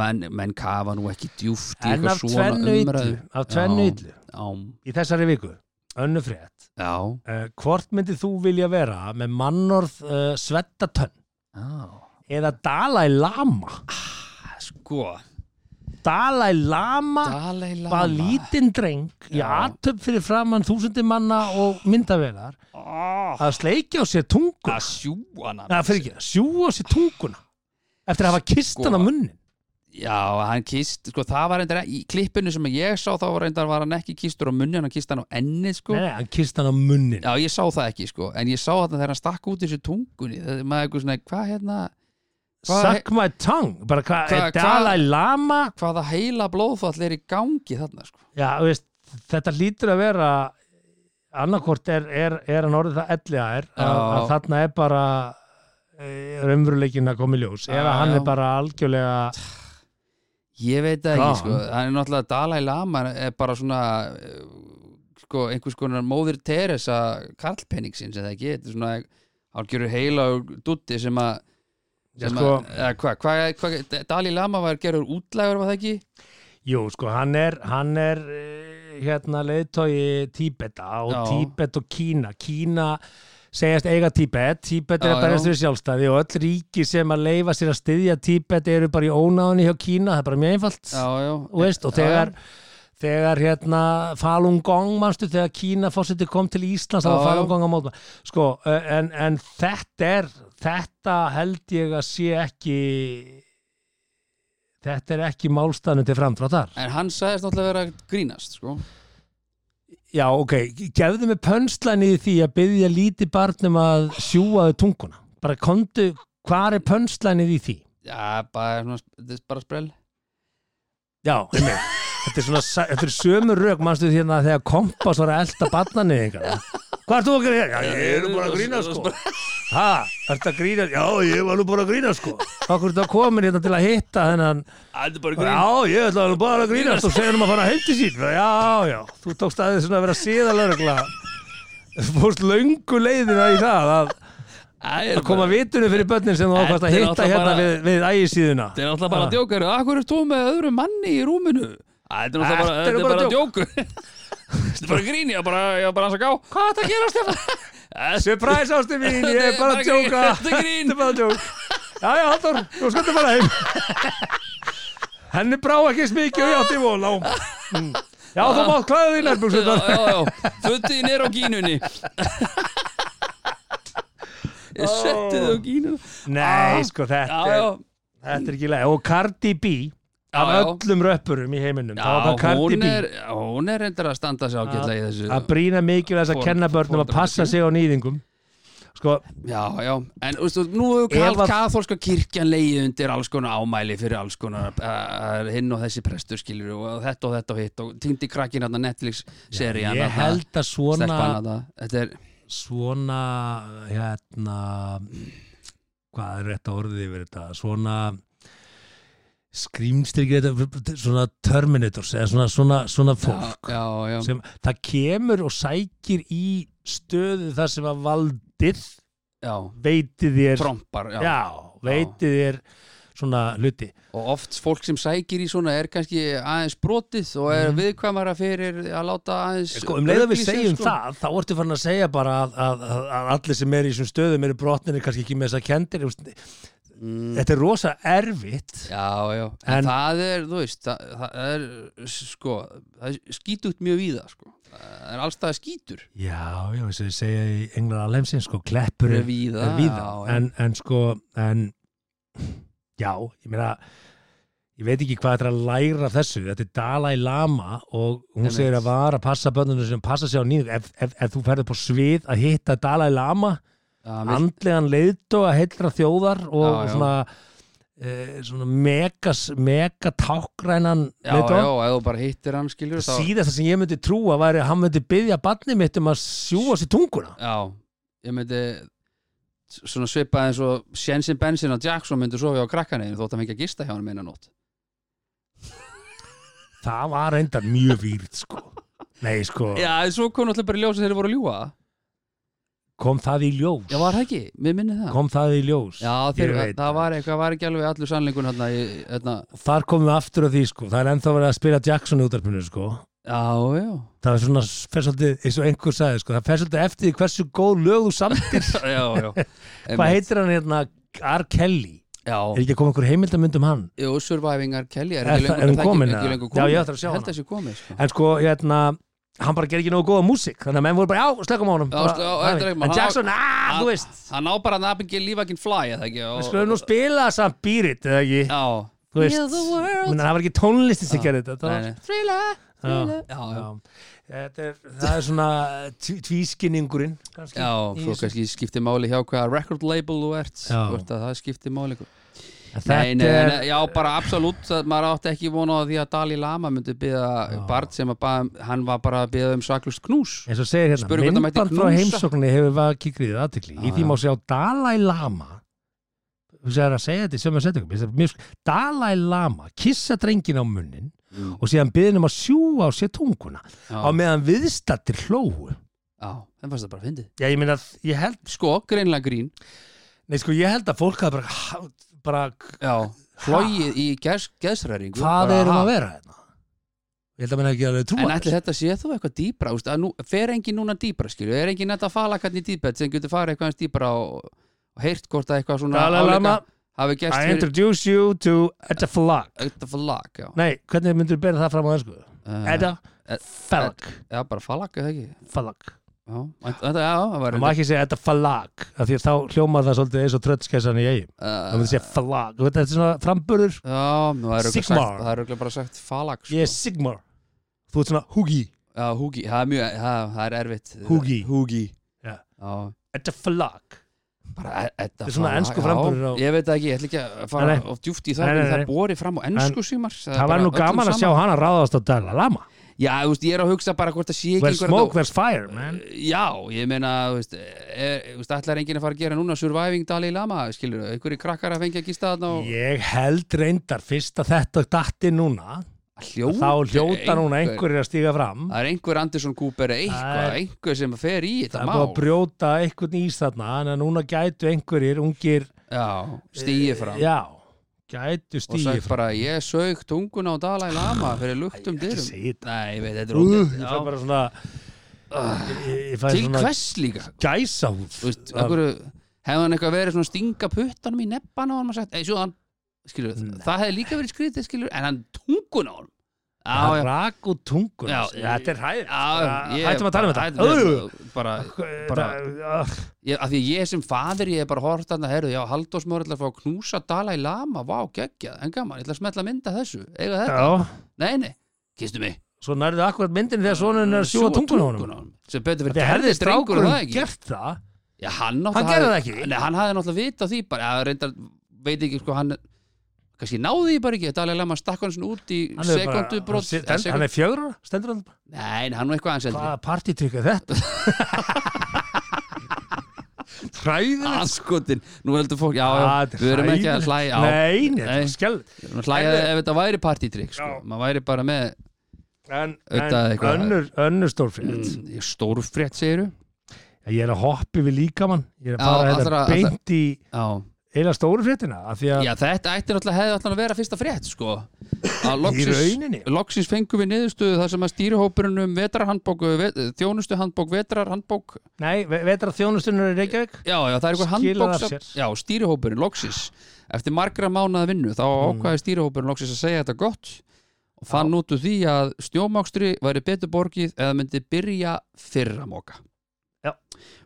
S3: menn, menn kafa nú ekki djúft í
S1: en
S3: eitthvað
S1: af
S3: svona
S1: tvennu yllu
S3: umræðu
S1: af tvennu
S3: Já.
S1: yllu,
S3: Já,
S1: í þessari viku önnu frétt,
S3: já,
S1: uh, hvort myndið þú vilja vera með mannorð uh, svettatönn
S3: já
S1: eða Dalai Lama
S3: Sko,
S1: Dalai Lama
S3: Dalai Lama
S1: bað lítinn dreng í
S3: Já.
S1: aðtöp fyrir framann þúsundir manna og myndavelar
S3: Ah.
S1: að sleikja á sér tungu
S3: að sjúana
S1: að fyrir ekki, sjúa á sér tunguna eftir að hafa kist
S3: Sko.
S1: hann á munnin
S3: já, hann kýst, sko það var reyndar í klippinu sem ég sá þá var reyndar var hann ekki kýstur á munni, hann kýst hann á enni sko.
S1: nei, nei, hann kist hann á munnin
S3: já, ég sá það ekki, sko en ég sá þetta þegar hann stakk út í þessu tungunni það, maður eitthvað svona, hvað hérna hvað-
S1: suck my tongue, bara hvað
S3: Hva-
S1: er Dalai Lama
S3: hvaða heila blóðfall er í gangi þarna, sko
S1: já, þú veist, þetta lítur að vera annarkort er, er, er hann orðið það elliða er að,
S3: Já.
S1: að þarna er bara raunveruleikin að koma í ljós
S3: Já,
S1: eða hann
S3: já.
S1: er bara algjörlega
S3: ég veit það ekki,
S1: Já.
S3: sko, hann er náttúrulega Dalai Lama er bara svona eh, sko, einhvers konar móðir Teresa Karlpenningsins, eða ekki, þetta er svona hálfgjörur heila og dutti sem að
S1: Já,
S3: sem
S1: sko-
S3: að- eða hvað, hvað, hvað, Dalí Lama var gerður útlægur var það ekki?
S1: Jú, sko, hann er, hann er eh, hérna leiðtogi Tíbeta og
S3: Já.
S1: Tíbet og Kína. Kína segjast eiga Tíbet, Tíbet er
S3: Já,
S1: að berjast
S3: já.
S1: við sjálfstæði og öll ríki sem að leifa sér að styðja Tíbet eru bara í ónáðunni hjá Kína, það er bara mjög einfalt.
S3: Já, já,
S1: Þú veist, og
S3: Já, já.
S1: þegar, þegar hérna Falun Gong, manstu, þegar Kína fórseti kom til Íslands, þá
S3: Já,
S1: var
S3: já.
S1: Falun Gong á mótma. Sko, eh, en, en þetta er, þetta held ég að sé ekki, þetta er ekki málstæðnum til framdráttar.
S3: en hann sagðist náttúrulega vera að grínast sko.
S1: Já, ok, gefðu mig pönslan í því að byggja lítið barnum að sjúaðu tunguna. Bara komdu, hvað er pönslan í því?
S3: já, bara, svona, þetta er bara sprell
S1: Já, einmitt. Þetta er svona, sa- þetta er sömu rök mannstu hérna þegar kompass var að elda barnanið einhvern Hvað ert þú að gera? Já, ég er nú bara að grína sko Ha, ert að grína? Já, ég var nú bara að grína sko Akkur er þetta komin hérna til að hitta þennan
S3: Það er bara grín
S1: Já, ég ætla nú bara að grínast og segja hann um að fara heim til sín Já, já, þú tókst aðeins svona að vera síðalörgla Fórst löngu leiðina í það að,
S3: Það
S1: að koma vitunum fyrir börnin sem þú ákvæmst að
S3: Þetta er
S1: hitta
S3: náttúrulega
S1: hérna
S3: bara-
S1: við, við ægisíðuna Ah.
S3: Þetta er náttúrulega bara djókur Akkur er þú með öðru manni í rúminu Æ, Þetta er náttúrulega bara,
S1: Þetta er
S3: þetta er
S1: bara
S3: bara djókur Þetta er bara grín Ég var bara, ég var bara að saka á Hvað er þetta að gera Stefán?
S1: Surprise ástu mín, ég er
S3: Þetta er
S1: bara að
S3: bara
S1: djóka
S3: grín, þetta er grín.
S1: Þetta er bara að djóka Já, já, Halldór, þú skuldir bara heim Henni brá ekki eins mikið og ég átti von á Mm. Já, þú mátt klæða því
S3: Já,
S1: nærbúksunar
S3: já, já, fötin er á gínunni Ég setti þau á gínunni
S1: Nei, sko, þetta
S3: Já,
S1: er
S3: já,
S1: Þetta er ekki leið. Og Cardi B, af
S3: Já, já.
S1: öllum röppurum í heiminum, þá var það
S3: já
S1: Cardi
S3: hún
S1: B
S3: er já, Hún er reyndar að standa sér ágætlega í þessu
S1: að brýna mikið þess að
S3: Foreldra-
S1: kenna börnum að
S3: foreldra-
S1: passa sig á nýðingum. Sko,
S3: Já, já, en veistu, nú hefur
S1: Ef
S3: kalt
S1: að-
S3: kathólska kirkjan leiði undir alls konar ámæli fyrir alls konar uh, hinn og þessi prestur skilur og þetta og þetta og hitt og týndi krakkin hann Netflix serían
S1: ég held að svona,
S3: Þetta er,
S1: svona, hérna, hvað er rétt að orðið yfir þetta? Svona skrýmstir, svona Terminators, eða svona, svona, svona fólk.
S3: já, já
S1: sem, það kemur og sækir í stöðu þar sem að valdið
S3: Já,
S1: veitið þér
S3: trompar, já.
S1: já, veitið þér svona hluti
S3: og oft fólk sem sækir í svona er kannski aðeins brotið og er viðkvæmara fyrir að láta aðeins
S1: Mhm. sko, um leið að við
S3: upplýsa,
S1: segjum
S3: sko.
S1: það þá ertu farin að segja bara að, að, að, að allir sem er í þessum stöðum eru brotnir kannski ekki með þess að kendir
S3: mm,
S1: þetta er rosa erfitt
S3: já, já, en,
S1: En-
S3: það er þú veist, það, það er sko, það er skítugt mjög víða sko, það er allstaði skítur
S1: já, já, þess að ég segja í englar alheimsins sko, kleppur
S3: er
S1: er,
S3: víða,
S1: er víða
S3: já,
S1: en, en sko en, já, ég meina ég veit ekki hvað þetta er að læra af þessu þetta er Dalai Lama og hún
S3: Einmitt.
S1: segir að vara að passa bönnunum sem passa sér á nýðum ef, ef, ef þú ferður på svið að hitta Dalai Lama
S3: já, mér,
S1: andlegan leiðtoga heilra þjóðar og
S3: Já, já.
S1: svona eh, svona megas, megatákrænan
S3: já, já,
S1: leiðtoga
S3: ef þú bara hittir hann skilur þá,
S1: síðasta sem ég myndi trúa væri að hann myndi byggja barnið mitt um að sjúa sér tunguna
S3: já, ég myndi s- svona svipað eins og Sjensin Bensin og Jackson myndi sofi á krakkaneginu þótt að fengja gista hjá hann meina nótt
S1: það var reyndar mjög výrt sko nei sko,
S3: já, en svo kom náttúrulega bara í ljósa þegar þeir voru að ljúga
S1: kom það í ljós
S3: já, var það ekki, mér minni það
S1: kom það í ljós
S3: Já,
S1: Ég
S3: þeir,
S1: veit
S3: það var eitthvað, var ekki alveg allur sannleikur hérna, í, hérna,
S1: þar komum við aftur að því sko það er ennþá verið að spila Jackson í útarpinu sko
S3: já, já,
S1: það er svona, fer svolítið, eins og einhver sagði sko það fer svolítið eftir því hversu góð lög þú samtir
S3: já, já.
S1: hvað heitir hann hérna R. Kelly
S3: Já,
S1: Er ekki að koma einhver heimildamund um hann?
S3: Jú, Surviving R. Kelly er
S1: Er
S3: ekki
S1: það- er
S3: lengur
S1: hún
S3: það ekki-
S1: komin,
S3: ekki
S1: eða?
S3: lengur
S1: Já,
S3: komin.
S1: ég ætla að sjá
S3: Ég
S1: hana.
S3: held að sé komin, sko.
S1: En sko, hérna, hann bara gerir ekki nógu góða músík Þannig að menn voru bara, já, slökum á honum
S3: Já,
S1: Bara-
S3: slö- já,
S1: það er-
S3: þetta er ekki-
S1: En
S3: hann-
S1: Jackson, aaa,
S3: hann-
S1: þú veist
S3: Hann á bara að nabingi lífakinn fly, eða ekki?
S1: Við skulum nú spila samt býrit, eða ekki
S3: Já,
S1: Þú veist,
S3: Heal the world.
S1: menn það var ekki tónlistin sem
S3: Já.
S1: gerði þetta
S3: nei,
S1: þetta
S3: nei. Thrilla,
S1: var-
S3: thrilla.
S1: Já.
S3: Já, já.
S1: Já. Þetta er, það er svona tví- tvískinningurinn kannski,
S3: Já,
S1: í
S3: svo
S1: þessu.
S3: kannski skiptir máli hjá hvaða record label þú ert.
S1: Já.
S3: Þú veist að það skiptir máli. sko.
S1: En
S3: Nei, eh,
S1: Þetta
S3: nei,
S1: er,
S3: nei, já, bara absolutt. það- Maður átti ekki vona á því að Dalí Lama myndi byggja barn sem að bað, hann var bara að byggja um saklust knús.
S1: eins og segir hérna
S3: Spurðu hvort það mætti
S1: Myndband frá
S3: knúsa.
S1: heimsóknni hefur vakið gríðið aðtikli Í
S3: Já,
S1: því
S3: já.
S1: má sjá Dalai Lama Þú segir að segja þetta í sömu setjum Mér finnst þetta mjög sk- Dalai Lama kissa drengin á munnin
S3: Mm.
S1: og síðan byðin um að sjúa á sér tunguna á
S3: Já,
S1: meðan viðstattir hlóu
S3: já, það fannst það bara að fyndið.
S1: Já, ég meina, ég held
S3: Sko, greinlega grín.
S1: Nei, sko, ég held að fólk að bara, ha, bara
S3: Já, flóið í geðsræringu.
S1: hvað erum að vera hérna? Ég held að minna ekki alveg trúa
S3: En ætli
S1: þessu.
S3: þetta sé þú eitthvað dýbra úst, nú, fer engin núna dýbra skilju er engin þetta falakarn í dýbet sem getur farið eitthvað hans dýbra og, og heyrt hvort að eitthvað svona
S1: Dalai Lama,
S3: hafi gæst
S1: I
S3: fyrir
S1: introduce you to Edda Flag
S3: Edda Falag já.
S1: Nei, hvernig myndur þú bera það fram á ennsku?
S3: Eh,
S1: Edda
S3: Ed-
S1: Falag
S3: já, bara Falag eða ekki
S1: Falag
S3: já, Þetta- þetta- já, það var
S1: Það má ekki segja Edda Falag af því að þá hljómar það svolítið eins og tröttskessan í eigum Það
S3: uh,
S1: myndir segja Falag Þú veit, Þetta er svona framburður
S3: já, nú, það er örugglega
S1: Sigmar.
S3: sagt- það er örugglega bara sagt Falag sko.
S1: Ég er Sigmar Þú ert svona Hugi
S3: já, Eh, húgi, það er mjög það, það er erfitt
S1: Húgi.
S3: húgi.
S1: Já.
S3: Já.
S1: Edda Falag
S3: bara e- þetta
S1: Þetta er svona ensku framburður á-
S3: ég veit það ekki, ég ætla ekki að fara
S1: Nei, nei.
S3: of djúft í
S1: Nei,
S3: það
S1: nei,
S3: nei, það
S1: nei.
S3: bori fram á ensku símar
S1: það var nú gaman að sjá hana ráðast á Dalai Lama
S3: já, þú veist, ég er að hugsa bara hvort það sé ekki
S1: Where's
S3: einhver-
S1: smoke, where's fire,
S3: Eh,
S1: man
S3: já, ég meina, þú veist er- þú veist, ætlar enginn að fara að gera núna Surviving Dalai Lama, skilur, einhverju krakkar að fengja að gista þarna og
S1: Ég held reyndar fyrst að þetta datti núna
S3: hljóta
S1: þá hljóta núna einhverjir að stíga fram
S3: það er einhver Anderson Cooper
S1: Það
S3: eða eitthvað,
S1: er-
S3: einhver sem fer í
S1: Það
S3: þetta
S1: er
S3: má
S1: búið að brjóta einhvern ís þarna en að núna gætu einhverjir ungir eh,
S3: já, stíði fram
S1: Já, gætu
S3: og
S1: stígi
S3: sagt
S1: fram
S3: bara ég sög tunguna á Dalai Lama fyrir luktum
S1: Ég
S3: um dyrum um
S1: segi þetta
S3: Nei, ég veit, þetta er
S1: Ú, Ég
S3: ógætt
S1: fæ bara svona ég- Ég fæ
S3: Ah, Til
S1: svona
S3: hvers líka?
S1: gæsahúð
S3: Þú veist, okkur, hefði hann eitthvað verið svona að stinga puttanum í neppan á hann og sagt, ei, sjóðan skilur,
S1: Nei.
S3: það hefði líka verið skrítið, skilur en hann tungun á hann
S1: Það
S3: Já, já,
S1: rak úr tungun
S3: Já,
S1: Þetta er hæð
S3: já ég-
S1: Hættum að tala um þetta
S3: hættum
S1: Ú,
S3: við þetta. Bara, bara,
S1: bara-
S3: ég, af því að ég sem fadir ég er bara hort að það, herru, já, Halldór Smári ætlar að fá að knúsa Dalai Lama, vá, geggjað, en gaman, ég ætla að smetla mynda þessu, eiga þetta,
S1: Já,
S3: nei, nei, kistu mig
S1: svo nærðu akkurat myndin þegar sonun er að sjúga
S3: Sjúga
S1: tungun á honum
S3: honum. sem betur fyrir
S1: Þetta herði
S3: drengur það
S1: strákurinn
S3: ekki
S1: gert það
S3: Já, hann,
S1: Hann gerði það ekki.
S3: Nei, hann hafði náttúrulega vita því bara, já, reyndar, veit ekki, sko, hann kannski náði því bara ekki, Dalai Lama stakk hann svona út í
S1: Hann er bara-
S3: sekundu brot
S1: hann- hann-
S3: eh,
S1: Hann er fjögur ára, stendur hann bara
S3: Nei, nei, hann var eitthvað aðeins eldri
S1: Hvaða partytrykk er þetta? Træðilegt
S3: Anskotin, nú heldur fólk, já,
S1: Ah,
S3: já,
S1: þetta er
S3: við erum ekki
S1: hræðilegt.
S3: að hlæja á
S1: Nei, nei, þetta
S3: Nei.
S1: er skell
S3: Hlæja ef þetta væri partytrykk, sko
S1: Já.
S3: Maður væri bara með
S1: En,
S3: Auðvitað
S1: en
S3: eitthvað-
S1: önnur, önnur stórfrétt
S3: mm, stórfrétt, segiru
S1: Ég er að hoppa við líkamann Ég er að
S3: Já,
S1: fara hérna
S3: allra- allra-
S1: beint í
S3: Já,
S1: eila stórfréttina Af því að
S3: já þetta ætti náttúrulega hefði alltaf að vera fyrsta frétt, sko Að
S1: í
S3: loksins,
S1: rauninni
S3: loksins fengum við niðurstöðu þar sem að stýrihópurinn um vetrarhandbók ve- þjónustuhandbók, vetrarhandbók
S1: Nei, ve- vetra þjónustunur í Reykjavík
S3: já, já, það er eitthvað
S1: Skilaði af
S3: handbóks
S1: sér.
S3: já, stýrihópurinn, loksins eftir margra mánaða vinnu, þá
S1: Mhm.
S3: ákvaði stýrihópurinn loksins að segja þetta gott og fann út úr því að snjómákstri væri betur borgið eða myndi byrja fyrra móka
S1: Já.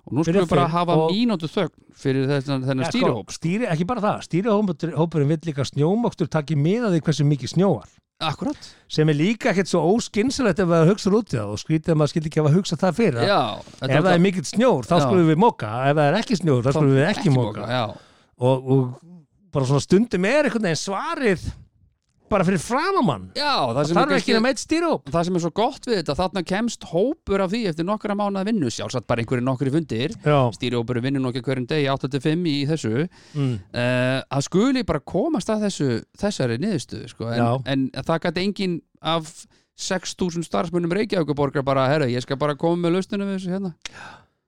S3: og nú
S1: Byrja
S3: skulum við bara
S1: fyrr
S3: hafa
S1: og-
S3: mínútu þögn fyrir þennan, þennan
S1: Ja, sko,
S3: stýrihóp
S1: stýri, Ekki bara það, stýrihópurinn vill líka snjómokstur takki miða því hversu mikið snjóar
S3: akkurat,
S1: sem er líka ekkert svo óskynsilegt ef að hugsa út í það og skrítið að maður skildi ekki að hugsa það fyrir
S3: já, þetta
S1: ef það er mikill snjór þá
S3: Já.
S1: skulum við moka ef það er ekki snjór þá skulum við ekki moka
S3: já,
S1: og, og bara svona stundum er einhvern veginn svarið bara fyrir framamann
S3: já, það sem
S1: þarf
S3: er
S1: ekki nema eitt stýrihóp
S3: það sem er svo gott við þetta, þarna kemst hópur af því eftir nokkra mánaða vinnu, sjálfsagt bara einhverju nokkri fundir,
S1: Já,
S3: stýrihópurinn vinnur nokkja hverjum degi 8-5 í þessu
S1: mm.
S3: uh, að skuli bara komast að þessu, þessari niðurstöðu sko. en,
S1: Já.
S3: en það gæti engin af 6.000 starfsmunum Reykjavíkuborgar bara, herra, ég skal bara koma með laustunum við þessu hérna,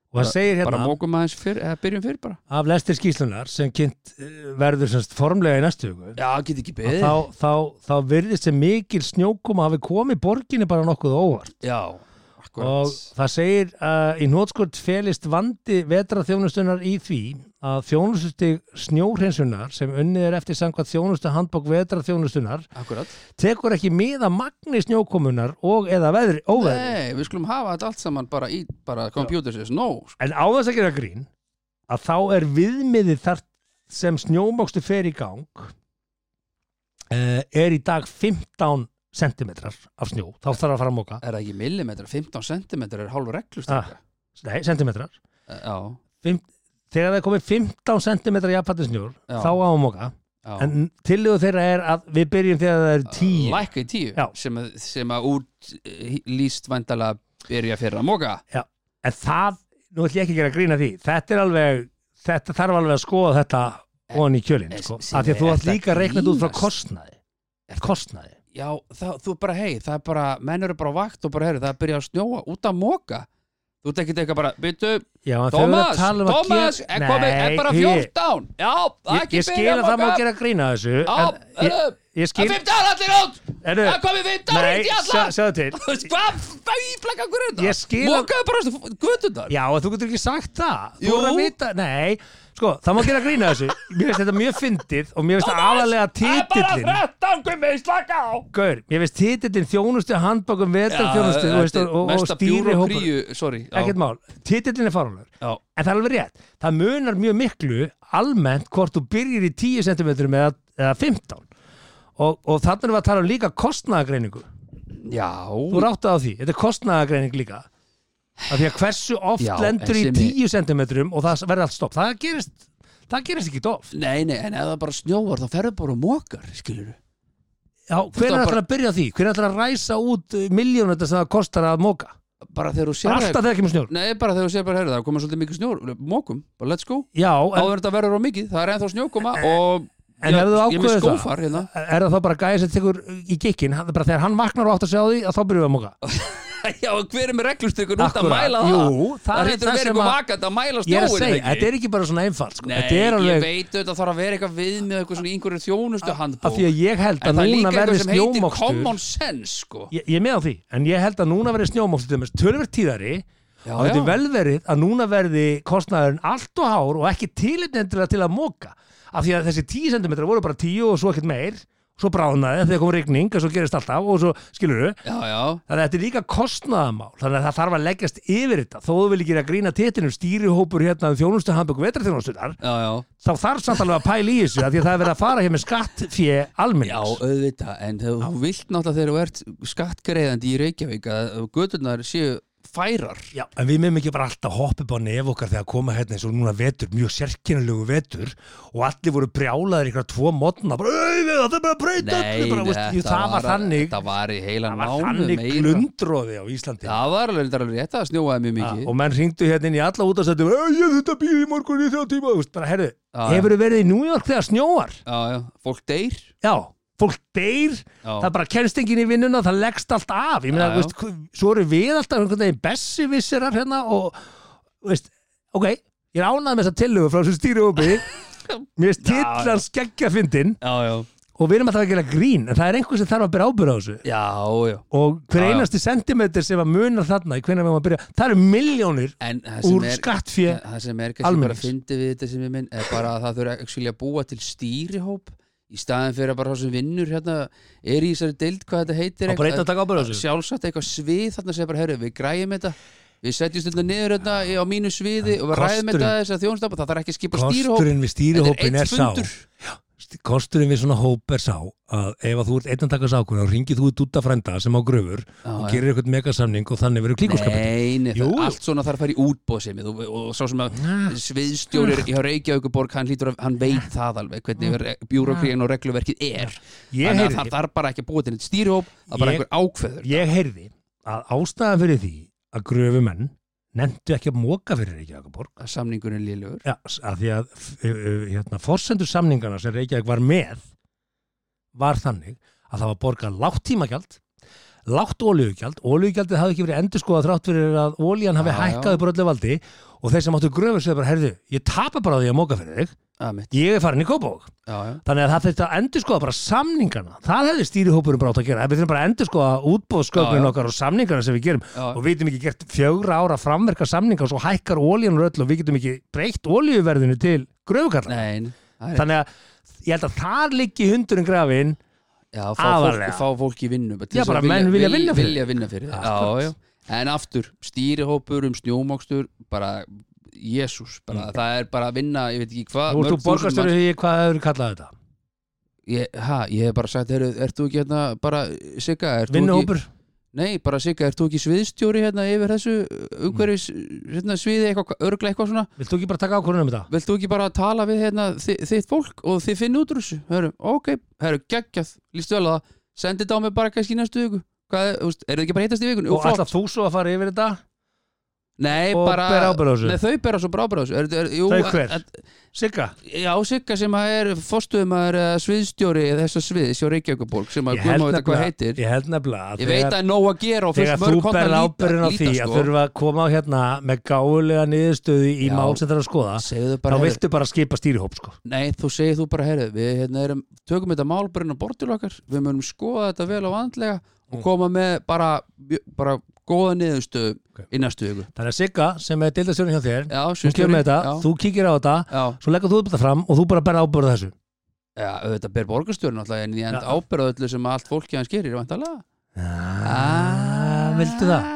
S1: og hann segir
S3: bara
S1: hérna
S3: mókum aðeins fyrr, eða byrjum fyrr bara
S1: af lestir skýslunar sem kynnt eh, verður semst formlega í næstu hugu
S3: Já, get ekki beðið
S1: þá, þá, þá virðist sem mikil snjókoma hafi komið borginni bara nokkuð á óvart
S3: Já,
S1: og
S3: akkurat
S1: það segir að í nótskort felist vandi vetra þjónustunar í því að þjónustustig snjóhreinsunar sem unnið er eftir samkvæmt þjónustu handbók vetra þjónustunar
S3: Akkurat.
S1: tekur ekki miða magni snjókomunar og eða veðri, óveðri
S3: Nei, við skulum hafa þetta allt saman bara í bara computersins, no sko.
S1: en á þess að gera grín að þá er viðmiðið þar sem snjómokstu fer í gang eh, er í dag 15 sentimetrar af snjó, þá þarf að fara að móka
S3: Er það ekki millimetrar, 15 sentimetrar er hálfur reglust
S1: Ah. nei, sentimetrar
S3: Já,
S1: Fimm, þegar það er komið 15 sentimetrar jafnfættu snjór,
S3: Já.
S1: þá á að móka
S3: já
S1: en tillögu þeirra er að við byrjum þegar það er 10
S3: Lækka í tíu
S1: Já.
S3: sem, að- sem að út eh, líst væntalega byrja fyrra móka
S1: en það, nú ætlum ég ekki að gera grína því þetta er alveg, þetta þarf alveg að skoða þetta
S3: Eh,
S1: ofan í kjölinn
S3: en-
S1: sko.
S3: sem
S1: af því
S3: er
S1: að þú
S3: þetta
S1: ætlum líka að reikna þetta út frá
S3: grínast?
S1: kostnaði kostnaði
S3: Já, það, þú bara, hei, það er bara menn eru bara á vakt og bara, heyri, það er byrjað að snjóa út af móka þú tekið eitthvað bara, byttu,
S1: Já, en þegar við
S3: Thomas,
S1: talum að
S3: Thomas
S1: gera-
S3: er komið, er bara
S1: Nei,
S3: 14 Já, það er
S1: ég,
S3: ekki
S1: ég skil að það má gera grína þessu
S3: Já,
S1: en ég,
S3: heyrðu,
S1: ég
S3: það
S1: skil
S3: er 15 allir út
S1: Heyrðu,
S3: það er komið 15
S1: Nei,
S3: út í alla
S1: sjá- sjáðu til
S3: Hvað fæflæk akkur er
S1: Ég
S3: þetta?
S1: skil að-
S3: Mókaðu bara götundar
S1: Já, en þú getur ekki sagt það Þú
S3: Jú.
S1: verður að vita, nei Sko, það má gera grína þessu Mér finnst þetta mjög fyndið og mér finnst það aðalega titillin
S3: 13 gummið, slaka á
S1: Gaur, mér finnst titillin þjónustu handbakum vetarþjónustu þú veist, og, og, og
S3: mesta
S1: stýri hópur
S3: bjúrokríu, sorry já,
S1: Ekkert mál, titillin er faranlegur
S3: já,
S1: En það er alveg rétt, það munar mjög miklu almennt hvort þú byrjir í 10 cm eða, eða 15 og, og þannig erum við að tala um líka kostnaðagreiningu
S3: já
S1: Þú ráttaði á því, þetta er kostnaðagreining líka af því að hversu oft
S3: Já,
S1: lendur í
S3: en sem
S1: 10 cm og það verður allt stopp það gerist, það gerist ekki oft
S3: Nei, nei, en ef það bara snjóar þá ferðu bara og mókar, skilur
S1: Já, hvernig
S3: var
S1: ætlar
S3: bara-
S1: að byrja á því? Hvernig ætlar að ræsa út miljónu þetta sem það kostar að móka?
S3: Bara þegar þú sér
S1: Bara alltaf þegar kemur snjór
S3: Nei, bara þegar þú sér bara, heyrðu, það er komið svolítið mikið snjór Mókum, bara let's go
S1: Já, en,
S3: Áður þetta verður á mikið, það er ennþá snjókoma og
S1: En
S3: Já,
S1: hefðu
S3: ég er með
S1: ákveðið það?
S3: skófar hérna
S1: er það þá bara gæði sem tekur í gikkin bara þegar hann vaknar og átt að segja á því að þá byrjum við að móka
S3: Já, og hver er með reglustökur út að
S1: Akkúrat.
S3: mæla það?
S1: Jú, það
S3: það
S1: er
S3: hlýtur
S1: það
S3: að vera
S1: sem
S3: eitthvað
S1: að-
S3: vakant að
S1: Ég
S3: mæla
S1: er að
S3: snjóin
S1: segja, þetta er ekki bara svona einfalt sko.
S3: Nei,
S1: Þetta er
S3: ég
S1: alveg
S3: veit auðvitað þarf að vera eitthvað viðmið eitthvað svona í einhverju þjónustu handbók
S1: að því að ég held
S3: En
S1: að
S3: það er
S1: núna
S3: líka eitthvað
S1: verði
S3: sem heitir
S1: snjómokstur
S3: common sense sko
S1: ég, ég er með á því, en ég held að núna verði snjómokstur til dæmis tölverð tíðari
S3: Já,
S1: og þetta
S3: já.
S1: er velverið að núna verði kostnaðurinn allt og hár og ekki tilitnendilega til að móka af því að þessi 10 cm voru bara 10 og svo ekkert meir svo bráðnaði þegar kom rigning og svo gerist alltaf og svo skilur við
S3: Já, já,
S1: Þannig að þetta er líka kostnaðamál, þannig að það þarf að leggjast yfir þetta, þó þú vil ekki gera grína tétinum stýrihópur hérna um þjónustu handböku vetraþjónustunar,
S3: já, já
S1: þá þarf samt alveg að pæla í þessu af því að það er verið að fara hér með skatt fyrir
S3: Já,
S1: almennings.
S3: auðvitað, en þegar þú vilt náttúrulega þegar þú ert skattgreðandi í Reykjavík að gödurnar séu færar
S1: Já, en við meðum ekki bara alltaf hoppa upp á nef okkar þegar koma hérna eins og núna vetur, mjög sérkennilegu vetur og allir voru brjálaðir ykkur tvo modna, bara, auðvitað, það er bara að breyta öllu", bara, veist, jú, það var þannig,
S3: Það var í heila
S1: það var
S3: nánu
S1: þannig glundróði á Íslandi.
S3: Það var alveg þetta er alveg rétt að það snjóaði mjög
S1: Ja,
S3: mikið
S1: og menn hringdu hérna inn í alla útastættum ég er þetta býð í morgun í þrjá tíma Þú veist, bara, herðu,
S3: Já, já.
S1: hefur verið í New York þegar snjóar
S3: Já, já, fólk deyr
S1: já, fólk deyr
S3: Já.
S1: það bara kennst enginn í vinnuna, það leggst allt af ég meina,
S3: Já, já.
S1: þú veist, hv- svo eru við alltaf einhvern veginn bessuvisserar hérna og, þú veist, ok ég er ánað með þessa tillögu frá þessu stýri uppi mér er
S3: Já, já.
S1: tillan skeggja fyndin
S3: Já, já,
S1: og við erum alltaf að gera grín en það er einhver sem þarf að byrja ábyrða á þessu
S3: já, já
S1: og hver
S3: Já, já.
S1: einasti sentimeter sem að munar þarna í hvenær við erum að byrja, það eru miljónir
S3: En það sem
S1: úr
S3: er
S1: skattfjö
S3: Það sem er kannski bara
S1: almennings.
S3: að fyndi við þetta sem ég minn er bara að það þurfa actually að búa til stýrihóp í staðin fyrir að bara það sem vinnur hérna er í þessari deild hvað þetta heitir
S1: Það er bara einn að taka ábyrgð á
S3: að-
S1: þessu.
S3: sjálfsagt eitthvað svið þarna sem bara herru við græjum þetta við setjum þetta niður hérna í- á mínu sviði og við ræðum þetta
S1: kosturinn-
S3: þess að þjónstapa það þarf ekki að skipa stýrihóp
S1: kosturinn við stýrihópin
S3: Þetta er
S1: er
S3: einn
S1: sá
S3: fundur.
S1: st- kosturinn við svona hóp er sá að ef að þú ert einn að taka sákun þá ringið þú í dutta frænda sem á gröfur og
S3: já.
S1: gerir eitthvað megasamning og þannig verður klíkurskapin
S3: Nei, nei,
S1: Jú,
S3: það,
S1: jú.
S3: allt svona þarf að fara í útbóð sem og, og svo sem að sviðstjórir í Reykjavíkuborg, hann, hlýtur að- hann veit það alveg hvernig bjúrokríin og regluverkið er
S1: Mm. ég
S3: Þannig að það
S1: heyrði,
S3: þarf bara ekki að búa til neitt stýrihóp það er bara
S1: Ég-
S3: einhver ákveður
S1: ég heyrði að ástæðan fyrir því að gröfumenn nefndu ekki að móka fyrir Reykjavíkaborg
S3: að samningunin liðlegur
S1: ja, s- að því að f- ö- ö, hérna, forsendur samningana sem Reykjavík var með var þannig að það var borgað lágt tímagjald lágt ólíugjald, ólíugjaldið hafði ekki verið endurskoðað þrátt fyrir að ólíjan hafi
S3: Já,
S1: hækkað
S3: já.
S1: upp úr öllu valdi og þeir sem áttu gröfur sér bara, herðu, ég tapa bara á því að móka fyrir þig
S3: já,
S1: ég er farin í kópók
S3: já.
S1: þannig að það þurfti að endurskoða bara samningana það hefði stýrihópurum bara átt að gera við þurfum bara að endurskoða
S3: Já,
S1: útbóðsköpun
S3: já.
S1: okkar og samningana sem við gerum
S3: Já.
S1: og við getum ekki gert fjögra ára framverka samninga og svo hækkar ólíun og öll og við getum ekki breytt ólíuverðinu til gröfukallar
S3: Nei, nei, það er-
S1: þannig að ég held að þar liggi hundurinn grafin
S3: já, fá, fólk,
S1: aðallega.
S3: fá fólk í vinnu til
S1: Já,
S3: þess að
S1: bara menn vilja vinna fyrir.
S3: vilja vinna fyrir.
S1: Akkurat.
S3: Já, já. en aftur, stýrihópur um snjómokstur bara, jésús bara, það er bara að vinna, ég veit ekki hvað
S1: Nú ert Mm. þú
S3: mörg þúsund
S1: borgastöru
S3: manns.
S1: því hvað hefur kallað þetta
S3: ég, ha, ég hef bara sagt, heru, ert þú ekki hérna bara, Sigga, ert þú ekki
S1: vinnuhópur
S3: Nei, bara Sigga, ert þú ekki sviðstjóri hérna yfir þessu umhverfis hérna, sviði, eitthvað, örgla eitthvað svona
S1: vilt þú ekki bara taka ákvörðunum um þetta
S3: Vilt þú ekki bara tala við hérna, þi þitt fólk og þið finn út úr þessu? Hörru, ok, hörru, geggjað, líst vel að það, sendi þetta á mig bara kannski í næstu viku. Hvað, er, þú veist, er þið ekki bara að hittast í vikun?
S1: og alltaf þú svo að fara yfir þetta
S3: Nei,
S1: og
S3: bara,
S1: bera ábyrgð á þessu.
S3: Nei, þau bera svo bara ábyrgð á þessu. Er, er, jú,
S1: Þau hver?
S3: að-
S1: Sigga
S3: Já, Sigga sem að er fórstuðumar uh, sviðstjóri þessa sviðis hjá Reykjavíkuborg sem að
S1: ég
S3: guðma
S1: held
S3: veit að hvað
S1: nefnilega
S3: heitir.
S1: ég held nefnilega að
S3: Ég veit að það er nóg að gera og
S1: þegar
S3: fyrst mörg
S1: þú
S3: horn að
S1: berð
S3: líta-
S1: ábyrðin á
S3: líta,
S1: því að
S3: sko.
S1: þurfa að koma á hérna með gáulega niðurstöðu í
S3: Já.
S1: mál sem þeirra að skoða
S3: Segðu
S1: þá
S3: bara, heyrðu,
S1: viltu bara skipa stýrihóp sko
S3: Nei, þú segir þú bara, heyrðu, við hérna erum, tökum þetta málbyrðin á bortil okkar, við munum skoða þetta vel og vandlega
S1: Mm.
S3: og koma með bara, bara góða niðurstöðu
S1: Ok.
S3: í næstu viku.
S1: Þannig að Sigga sem er deildastjórn hjá þér
S3: Já,
S1: hún kemur með þetta,
S3: já,
S1: þú kíkir á þetta
S3: Já,
S1: svo leggur þú upp þetta fram og þú bara berð ábyrða þessu
S3: já, auðvitað ber borgarstjórn alltaf en ég enda
S1: Já.
S3: ábyrða öllu sem allt fólki hans gerir, vantalega.
S1: ah, Viltu það?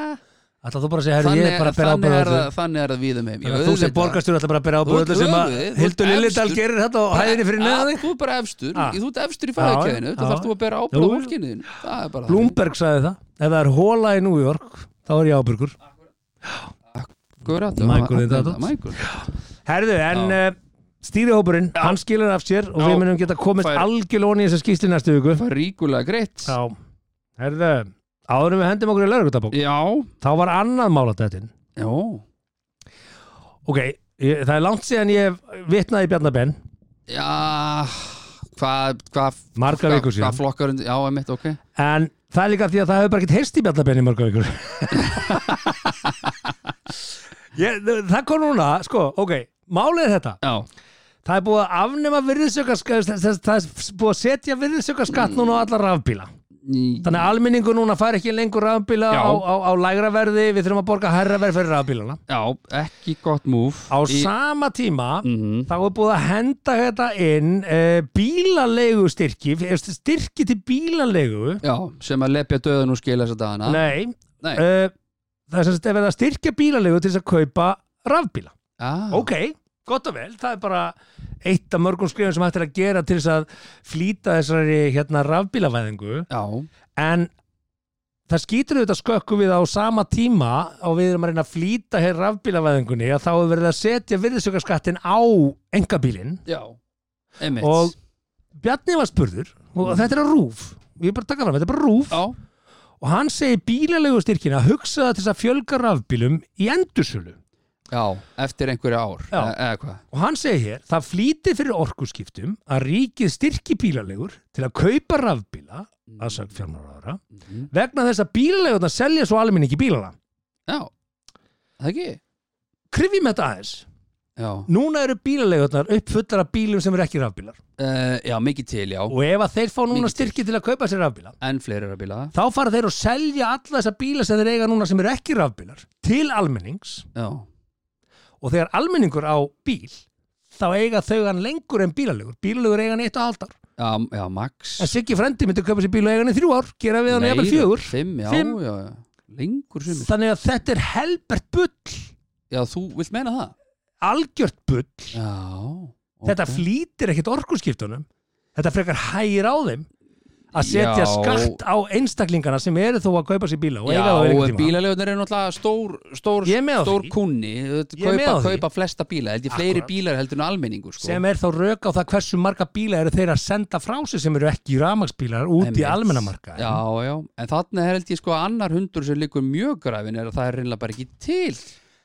S1: Ætla þú bara að segja, herru,
S3: Þannig,
S1: ég er bara að berð
S3: þannig,
S1: ábyrða
S3: er það,
S1: þessu
S3: þannig er það víðum heim.
S1: Þannig að þú sem borgarstjórn ætla bara að berð ábyrða
S3: Þú-
S1: öllu sem að
S3: auðvitað, þú
S1: Hildur
S3: ert
S1: Lillindal
S3: efstur.
S1: gerir þetta og hæðinni fyrir neðan þig
S3: Þú er bara efstur,
S1: Ah.
S3: þú ert efstur í
S1: Já, já,
S3: fæðikæðinu,
S1: já.
S3: þetta þarf þú að bera ábyrða
S1: Jú, jú.
S3: fólkinu þínu. Það er bara
S1: Blúmberg sagði það, ef það er hóla í New York þá er ég ábyrgur
S3: Akkurat,
S1: Michael
S3: já,
S1: in the
S3: akkurat,
S1: Dot.
S3: Michael.
S1: Herðu, en uh, stýrihópurinn, hann skilur af sér og
S3: Já.
S1: við munum geta komist
S3: Fær-
S1: algjörlóni í þessu skýsli næstu viku.
S3: Það var ríkulega greitt
S1: Já, herðu, áður en við hendum okkur í laurugutabók,
S3: Já,
S1: þá var annað málatöðin.
S3: já,
S1: Ok, ég, það er langt síðan ég vitnaði í Bjarnar Ben,
S3: já Hvað, hvað
S1: marga vikur
S3: Hvað
S1: síðan,
S3: flokkar undir, já, emitt, ok
S1: en það er líka því að það hefur bara ekkert heist í Bjarnar Ben í marga vikur. ég, það kom núna, sko, ok, málið er þetta.
S3: Já,
S1: Það er búið að afnema virðisaukaskatt, það er búið að setja virðisaukaskatt núna á
S3: Mm.
S1: alla rafbíla.
S3: Í-
S1: Þannig að almenningur núna fær ekki lengur rafbíla
S3: Já.
S1: á, á, á lægra verði, við þurfum að borga herra verð fyrir rafbílana.
S3: já ekki gott múf
S1: Á sama tíma
S3: Mhm.
S1: þá er búið að henda þetta inn uh, bílalegu styrki, styrki til bílalegu.
S3: Já, sem að lepja döðun og skila þess að dagana
S1: Nei,
S3: Nei.
S1: Uh, það er sem sagt er verið að styrkja bílalegu til þess að kaupa rafbíla.
S3: ah,
S1: Ok, gott og vel, það er bara eitt af mörgum skrifum sem hægt er að gera til þess að flýta þessari hérna rafbílavæðingu.
S3: Já,
S1: en það skýtur auðvitað skökkum við á sama tíma og við erum að reyna að flýta hér rafbílavæðingunni að þá er verið að setja virðisaukaskattin á engabílinn
S3: já, emitt
S1: og Bjarni var spurður og þetta er að rúf ég er bara að taka fram, þetta er bara rúf
S3: Já,
S1: og hann segir bílalegu styrkina að hugsa það til þess að fjölga rafbílum í endursölu
S3: já, eftir einhverja ár
S1: Já.
S3: e Eða hvað
S1: og hann segir hér, það flýti fyrir orkuskiptum að ríkið styrki bílalegur til að kaupa rafbíla að sagt fjármálaráðara
S3: Mhm.
S1: vegna þess að bílalegurna selja svo almenningi bílana
S3: Já, það ekki
S1: krifjum þetta aðeins
S3: Já,
S1: núna eru bílaleigurnar upp fullar af bílum sem eru ekki rafbílar
S3: uh, já mikið til, já
S1: og ef að þeir fá núna
S3: Mikið til.
S1: styrki til að kaupa sér rafbíla
S3: Enn fleiri er að bíla
S1: þá fara þeir að selja alla þessar bíla sem þeir eiga núna sem eru ekki rafbílar til almennings
S3: Já,
S1: og þegar almenningur á bíl þá eiga þau hann lengur en bílalegur bílalegur eiga hann í eitt og hálft ár
S3: já, já max
S1: en Siggi frendi myndi kaupa sér bíl og eiga hann í þrjú ár gera við hann eða fjögur
S3: Fimm, já,
S1: Fimm.
S3: já, já Lengur sumir
S1: þannig að þetta er helbert bull
S3: Já, þú vilt meina það?
S1: algjört bull
S3: Já
S1: þetta
S3: ok.
S1: flýtir ekkit orkuskiptunum þetta frekar hægir á þeim að setja
S3: Já.
S1: skatt á einstaklingana sem eru þó að kaupa sér bíla og eiga
S3: Já,
S1: það
S3: en
S1: einhvern tíma
S3: bílalegunar eru náttúrulega stór, stór,
S1: Ég er með á
S3: stór
S1: því.
S3: kunni Þetta
S1: Ég er með
S3: kaupa,
S1: á því.
S3: kaupa flesta bíla, held ég fleiri
S1: Akkurat.
S3: bílar heldur en almenningur sko.
S1: sem er þá rauk á það hversu marga bíla eru þeir að senda frá sig sem eru ekki rafmagsbílar út í
S3: Einmitt.
S1: almennamarka
S3: Já, já, en þannig held ég sko að annar hundur sem liggur mjög grafin er að það er reynilega bara ekki til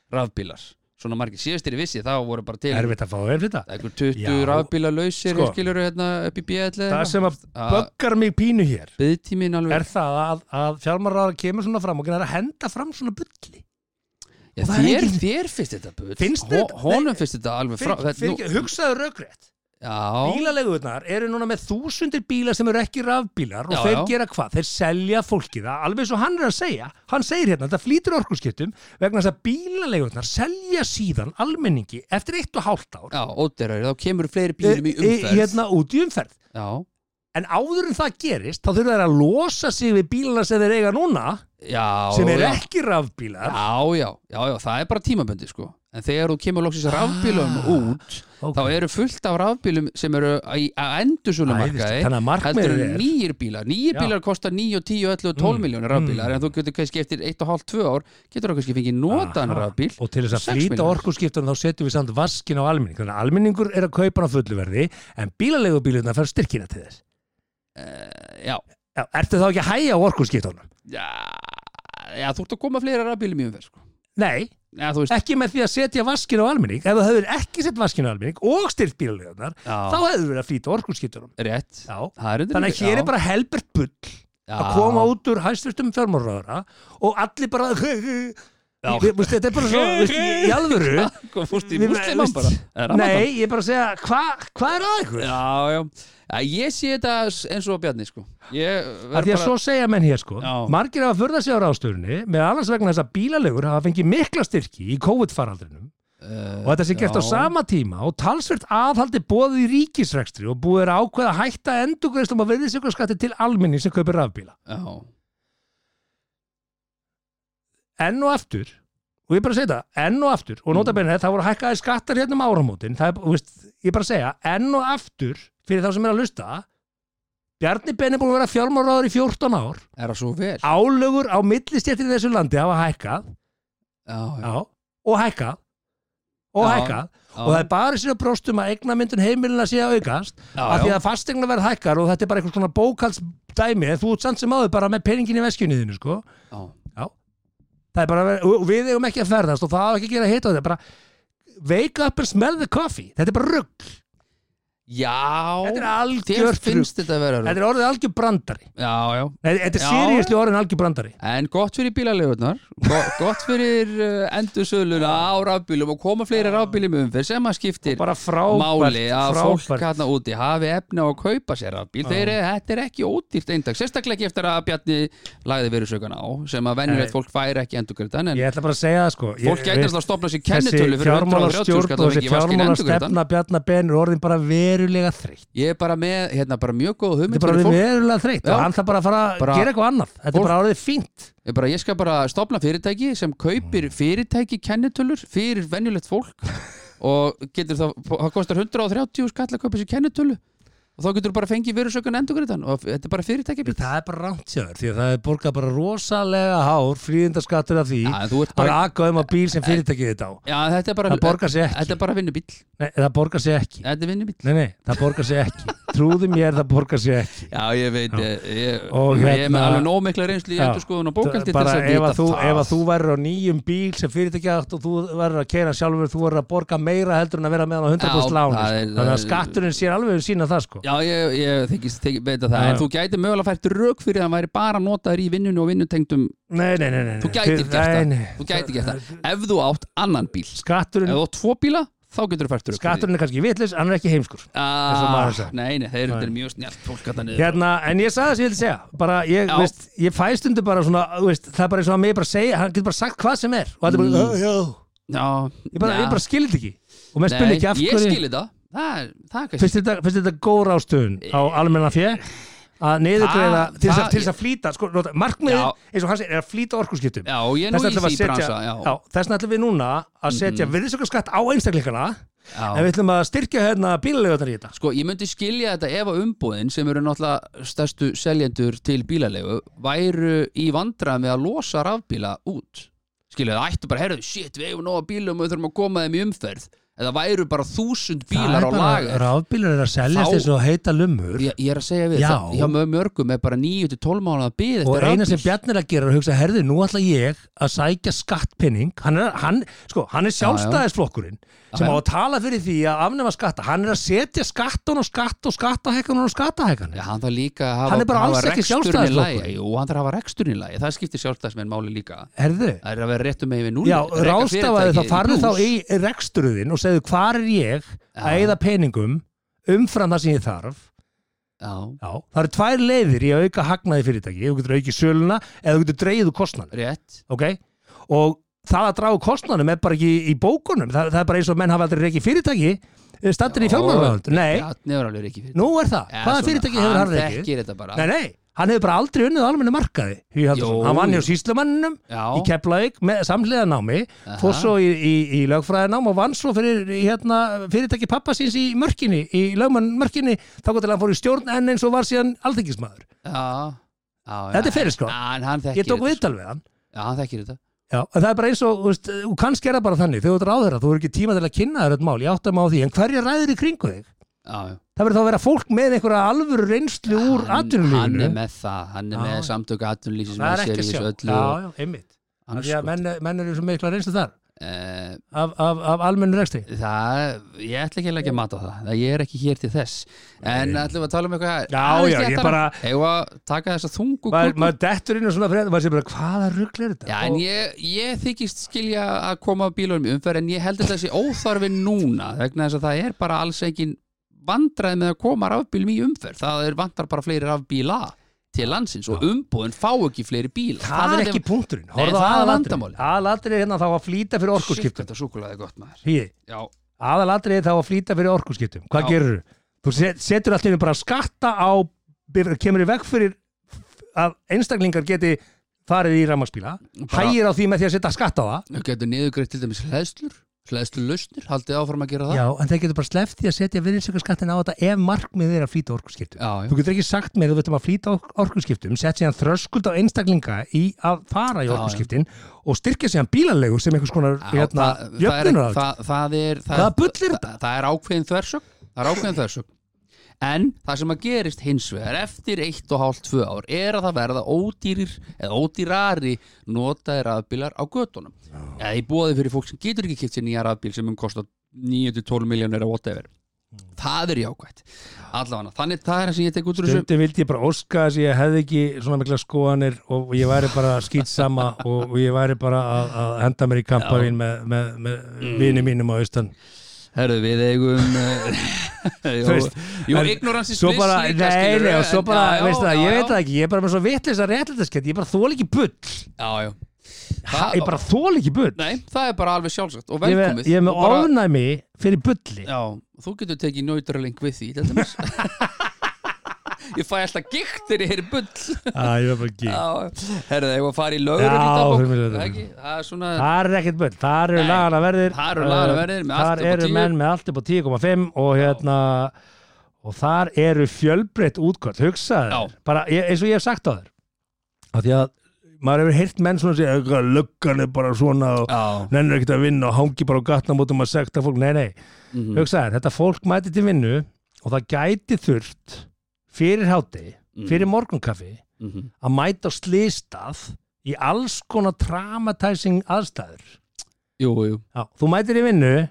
S3: rafbílar Svona margir, síðast er ég vissi, þá voru bara til
S1: erfitt að fá þeir fyrir þetta
S3: einhver 20
S1: Já.
S3: rafbílar lausir
S1: Sko.
S3: sko. skilur hérna upp í bjöðlega
S1: það sem að böggar mig pínu hér
S3: Byðtímin alveg
S1: er það að, að fjármarar kemur svona fram og genar að henda fram svona bulli
S3: Já,
S1: og það er
S3: þér,
S1: engin-
S3: þér finnst þetta bull
S1: Finnst
S3: Ho-
S1: þetta-
S3: Honum finnst þetta alveg frá
S1: Fyr, fyr,
S3: nú-
S1: hugsaðu raukrétt
S3: Já,
S1: bílalegunar eru núna með þúsundir bíla sem eru ekki rafbílar og
S3: Já,
S1: þeir
S3: já.
S1: gera hvað? Þeir selja fólki það alveg svo hann er að segja, hann segir hérna þetta flýtur orkurskiptum vegna þess að bílalegunar selja síðan almenningi eftir eitt og hálft ár
S3: já, ódýrari, þá kemur fleiri bílum í
S1: e- e-
S3: umferð
S1: hérna út í umferð
S3: Já,
S1: en áður en það gerist þá þurfa þeir að losa sig við bílana sem þeir eiga núna
S3: já
S1: sem eru
S3: já.
S1: ekki rafbílar
S3: Já, já, já, já, það er bara tímabundi sko En þegar þú kemur loksins rafbílum
S1: Ah,
S3: út
S1: ok.
S3: Þá eru fullt af rafbílum sem eru í- að endursölu
S1: Æðislegt.
S3: markaði
S1: Þannig að markmiðið
S3: Heldur
S1: er-
S3: en nýjir bílar Nýjir
S1: Já. Mm,
S3: bílar kosta 9, 10, 11 og 12 miljónir rafbílar En þú getur kannski eftir 1,5-2 ár Getur þú kannski fengið notan
S1: Aha.
S3: rafbíl
S1: Ah. og til þess að
S3: Sex
S1: flýta
S3: milljónir.
S1: orkurskiptunum þá setjum við samt vaskin á almenning þannig að almenningur er að kaupa hann á fullu verði en bílaleigubílurnar fer styrkina til þess
S3: Já,
S1: Já, ertu þá ekki að hæja á orkurskiptunum?
S3: já, já þú ert að koma fleiri rafbílum í umferð sko
S1: Nei,
S3: Já, þú veist
S1: ekki með því að setja vaskin á almenning ef þú hefur ekki sett vaskin á almenning og styrkt bílaleigurnar þá
S3: Já,
S1: hefur verið að flýta orkurskiptunum
S3: rétt
S1: Já,
S3: Það er undir-
S1: þannig að hér
S3: já,
S1: er bara helbert bull að
S3: já.
S1: koma út úr hæstvistum fjármálraðara og allir bara
S3: Já.
S1: Ég- veist, þetta er bara svo veist, í alvöru
S3: Kom fórst í
S1: Við-
S3: múslimann
S1: veist,
S3: bara Er Ramadan?
S1: nei, ég er bara að segja hvað hva er að ykkur?
S3: Já, já, já ég sé þetta eins og Bjarni sko Ég
S1: að
S3: verð
S1: því að
S3: bara
S1: svo segja menn hér sko
S3: Já.
S1: margir hafa förða sig á ráðstöðunni með annars vegna þess að bílalegur hafa fengið mikla styrki í COVID-faraldrinum
S3: uh,
S1: og þetta sé gert á
S3: já.
S1: sama tíma og talsvert aðhaldi bóðið í ríkisrekstri og búið er að ákveða að hætta endugreistum að verðið sikur skatti til almenning sem kaupir rafbíla
S3: Já,
S1: enn og aftur og ég er bara að segja það, enn og aftur og nota
S3: Mm.
S1: bene það voru hækkaði skattar hérna um áramótin það er, þú veist, ég er bara að segja, enn og aftur fyrir þá sem er að lusta Bjarni Ben er búin að vera fjármáraður í 14 ár
S3: er það svo vel
S1: álögur á millistjættir í þessu landi hafa hækkað
S3: já, já,
S1: já, og hækka og
S3: Já,
S1: hækka og það er bara sér að bróstum að eignamyndun heimilina sé að aukast
S3: já,
S1: af því
S3: já,
S1: að fastegna verð hækkar og þetta er bara einhvers konar bókaldsdæmi en þú ert samt sem áður bara með peningin í veskjunni þínu sko.
S3: já,
S1: það er bara, að vera- og og við eigum ekki að ferðast og það á ekki að gera heita á þetta bara wake up and smell the coffee þetta er bara rugg, þetta er
S3: já þér
S1: algjört rugg
S3: finnst þetta að vera
S1: þetta er orðið algjör brandari
S3: já, já,
S1: Nei, þetta er
S3: Já.
S1: seriðisli orðin algjör brandari
S3: En gott fyrir bílaleigurnar, go- gott fyrir uh, endursöluna á rafbílum og koma fleiri rafbílum umferð sem að skiptir
S1: bara frábært,
S3: máli að fólk
S1: frábært.
S3: hérna úti hafi efni á að kaupa sér rafbíl. Þeir, eru- þetta er ekki ódýrt eindag, sérstaklega ekki eftir að Bjarni lagði veruðsökan á sem að venjulegt fólk færi ekki endurgriðan en
S1: ég ætla bara að segja það sko Ég-
S3: fólk gæti
S1: við-
S3: alltaf að stopna sér kennitölu
S1: þessi
S3: fyrir 130
S1: fjármálastjórn og
S3: skall og sko,
S1: þessi
S3: ekki vaskin endurgriðan.
S1: fjármálastefna Bjarnar Ben er orðin bara verulega þreytt
S3: Ég er bara með hérna, bara mjög góð
S1: þetta
S3: hugmynd
S1: er bara
S3: fyrir
S1: orðin
S3: fólk.
S1: verulega þreytt
S3: Já.
S1: og hann þarf bara að fara
S3: Bara-
S1: að gera eitthvað annað þetta
S3: Fólk-
S1: er bara orðið fínt
S3: Ég, bara, ég skal bara stopna fyrirtæki sem
S1: Mm.
S3: kaupir fyrirtæki kennitölur fyrir venjulegt fólk og getur það, það kostar 130 skall að kaupa sér kennitölu og þá getur þú bara fengið verusökun endurgriðan og þetta er bara fyrirtæki bíl
S1: það er bara rámt sjáður því að það er borgað bara rosalega hár fríðindaskattur af því
S3: Já, en þú ert
S1: að
S3: bara, Eh,
S1: aka um að bíl sem fyrirtækið þetta á
S3: já, þetta er bara
S1: það borgar sig ekki,
S3: Þetta er bara vinnubíl
S1: nei, það borgar sig ekki
S3: Þetta er vinnubíl
S1: nei, nei, það borgar sig ekki trúðu mér það borgar sig ekki
S3: Já, ég veit, ég, ég,
S1: Og
S3: ég er
S1: hérna-
S3: með alveg nómikla reynslu í
S1: Já.
S3: endurskoðun og bókaldi
S1: bara ef að, þú, ef að
S3: það
S1: þú verður á nýjum bíl sem fyrirtækja átt og þú verður að keira sjálfur þú verður að borga meira heldur en að vera með hann á 100%
S3: Já,
S1: láni
S3: það er-
S1: sko. þannig að skatturinn sér alveg um sína það sko.
S3: Já, ég, ég þykist, þykist, veit að það
S1: Já,
S3: En
S1: já.
S3: þú gæti mögulega fært rauk fyrir að hann væri bara notaður í vinnunni og vinnutengdum
S1: nei, nei, nei, nei, nei.
S3: Þú gætir
S1: Þið-
S3: gert það.
S1: nei, nei.
S3: Þú gæti ekki það Ef þú átt annan bíl Ef
S1: skatturinn,
S3: þú átt tvo bíla, þá getur þú fært upp
S1: skatturinn er kannski vitlis hann er ekki heimskur eins og maður
S3: ah,
S1: sagði.
S3: Nei, nei, þeir eru
S1: Nei.
S3: þetta er mjög snjált fólk að það niður
S1: hérna, en ég sagði það sem ég vildi segja bara ég,
S3: Já.
S1: veist, ég fæst undir bara svona þú veist, það er bara eins og að mig bara segja hann getur bara sagt hvað sem er og þetta er bara,
S3: Mm.
S1: "Ö, já,
S3: Já,
S1: ég bara,
S3: já.
S1: ég bara skilir þetta ekki og mér spil
S3: Nei,
S1: ekki af
S3: Ég
S1: hverju
S3: skil þetta Það er, það er kannski
S1: finnst þetta, finnst þetta góð rástöðun á
S3: Eh.
S1: almenna fjö að niðurgreiða
S3: Það-
S1: til þess að,
S3: það-
S1: til þess að flýta sko, nota- markmiðið
S3: Já.
S1: eins og hann segir er að flýta orkurskiptum
S3: Já, ég er nú í því bransa já, Mm-hmm.
S1: já, þessna ætlum við núna að setja mm. virðisökkarskatt á einstaklingana en
S3: já.
S1: við ætlum að styrkja hérna bílalegunar í þetta
S3: Sko, ég myndi skilja þetta ef að umbúðin sem eru náttúrulega stærstu seljendur til bílalegu væru í vandræðum með að losa rafbíla út skilja það ættu bara, herðu, shit, við eigum nóga bílum og við þurfum að koma þeim í umferð eða væru bara þúsund
S1: Það er
S3: bílar á
S1: bara-
S3: lager
S1: rafbílar eru að seljast
S3: Þá-
S1: eins og heita lumur
S3: ég, ég er að segja við
S1: Já.
S3: það, hjá mjög mörgum er bara 9-12 mánuða bið
S1: og
S3: eftir
S1: eina
S3: rafbíl
S1: sem Bjarni er að gera er að hugsa herði, nú ætla ég að sækja skattpenning hann er, hann, sko, hann er sjálfstæðisflokkurinn sem
S3: Já,
S1: á
S3: já.
S1: að tala fyrir því að afnema skatta hann er að setja skattan og skatt og skattahekkan og skattahekkan
S3: Já, hann þarf líka að hafa,
S1: Hann er bara
S3: hafa
S1: alls ekki
S3: reksturinn í
S1: sjálfstæðisflokkur.
S3: lagi. Jú, hann þarf að hafa reksturinn í lagi, það skiptir sjálfstæðismenn máli líka
S1: herðu,
S3: Það er að vera réttum megin við núna
S1: já, ráðstafaði þá farðu þá í reksturuðinn og segðu hvar er ég að
S3: Já.
S1: eigða peningum umfram það sem ég þarf
S3: Já,
S1: Já, það eru tvær leiðir í að auka hagnaði fyrirtæki þú getur aukið söluna eða þú getur dreigðu kostnan
S3: rétt
S1: ok? Og það að draga úr kostnanum er bara ekki í bókunum, það, það er bara eins og menn hafa aldrei reikið fyrirtæki stattir í
S3: Já,
S1: fjármálaráðund, nei,
S3: Bjarni hefur alveg ekki fyrir
S1: nú er það hvaða fyrirtæki hefur hann
S3: Hann
S1: reikið?
S3: þekkir þetta bara
S1: Nei, nei, hann hefur bara aldrei unnið á almennu markaði, Hugi
S3: Jó.
S1: Haldursson hann vann hjá síslumanninum í
S3: Já,
S1: Keflavík með samhliða námi,
S3: Aha.
S1: fór svo í, í, í lögfræðinám og vann svo fyrir í, hérna, fyrirtæki pappa síns í mörkinni í lögmann mörkinni, þá gott til að hann fór í stjórn enn eins og var síðan alþingismæður
S3: já, já
S1: Þetta er fyrir, sko.
S3: sko
S1: ég tók viðtal við hann
S3: Já, hann þekkir þetta
S1: Já, en það er bara eins og, þú veist, og kannski er það bara þannig, þegar þú ert ráðherra, þú er ekki tíma til að kynna þér þetta mál, ég átta mig á því, en hverja ræðir í kringu þig?
S3: Já, já
S1: Það verður þá að vera fólk með einhverja alvöru reynslu úr
S3: Hann- Hann er
S1: atvinnulífinu.
S3: með það, hann er
S1: Já,
S3: með
S1: já.
S3: samtök atvinnulífsins
S1: Það er
S3: með
S1: ekki að
S3: sér í
S1: sjá.
S3: þessu öllu
S1: Já,
S3: og-
S1: já, einmitt.
S3: Hann
S1: Af Því að
S3: sko-
S1: menn, menn eru svo mikla reynslu þar,
S3: Eh,
S1: af, af, af almennu rekstri.
S3: Það, ég ætla ekki að leggja mat á það það Ég er ekki hér til þess En ætlum við að tala um eitthvað
S1: Já,
S3: aðeins
S1: já, ég
S3: léttara?
S1: bara-
S3: Eigum við að taka þessa þungu
S1: Maður
S3: kúku?
S1: maður dettur inn og svona frétt, maður sé bara, hvaða rugl er þetta?
S3: Já, en
S1: Og-
S3: ég, ég þykist skilja að koma á bílunum í umferð En ég held að þessi óþarfi núna Vegna þess að það er bara alls engin vandræð með að koma rafbílum í umferð Það er vantar bara fleiri rafbíla til landsins Og umbúðin fá ekki fleiri bíla
S1: Það er ekki punkturinn.
S3: Nei,
S1: Horfðu á
S3: það er
S1: aðalatriðið.
S3: vandamálið.
S1: Aðalatriðið hérna þá að flýta fyrir orkuskiptum.
S3: Þetta súkulaði gott maður
S1: Hýði.
S3: Já,
S1: aðalatriði þá að flýta fyrir orkuskiptum hvað
S3: Já.
S1: gerur þú? Þú set- setur allt í einu bara skatta á bifreið- kemur í veg fyrir að einstaklingar geti farið í rammaspíla
S3: Bara-
S1: hægir á því með því að setja skatta á það
S3: þú getur niðurgreitt til dæmis hlæðslur hlæðslu lausnir, haldið áfram að gera það
S1: Já, en það getur bara sleppt því að setja virðisökkarskattin á þetta ef markmið er að flýta orkuskiptum.
S3: Já, já.
S1: Þú getur ekki sagt mér að þú veitum að flýta ork- orkuskiptum, sett síðan þröskuld á einstaklinga í að fara í
S3: já.
S1: orkuskiptin og styrkja síðan bílalegu sem einhvers konar
S3: Já,
S1: hérna,
S3: það- það er-
S1: jöfnunar það,
S3: það- það er- það-
S1: Hvaða bull er þetta?
S3: það- Það er ákveðin þversögn Það er ákveðin þversögn En það sem að gerist hins vegar eftir eitt og hálft tvö ár er að það verða ódýrir eða ódýrari notaði rafbílar á götunum eða í bóði fyrir fólk sem getur ekki kipt sér nýja rafbíl sem um kosta 9-12 miljónir eða whatever Það er jákvætt Allavega, þannig það er það sem ég tek út úr þessu
S1: Stundum vildi ég bara óska þess að ég hefði ekki svona mikla skoðanir og og ég væri bara skýtsama og og ég væri bara að, að henda mér í kampavín með, með, með
S3: Mm.
S1: vini mínum á austan.
S3: Herðu, við eigum eh,
S1: Þú
S3: Jú,
S1: veist,
S3: jú
S1: en
S3: ignorance is
S1: svo
S3: bliss
S1: bara,
S3: líka,
S1: nei,
S3: skilurðu,
S1: nei, og svo
S3: en-
S1: bara,
S3: já, já,
S1: veistu það,
S3: já,
S1: ég
S3: já.
S1: veit það ekki, ég er bara með svo vitleisa réttlætaskett, ég bara þól ekki bull,
S3: Já, já
S1: ha, ég bara þól ekki bull,
S3: Nei, það er bara alveg sjálfsagt og
S1: ég, er
S3: velkomið
S1: með- ég er með
S3: Og bara-
S1: ofnæmi fyrir bulli.
S3: Já, þú getur tekið nöytraling við því til dæmis. Ég fæ alltaf gikt þegar ég er bull
S1: Já, ég er bara ekki.
S3: Já, herðu, ég var að fara í lögur
S1: Já, fyrir mig lögregludagabók.
S3: Það er svona
S1: Það er ekkert bull, þar eru
S3: Nei,
S1: lagana verðir,
S3: þar eru lagaverðir með allt
S1: þar
S3: upp á
S1: eru
S3: 10.
S1: menn með allt upp á 10,5 og hérna, og þar eru fjölbreytt útkvæmt, hugsaðu,
S3: Já.
S1: bara ég, eins og ég hef sagt á þér, af því að maður hefur heyrt menn svona að segja, "Eitthvað, löggan er bara svona og
S3: Já,
S1: nennir ekkert að vinna og hangi bara á gatnamótum að sekta fólk, nei, nei
S3: mhm,
S1: hugsaðar, þetta fólk mæti til vinnu og það gæti þurft fyrir háti,
S3: Mm.
S1: fyrir morgunkaffi
S3: mhm.
S1: að mæta á slistað í alls konar traumatizing aðstæður
S3: Jú, jú
S1: Já, þú mætir í vinnu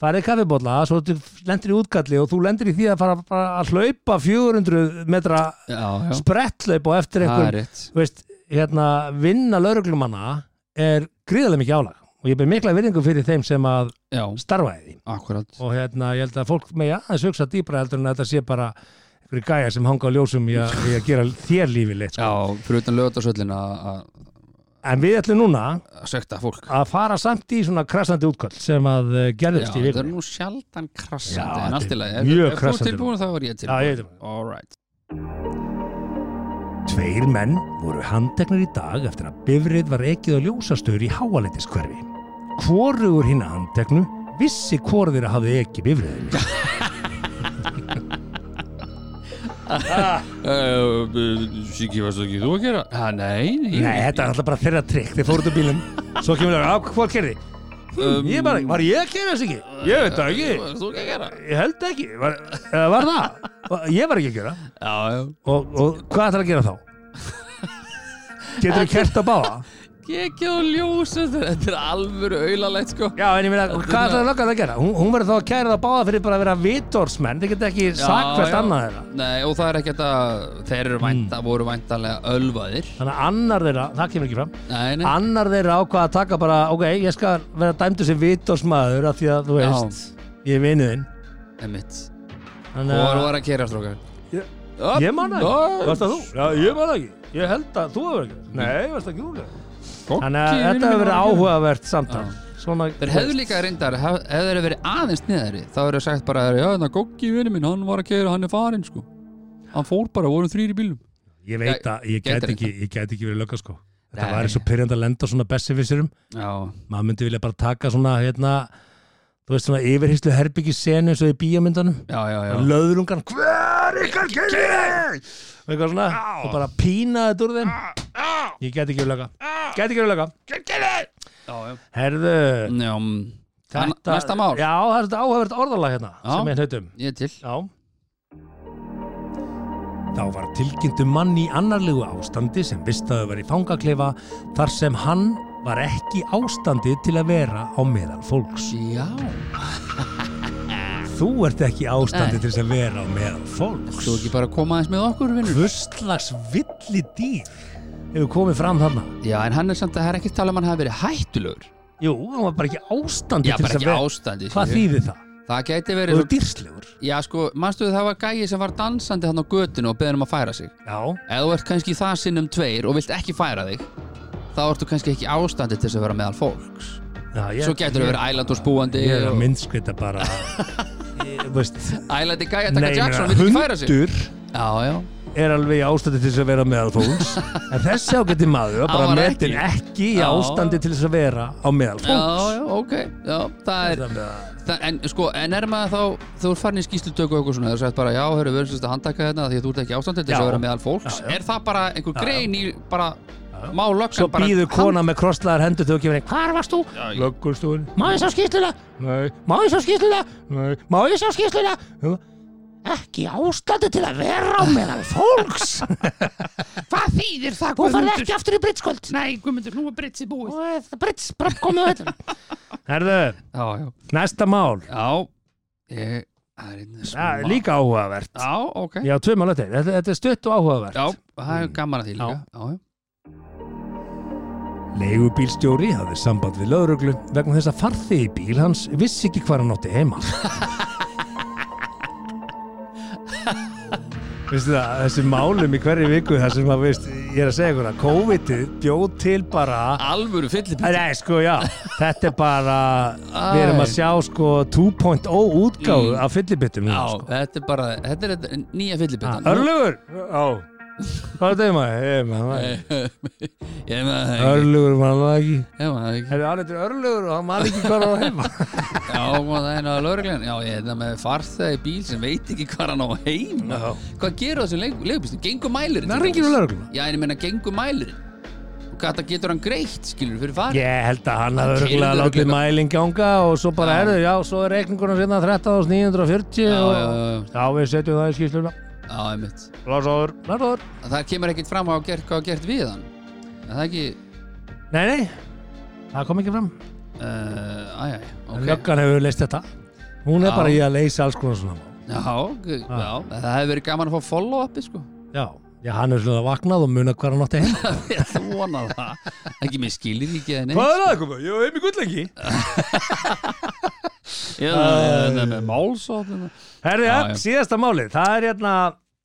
S1: farið kaffibólla, svo þú lendir í útkalli og þú lendir í því að fara bara að hlaupa 400 metra
S3: Já, já,
S1: spretthlaup og eftir
S3: það er
S1: einhver
S3: rétt
S1: þú veist, hérna, vinna lauruglumanna er gríðarlega mikið álag og ég ber mikla virðingu fyrir þeim sem að
S3: Já,
S1: starfa í því
S3: akkurat
S1: og hérna, ég held að fólk með aðeins hugsa dýbra heldur en að þetta sé bara einhverju gæja sem hanga á ljósum í að, í að gera þér lífi leitt sko.
S3: Já, fyrir utan lögutarsöllin að
S1: en við ætlum núna
S3: að sökta fólk
S1: að fara samt í svona krassandi útkall sem að eh, gerðist í
S3: Já, það er
S1: vikunni
S3: nú sjaldan krassandi
S1: Já,
S3: en
S1: þetta
S3: allt í
S1: er
S3: lagi.
S1: mjög
S3: Ef þú
S1: krassandi.
S3: ert tilbúin þá er ég
S1: Já, ég um er
S3: tilbúin
S1: tilbúinn.
S3: All right
S1: Tveir menn voru handteknir í dag eftir að bifrið var ekið á ljósastöður í háaletiskverfi. Hvorugur hinn að handteknu vissi hvora þeirra hafði ekki bifriðinu. Eh,
S3: Siki, varstu ekki þú að gera? Ha, nei,
S1: Nei, þetta er alltaf bara þeirra trikk, þeir fóruð úr bílum, svo kemur það, að hvað kerði? Um, ég bara, var ég að gera þess ekki? Ég veit það ekki.
S3: Varstu þú ekki að gera?
S1: Ég held ekki, var, eða var það? Var- Ég var ekki að gera
S3: Já, já
S1: Og, og hvað ætlar að gera þá? Getur þú kert að báða?
S3: Gekki og ljósa Þetta er alvöru aulalegt sko
S1: Já, en ég meina, hérna- hvað ætlar að lögga að gera? Hún, hún verður þá að kæra það báða fyrir bara að vera vitorsmenn Þið getur ekki sakfæst annað þeirra Mm.
S3: Nei, og það er ekkert að Þeir eru vænta, voru væntanlega ölvaðir
S1: Þannig að annar þeirra, það kemur ekki fram
S3: Nei, nei
S1: Annar þeirra ákvað að taka bara, ok, ég skal vera dæmdur sem vitorsmaður af því að, þú veist, ég er vinuðinn
S3: Emmitt
S1: Þannig
S3: Og
S1: að,
S3: var að kera strókar
S1: Ég- ég man það ekki Varst það þú? Já, ég man það ekki Ég held að þú hefur ekki Nei, varst ekki þú ekki Þannig að þetta hefur verið áhugavert samtal Svona
S3: Þeir hefðu líka reyndar, hef, hefðu þeir verið aðeins niðari þá hefur þeir sagt bara, já, þannig að Goggi vinnu minn, hann var að keira, hann er farinn, sko hann fór bara, vorum þrýri í bílnum
S1: Ég veit að ég
S3: Gætir
S1: get
S3: þetta.
S1: ekki, ég get ekki verið lögga sko Þetta
S3: Nei.
S1: Nei. var svo pyrrjandi að lenda á svona bestifissurum
S3: Já,
S1: Maður myndi vilja bara taka svona hérna Þú veist svona yfirhyslu herbyggi senu eins og í bíómyndunum
S3: já, já, já
S1: Löðrungan Hver ykkar kynni Og eitthvað svona Og bara pína þetta úr þeim Ég get ekki verið lögga Get ekki verið lögga
S3: Já, já.
S1: Herðu
S3: Já, mm. An-
S1: þetta-
S3: Næsta mál,
S1: Já, það er þetta áhugavert orðalag hérna
S3: Já.
S1: Sem ég hlutum
S3: ég er til
S1: Já. Þá var tilkynntu mann í annarlegu ástandi sem vistaðu var í fangaklefa þar sem hann var ekki í ástandi til að vera á meðal fólks.
S3: Já,
S1: Þú ert ekki í ástandi
S3: Nei.
S1: til þess að vera á meðal fólks.
S3: þú ekki bara að koma aðeins með okkur, vinnur
S1: Hvurslags villi dýr hefur komið fram þarna?
S3: Já, en hann er samt að það er ekki tala um hann hafi verið hættulegur
S1: Jú, hann var bara ekki í ástandi
S3: Já,
S1: til þess að
S3: bara ekki sko.
S1: vera.
S3: ástandi
S1: Hvað
S3: skilju.
S1: þýðir það?
S3: Það gæti
S1: Þú
S3: verið
S1: eru dýrslegur.
S3: Já, sko, manstu það var gæi sem var dansandi hann á götinu og beðin um að færa sig
S1: Já.
S3: Ef þú ert kannski það sinnum tveir og vilt ekki færa þig þá ertu kannski ekki í ástandi til þess að vera meðal fólks
S1: Já ég,
S3: Svo getur þú verið ælandursbúandi
S1: Ég er að
S3: og-
S1: myndskvita bara. ég, veist,
S3: Ælandi gæja
S1: Nei,
S3: taka
S1: ég
S3: Jackson,
S1: meina,
S3: vil ekki færa sig
S1: hundur
S3: Já, já
S1: er alveg í ástandi til þess að vera meðalfólks en þessi ágætti maður var
S3: Hann
S1: bara
S3: var
S1: metin
S3: ekki.
S1: ekki í
S3: Já.
S1: ástandi til þess að vera á
S3: já,
S1: meðalfólks
S3: já, ok já, það er,
S1: Þannig að-
S3: það, en sko, en er maður þá þú er farin í skýslutöku og eitthvað svona þú sagt bara, já, hörru, við erum sérst að handtaka þetta því að þú ert ekki ástandið til þess
S1: Já.
S3: að vera meðal fólks
S1: Já, já.
S3: er það bara einhver grein í bara
S1: Svo
S3: málöksan bara
S1: býður kona með krosslaðar hendur þegar kemur einn Hvar varst þú? Löggustúin Má ég sjá skýrsluna? Nei Má ég sjá skýrsluna? Nei Má ég sjá skýrsluna? Ekki ástandi til að vera á meðal fólks
S4: Hvað þýðir það,
S1: Þú farð
S4: Guðmundur?
S1: ekki aftur í britskvöld
S4: Nei, Guðmundur, nú er Britsi búið.
S1: Brits, bara komið á þetta Herðu,
S3: já, já,
S1: næsta mál
S3: já ég, það er einnig
S1: Það er líka áhugavert
S3: já, ok, já,
S1: Já, tvö mál eftir Þetta, þetta er stutt og áhugavert
S3: það er gaman að því líka
S1: Já.
S3: já, já,
S1: Leigubílstjóri hafði samband við lögreglu vegna þess að farði í bíl hans vissi ekki hvað hann átti heima. Vistu það, þessi málum í hverju viku þar sem að, veist, ég er að segja ykkur að COVID-ið bjóð til bara
S3: alvöru fyllir
S1: Nei, sko, já, þetta er bara við erum að sjá, sko, 2.0 útgáðu af fyllibittum
S3: Já,
S1: núna, sko.
S3: þetta er bara, þetta er þetta- nýja fyllibittan
S1: Örlugur! Já, hvað er þetta heima? Heima, heima.
S3: Ég maður það ekki
S1: Örlugur, mann það ekki.
S3: Ég maður það ekki
S1: Hefur hann eitthvað örlugur og hann man ekki hvað hann á heima.
S3: Já, maður það er náða lögreglan Já, ég hefði með farþega í bíl sem veit ekki hvað hann á heima
S1: Já.
S3: Hvað gerur þessum leigubýstum? Gengur mælirinn?
S1: Nei,
S3: til
S1: hringir
S3: dæmis?
S1: á lögregluna.
S3: Já, en ég meina gengur mælirinn Og hvað það getur hann greitt, skilur, fyrir farið
S1: Ég held að hann hafi
S3: Hann
S1: örgulega
S3: keyrði
S1: látið
S3: örugglega.
S1: mæling ganga og svo bara
S3: Já.
S1: erðu, já, svo er hérna reikninguna sinna 13.940
S3: Já,
S1: og
S3: já, já, já.
S1: já, við setjum það í skýrsluna.
S3: já, einmitt
S1: Lásaður, lásaður.
S3: Það kemur ekkit fram á að gert, hvað hafa gert við hann Er það ekki,
S1: Nei, nei, það kom ekki fram.
S3: uh, æjæ,
S1: Okay.
S3: ok
S1: Löggan hefur leist þetta. Hún er
S3: Já.
S1: bara í að leysa alls konar svona. mál.
S3: Já, ok,
S1: Ah.
S3: já, það hefur verið gaman að fá follow-upi, sko
S1: Já, já, hann er svona vaknað og munað hvað hann átti heima.
S3: Ég ætla að vona það Ekki með skilir ekki eða neitt
S1: er það komið? Ég hef mig gull ekki.
S3: Já, það er Eh, með málsótt
S1: Herri,
S3: Já,
S1: já,
S3: já.
S1: síðasta málið, það er hérna,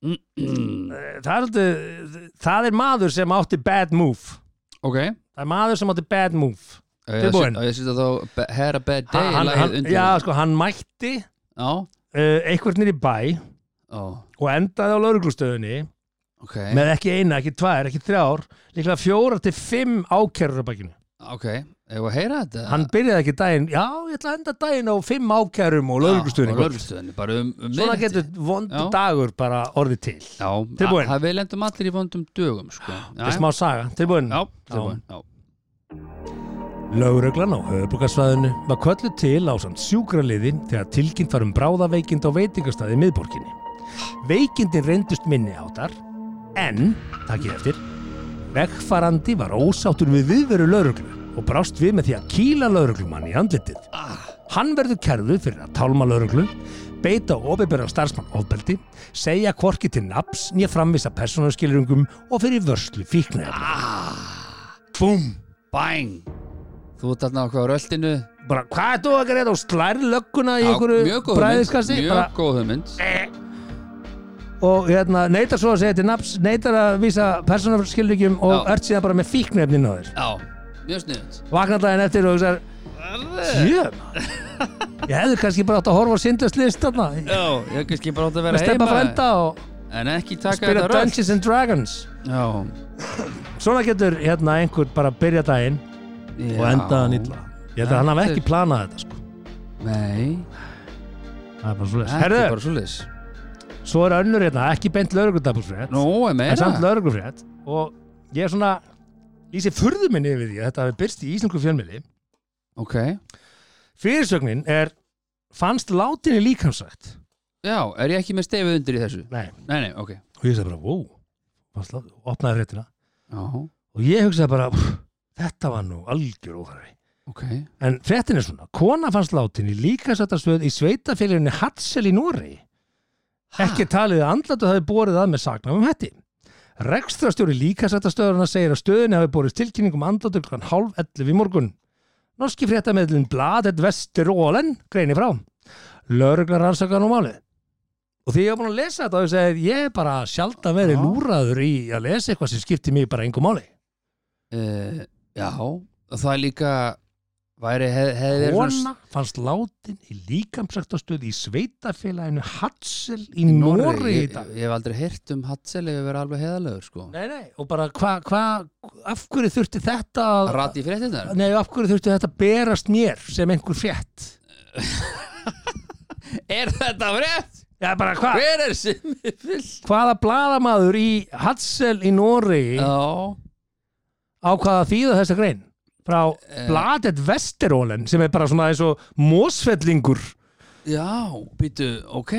S1: það er, svolítið- það er maður sem átti bad move.
S3: Ok
S1: Það er maður sem átti bad move. Tilbúin.
S3: Tilbúin Og ég sýtti þá be- Had a bad day
S1: hann,
S3: lagið
S1: hann,
S3: undir.
S1: já, sko, hann mætti
S3: Já
S1: uh, einhvern nýri bæ
S3: Ó,
S1: og endaði á lauruglustöðunni
S3: Ok
S1: með ekki eina, ekki tvær, ekki þrjár líklega fjóra til fimm ákærur á bakinu.
S3: Ok Ef að heyra þetta
S1: Hann byrjaði ekki daginn, já, ég ætla að enda daginn á fimm ákærum og lauruglustöðunni. gott.
S3: Lörgustöðinni Bara um, um
S1: Svona
S3: miðnætti.
S1: getur vondu
S3: Já.
S1: dagur bara orðið til.
S3: Já
S1: Tilbúin.
S3: að- að Við lendum allir í vondum dögum sko
S1: Það
S3: Já,
S1: er smá saga, tilbúin.
S3: Já, tilbúin Já
S1: Lauruglan á höfubrukarsvæðinu var köllu til á samt sjúkraliði þegar tilkynnt var um bráðaveikind á veitingastæði í miðborginni. Veikindin reyndust minni áttar en, takk ég eftir, vegfarandi var ósáttur við viðveru lauruglu og brást við með því að kýla lauruglumann í andlitið. Hann verður kerðu fyrir að tálma lauruglu, beita ofinbjörn starfsmann ofbeldi, segja kvorki til naps, nýja framvisa persónuskilringum og fyrir vörslu fíknæðar.
S3: Búm Bang Þú ert þarna á hvað röldinu
S1: bara hvað er þú að gera þetta og slæri lögguna í
S3: Já, mjög
S1: einhverju
S3: góð hugmynd,
S1: bræðiskassi bara, eh.
S3: Mjög góð hugmynd
S1: og hérna, neytar svo að segja til naps neytar að vísa persónafskilvíkjum og
S3: Já.
S1: ört síðan bara með fíknefnin á þér
S3: Já Mjög sniðut
S1: vaknar daginn eftir og hugsaðar sjö maður. ég hefði kannski bara átt að horfa á syndast list þarna
S3: Já, ég hef kannski bara átt að vera
S1: með steppa
S3: heima
S1: frenda og
S3: En ekki taka
S1: spila
S3: þetta röld
S1: Dungeons and Dragons
S3: Já
S1: svona getur hérna einhver bara að byrja daginn og
S3: Já.
S1: enda hann illa ég held að hann hafi
S3: Þetta er-
S1: ekki planað þetta sko
S3: Nei,
S1: það er bara svo
S3: það er
S1: herðu,
S3: bara svoleiðis
S1: svo er önnur hérna ekki beint lögregundabúsfrétt
S3: Nú, er
S1: en
S3: meira
S1: samt lögreglufrétt og ég er svona lýsi furðu minni yfir því að þetta hafi byrst í íslensku fjölmiðli
S3: Ok,
S1: fyrirsögnin er fannst látinni líkamsvægt
S3: já, er ég ekki með stefið undir í þessu?
S1: nei,
S3: Nei, nei, ok
S1: og ég sagði bara, wow fannst lát, opnaði fréttina
S3: Já,
S1: og ég hugsaði bara, "Úff, þetta var nú algjör óþarfi
S3: ok
S1: en fréttin er svona, kona fannst látinni líkamsvægtastöð í sveitafélaginu Hatsel í Nóri ekki talið að andlatu hafi borið að með saknafum hætti Rekstrastjóri líkasættastöðurna segir að stöðinni hafi borist tilkynning um andlátur kl. halv 11 í morgun. Norski fréttameðlun Bladet Vesterólen greinir frá. Lörglar rannsakar nú málið. Og því ég var búin að lesa þetta og ég segi ég er bara sjaldan verið
S3: Já.
S1: lúraður í að lesa
S3: Eh,
S1: eitthvað sem skiptir mig bara engum máli.
S3: uh, Já, það er líka væri, hef, hefði verið svona
S1: Kona fannst látin í líkamsræktastöð í sveitafélaginu Hatsel í
S3: s-
S1: Nóri í
S3: ég,
S1: dag.
S3: ég hef aldrei heyrt um Hatsel ef ég verið alveg heðalegur sko
S1: Nei, nei, og bara hvað, hva, af hverju þurfti þetta að...
S3: Rat í fréttinnar
S1: Nei, af hverju þurfti þetta að berast mér sem einhver fjett?
S3: Er þetta frétt?
S1: Já, bara hvað?
S3: Hver er Simmi Fyll?
S1: Hvaða bladamaður í Hatsel í Nóri
S3: Já,
S1: ákvaða að þýða þessa grein frá
S3: Eh.
S1: Bladet Vesterólen sem er bara svona eins og mósfellingur
S3: já, býtu, ok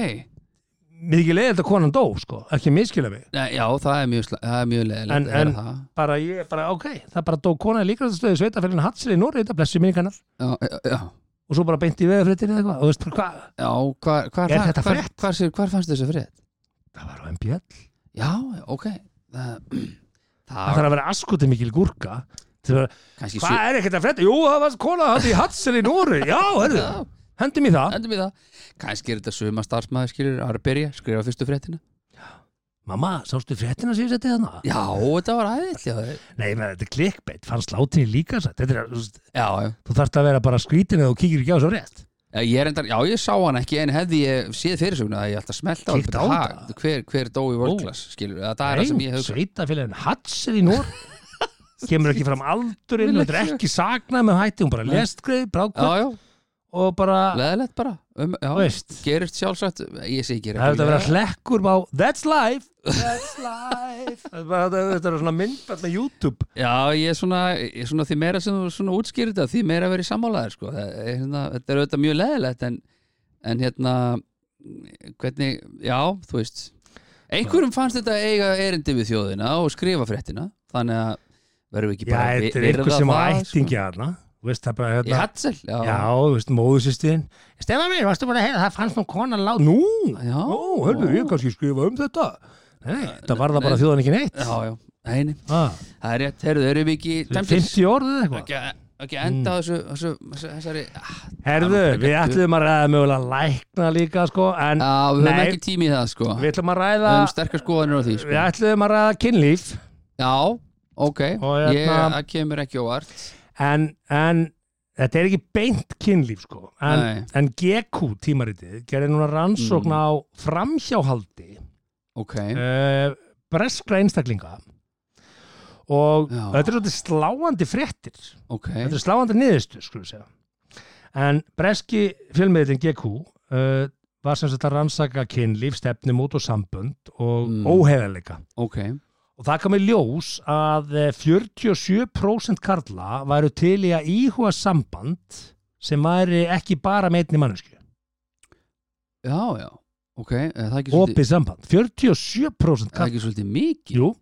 S1: mikið leiðild að konan dó sko, ekki miskila mig
S3: Nei, Já, það er mjög, sla- það er mjög leðilegt
S1: En-
S3: að heyra
S1: en-
S3: það
S1: bara ég, bara ok, það bara dó konan í líkastastöðu sveitafélagin Hatsel í Nóri, þetta blessi minningarnar
S3: Já, já, já,
S1: og svo bara beint í veðafréttinni eða eitthvað og veist bara hvað,
S3: já hvar, hvar,
S1: Er
S3: hvar,
S1: þetta
S3: hvar,
S1: frétt?
S3: hvar, sér- hvar fannst þessi frétt?
S1: það var á MBL
S3: Já, ok Það,
S1: það
S3: það
S1: þarf að vera askuti mikil gúrka til að vera,
S3: kannski
S1: hvað er ekkert að frétta? Jú, það var kona hann í Hatsel í Nóri, já, herðu
S3: Já.
S1: hendum í það,
S3: Endum við það Kannski er þetta suma starfsmæður skilur að byrja, skrifa fyrstu fréttina
S1: mamma, sástu fréttina sem ég setti þarna?
S3: Já, þetta var aðeins Já,
S1: Nei, menn, þetta er klikkbeitt, fannst látin í líkastastöðu þetta er, þú veist,
S3: já
S1: þú þarft að vera bara skrítin eða þú kíkir ekki á þessu rétt
S3: Já, Ég er endar, já, ég sá hann ekki en hefði ég séð fyrirsögnu að ég alltaf smelta
S1: Kíkt á
S3: ha,
S1: þetta.
S3: hver, hver dó í
S1: Ó.
S3: World Class, skilur það er það sem ég hef
S1: sveitafélagin Hatsel í Nór kemur ekki fram aldurinn
S3: Vil
S1: og þetta er
S3: ekki-
S1: ekki saknað með hætti, hún bara
S3: Nei.
S1: lest greið, brákvæð
S3: Já, já,
S1: og bara,
S3: leðilegt bara um, já,
S1: Ah. þú veist
S3: Gerist sjálfsagt, ég sé ekki
S1: það hefur þetta verið hlekkur á That's Life That's Life Það er bara- þetta þetta er svona myndbært með YouTube
S3: Já, ég er svona, ég er svona því meira sem þú svona útskýrir þetta, því meira verið sammálaðir sko. Það er hérna, þetta er auðvitað mjög leðilegt en, en hérna hvernig, já, þú veist einhverjum fannst þetta eiga erindi við þjóðina og skrifa fréttina þannig að verðum við ekki
S1: Já,
S3: bara að
S1: þetta er
S3: vi-
S1: einhver
S3: virða
S1: sem á
S3: það,
S1: ættingi aðna Þú veist það er bara
S3: sko. Í
S1: hérna
S3: Hatsel, já,
S1: Já, þú veist, móðusýstin Stefa mér, varstu bara að heyra, það fannst nú konan lág Nú,
S3: Já.
S1: nú, hörðu, ég kannski skrifa um þetta Nei, það var það bara
S3: Nei.
S1: þjóðan ekki neitt
S3: já, já. Nei, nei,
S1: Ah.
S3: það er rétt, heyrðu, erum við ekki tæmtir,
S1: 50 orðið eitthvað
S3: ekki, ekki
S1: Hmm.
S3: enda á þessu, þessu, þessu þessari, ah,
S1: Herðu,
S3: Það er
S1: við
S3: ekki-
S1: ætlum að ræða mögulega lækna líka sko, en
S3: já, við höfum
S1: Nei.
S3: ekki tími í það sko,
S1: við ætlum að
S3: við
S1: ræða
S3: höfum sterkar skoðanir á því sko.
S1: við ætlum að ræða kynlíf
S3: Já, ok
S1: Og
S3: ég,
S1: hérna-
S3: Það kemur ekki óvart
S1: en, en þetta er ekki beint kynlíf sko, en,
S3: Nei. Mm.
S1: en GQ tímaritið gerir núna rannsókn á framhjáhaldi
S3: Ok,
S1: uh, breskra einstaklinga og
S3: Já.
S1: þetta er svolítið sláandi fréttir
S3: ok
S1: þetta er sláandi niðurstu skulum við segja en breski fjölmiðlinn GQ uh, var sem sagt að rannsaka kynlíf, stefnumót og sambönd og
S3: Mm.
S1: mm. óheðalega
S3: Ok,
S1: og það kom í ljós að eh, 47% karla væru til í að íhuga samband sem væri ekki bara með einni mannesku,
S3: já, já Ok, eh, það er ekki svolítið,
S1: opið samband 47%
S3: það er
S1: karla,
S3: ekki svolítið mikið
S1: jú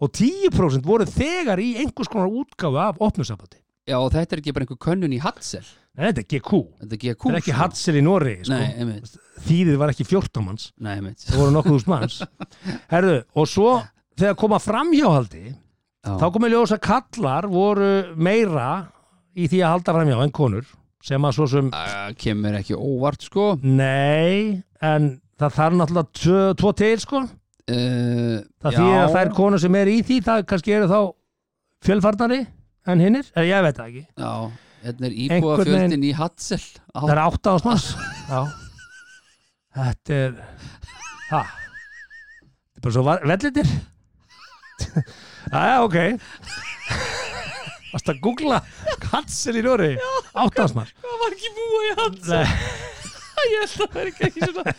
S1: og 10% voru þegar í einhvers konar útgáfu af opnu sambandi,
S3: Já, og þetta er ekki bara einhver könnun í Hatsel
S1: en þetta er GQ
S3: Þetta er GQ
S1: þetta er ekki
S3: sko.
S1: Hadsel í Noregi sko.
S3: Nei, einmitt,
S1: þýðið var ekki 14 manns
S3: nei, einmitt
S1: það voru nokkuð þúsund manns Herðu, og svo þegar koma framhjáhaldi þá
S3: Já,
S1: komið ljós að kallar voru meira í því að halda framhjá en konur sem að svo sem
S3: það kemur ekki óvart, sko
S1: nei, en það þarf náttúrulega tvo, tvo til sko
S3: uh,
S1: það þýðir að þær konur sem er í því það kannski eru þá fjölfarnari en hinnir, eða ég veit það ekki
S3: Já, hérna er
S1: Einhvern
S3: íbúa
S1: veginn-
S3: fjöldin í Hatsel Á,
S1: það er átta ás manns já þetta er ha. þetta er bara svo var- vellitir aðja ok varst að googla kansel í Nóri átta ás manns
S4: Það var ekki búa í hans
S1: Nei,
S4: Ég held að það er ekki svona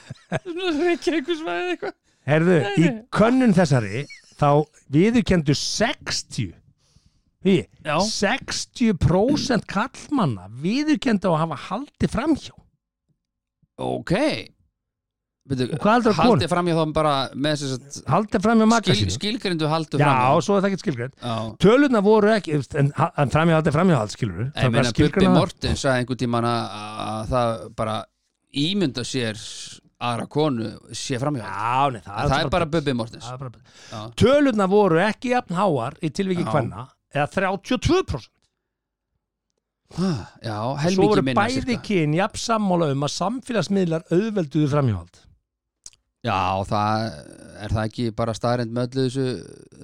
S4: Svona reykja einhvers veið eitthvað
S1: heyrðu, í
S4: nei.
S1: könnun þessari þá viðurkendu 60 Því,
S3: Já.
S1: 60% kallmanna viðurkendu að hafa haldið framhjá
S3: ok Veitu,
S1: Og hvað heldur að
S3: Haldið
S1: konur?
S3: framhjá þá bara með þess
S1: haldið framhjá
S3: að
S1: maka
S3: skil,
S1: sínu
S3: skilgrindu haldu
S1: Já,
S3: framhjá
S1: svo er það ekki skilgreint
S3: Já,
S1: tölurna voru ekki en, en framhjáhald er framhjáhald skilur
S3: Ég meina Bubbi Morten sagði einhvern tímann að að það bara ímynda sér aðra konu sé framhjá það,
S1: já, nei, það,
S3: það er bara Bubbi Mortens
S1: það er bara bull.
S3: Já.
S1: tölurna voru ekki jafn háar í tilviki
S3: Já.
S1: hvenna eða 32%
S3: Ha, Já,
S1: svo
S3: helmingi
S1: voru
S3: minna
S1: bæði
S3: sirka.
S1: kyn jafn sammála um að samfélagsmiðlar auðvelduðu framhjáhald
S3: Já, það er það ekki bara staðrind með öllu þessu,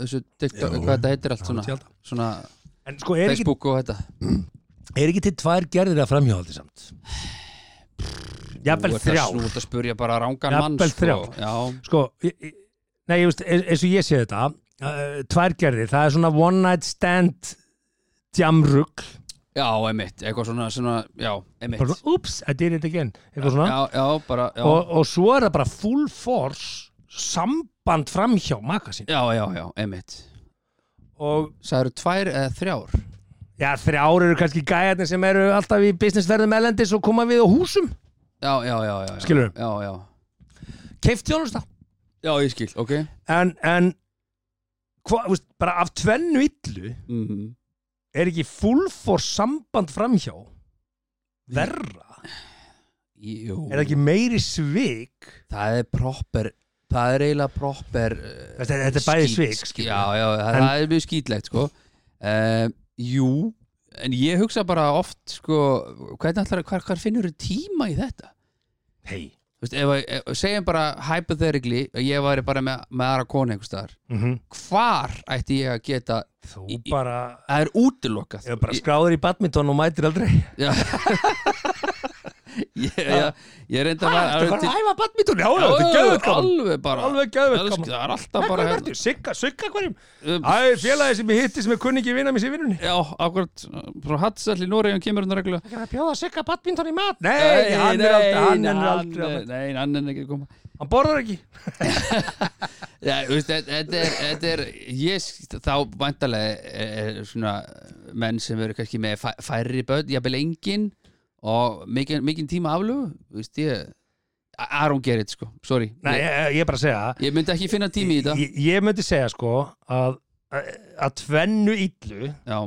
S3: þessu TikTok,
S1: Jú.
S3: hvað þetta heitir allt svona,
S1: Já, ég held
S3: svona
S1: en sko er ekki,
S3: Facebook og þetta
S1: Er ekki til tvær gerðir að framhjóðaldi samt? Jafnvel
S3: Nú ert að- Nú
S1: þrjár
S3: ert að spurja bara rángan mann
S1: Jafnvel
S3: sko.
S1: þrjár.
S3: Já,
S1: Sko, ég- ég- nei, ég veist, e- eins og ég sé þetta uh, Tvær gerðir, það er svona one night stand djamrugl
S3: já, emitt, eitthvað svona, svona Já, emitt
S1: Bara svona, Oops, I did it again Eitthvað svona
S3: Já, já, bara, já
S1: og, og svo er það bara full force samband framhjá makasin
S3: Já, já, já, emitt
S1: og
S3: Það eru tvær eða þrjár
S1: já, þrjár eru kannski gæjarnir sem eru alltaf í businessverðum elendis og koma við á húsum
S3: Já, já, já, já, já.
S1: Skilurðu?
S3: Já, já,
S1: keift þjónusta
S3: já, ég skil, ok
S1: en, en hva, veist, bara af tvennu illu
S3: mm.
S1: er ekki full force samband framhjá verra
S3: Jú,
S1: er það ekki meiri svik
S3: það er proper Það er eiginlega proper uh,
S1: þetta, þetta er bæði
S3: skít-
S1: svik skilurðu.
S3: Já, já, það,
S1: En-
S3: það er mjög skýtlegt sko. uh, Jú En ég hugsa bara oft sko, hvernig ætlar, hvar, hvar finnur þú tíma í þetta?
S1: hei
S3: Þú Veist, ef, að- ef, segjum bara hypothetically að ég væri bara með, með aðra konu einhvers staðar hvar ætti ég að geta
S1: þú
S3: Í- í-
S1: bara
S3: það er útilokað
S1: Ég er bara skráður í badminton og mætir aldrei
S3: ég, ég, ég, ég reyndi að
S1: Þetta er
S3: vera
S1: bara að æfa badminton Já, já, þetta er gæðvöld gaman
S3: alveg bara
S1: Alveg hérna. geðveikt
S3: Alveg-
S1: gaman.
S3: það er alltaf bara
S1: Hvað verður? Sigga, sigga hverjum?
S3: um,
S1: Æ, félagi sem ég hitti sem er kunningi vinnar mér sér vinnunni.
S3: já, akkurat frá Hatsall í Noregi hann kemur hann reglulega
S1: Það er að bjóða sigga badminton í mat. Nei, hann er aldrei, hann er aldrei,
S3: hann,
S1: hann,
S3: nei, hann er ekki að koma
S1: hann borðar ekki.
S3: Já, þú veist, þetta- þetta er, þetta er ég, sk- þá vantarlega er, er svona menn sem eru kannski með fæ- færri börn, jafnvel engin og mikinn mikil tíma aflögu þú veist, ég Aron Gerrit, sko, sorry
S1: Nei,
S3: ég,
S1: ég, ég er bara að segja það.
S3: ég myndi ekki finna tími í þetta
S1: Ég, ég myndi segja sko að að tvennu illu
S3: Já,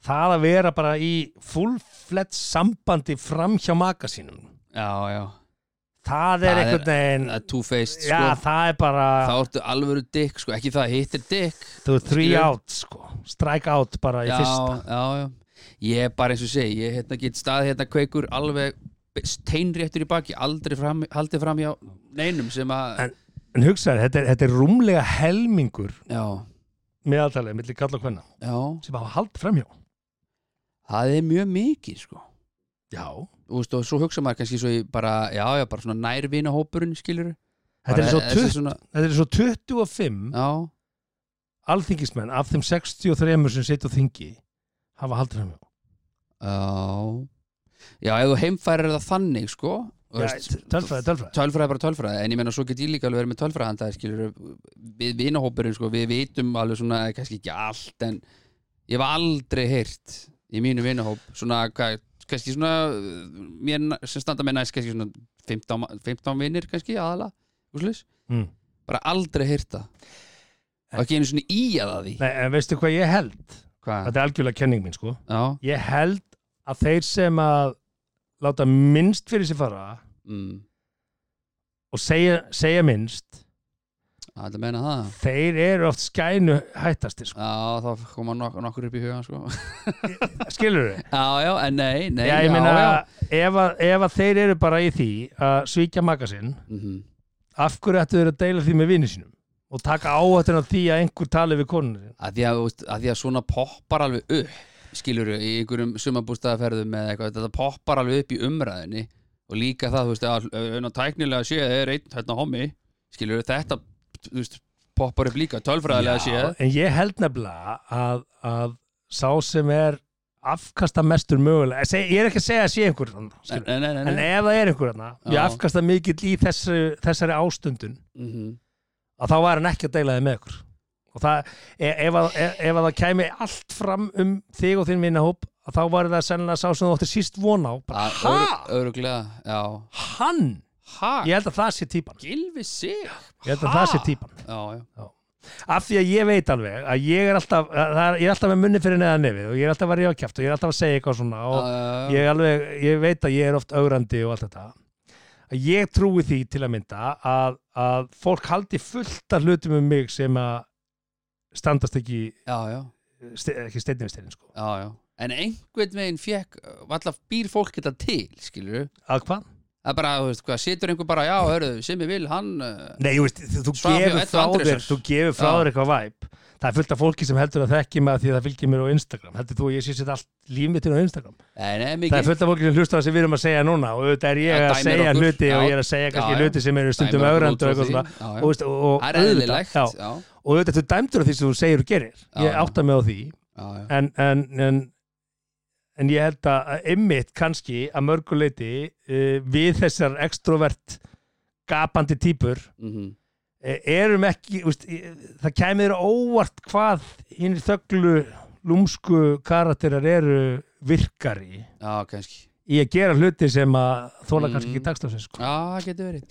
S1: það að vera bara í fullflett sambandi fram hjá maka sínum.
S3: já, já
S1: Það er
S3: Það er-
S1: einhvern veginn,
S3: Það er two-faced, sko
S1: já, það er bara,
S3: Þá ertu alvöru dick, sko, ekki það, hitt er dick
S1: þú er three
S3: skilur.
S1: out sko, strike out bara í
S3: Já,
S1: fyrsta.
S3: já, já Ég er bara eins og segi, ég hérna get stað hérna kveikur alveg steinréttur í baki aldrei fram, haldið fram hjá neinum sem að,
S1: En- En hugsaðu, þetta er, þetta er rúmlega helmingur
S3: já,
S1: meðaltalið millir kalla og hvenna
S3: já
S1: sem hafa haldið framhjá
S3: það er mjög mikið, sko
S1: Já.
S3: Þú veist, og svo hugsa maður kannski svo í bara, já, já, bara svona nærvina hópurinn, skilur
S1: Þetta, er svo 20,
S3: svona,
S1: þetta er svo 25
S3: Já,
S1: alþingismenn af þeim 63 sem setja á þingi hafa haldið framhjá
S3: já Já, ef þú heimfærir það þannig, sko þú
S1: Já,
S3: veist,
S1: Tölfræði, tölfræði
S3: tölfræði er bara tölfræði en ég meina svo get ég líka alveg verið með tölfræðan það skilur við vinahópurinn sko, við vitum alveg svona kannski ekki allt en ég hef aldrei heyrt í mínu vinahóp svona hvað, kannski svona uh, mér, na- sem standa með næst kannski svona 15, ma- 15 vinir kannski aðala úslis,
S1: mm.
S3: bara aldrei heyrt það og ekki einu svona í að það því
S1: Nei, en veistu hvað ég held?
S3: hvað,
S1: Þetta er algjörlega kenning mín sko
S3: já
S1: Ég held að þeir sem að láta minnst fyrir sér fara
S3: mm,
S1: og segja, segja minnst
S3: það meina það
S1: þeir eru oft skænu hættastir sko.
S3: Já, þá koma nok nokkur upp í hugan sko.
S1: Skilur þau?
S3: Já, já, en nei, nei
S1: Já, ég meina,
S3: já, já.
S1: Ef, að, ef að þeir eru bara í því að svíkja makasinn
S3: Mhm.
S1: af hverju ættu þeir að deila því með vinnu sínum og taka áhættin á því að einhver tali við konunni sín
S3: að því að, þú veist, að því að svona poppar alveg upp skilur í einhverjum sumabústaðaferðum eða eitthvað, þetta poppar alveg upp í umræðinni og líka það, þú veist, að að tæknilega séð er einn hérna hommi skilur þetta, þú veist, poppar upp líka tölfræðilega séð
S1: en ég held nefnilega að, að sá sem er afkasta mestur mögulega ég, seg, ég er ekki að segja að sé einhver þarna,
S3: en,
S1: skilurðu.
S3: en, en,
S1: en
S3: en,
S1: ef það er einhver þarna,
S3: Já.
S1: ég afkasta mikill í þessu, þessari ástundun
S3: Mhm.
S1: að þá var hann ekki að deila þið með ykkur og það, e- ef að, e- ef að það kæmi allt fram um þig og þinn vinahóp að þá var það sennilega sá sem þú átti síst von á bara,
S3: Að
S1: ha,
S3: öru- Öruglega, já
S1: hann
S3: Ha,
S1: ég held að það sé típan
S3: gilfi sig
S1: ég held að það sé típan
S3: Já, já,
S1: af því að ég veit alveg að ég er alltaf, að, það er, ég er alltaf með munni fyrir neðan nefið og ég er alltaf að rífa kjæft og ég er alltaf að segja eitthvað svona og
S3: já, já,
S1: ég, alveg, ég veit að ég er oft ögrandi og allt þetta að ég trúi því til að mynda að, að fólk haldi fullt af hlutum um mig sem að standast ekki,
S3: já, já,
S1: ste, ekki steinni við steinin sko.
S3: já, uh, já En einhvern veginn fekk, valla býr fólk þetta til, skilur
S1: að hvað?
S3: það er bara, þú veist, hvað, situr einhver bara já, hörðu, sem ég vil, hann uh,
S1: Nei, þú veist, þú, þú
S3: Svaf hjá
S1: gefur
S3: Eddu
S1: frá þér
S3: Andrésar.
S1: þú gefur frá
S3: Já.
S1: þér eitthvað væp það er fullt af fólki sem heldur að þekki mig af því að það fylgir mér á Instagram heldur þú að ég sé sér allt líf mitt inn á Instagram
S3: nei, nei,
S1: það
S3: mikið
S1: er fullt af fólki sem hlustar það sem við erum að segja núna og auðvitað er ég
S3: Já,
S1: að
S3: dæmir
S1: segja
S3: okkur.
S1: hluti og
S3: Já.
S1: ég er að segja kannski
S3: Já, já.
S1: hluti sem eru stundum
S3: Dæmir okkur
S1: ögrandi og eitthvað svona
S3: út frá því. Já, já.
S1: Og veist, og- og
S3: það er
S1: auðvitað-
S3: eðlilegt
S1: já.
S3: já, já,
S1: og auðvitað þú dæmdur á því sem þú segir og gerir
S3: Já,
S1: ég
S3: já.
S1: átta mig á því
S3: já.
S1: en, en, en, en ég held að að einmitt kannski að mörguleiti uh, við þessar extrovert gapandi típur
S3: Mm
S1: uh, erum ekki úst, það kæmir óvart hvað hinn þögglu lúmsku karakterar eru virkari
S3: já, kannski
S1: í að gera hluti sem að þóla kannski
S3: Mm.
S1: ekki takst á sig sko.
S3: já, það getur verið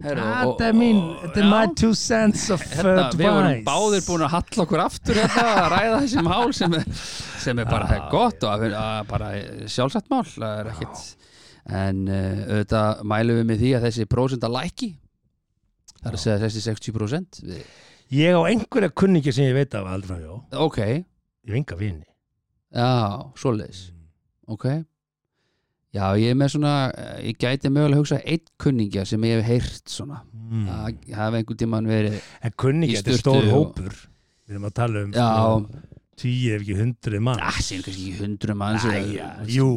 S3: Heru,
S1: Þetta er mín, þetta er my two cents of
S3: Hérna,
S1: uh,
S3: við vorum
S1: advice.
S3: báðir búin að halla okkur aftur hérna, að ræða þessi mál sem er, sem er bara
S1: Já,
S3: gott og að, að, bara sjálfsagt mál það er ekkit en uh, auðvitað mælum við með því að þessi prósenta læki það er að segja þessi 60% við,
S1: Ég á einhverja kunningi sem ég veit af aldrei frá jó,
S3: ok,
S1: ég hef enga vini
S3: já, svoleiðis ok já, ég er með svona, eh, ég gæti mögulega að hugsa eitt kunningja sem ég hef heyrt svona,
S1: mm.
S3: það hafi einhvern tímann verið
S1: En kunningi,
S3: Í
S1: þetta er
S3: sturtu
S1: stór
S3: og-
S1: hópur Við erum að tala um
S3: já, Ah,
S1: tíu ef ekki hundruð mann
S3: það séu kannski ekki hundru manns eða-
S1: Æja, jú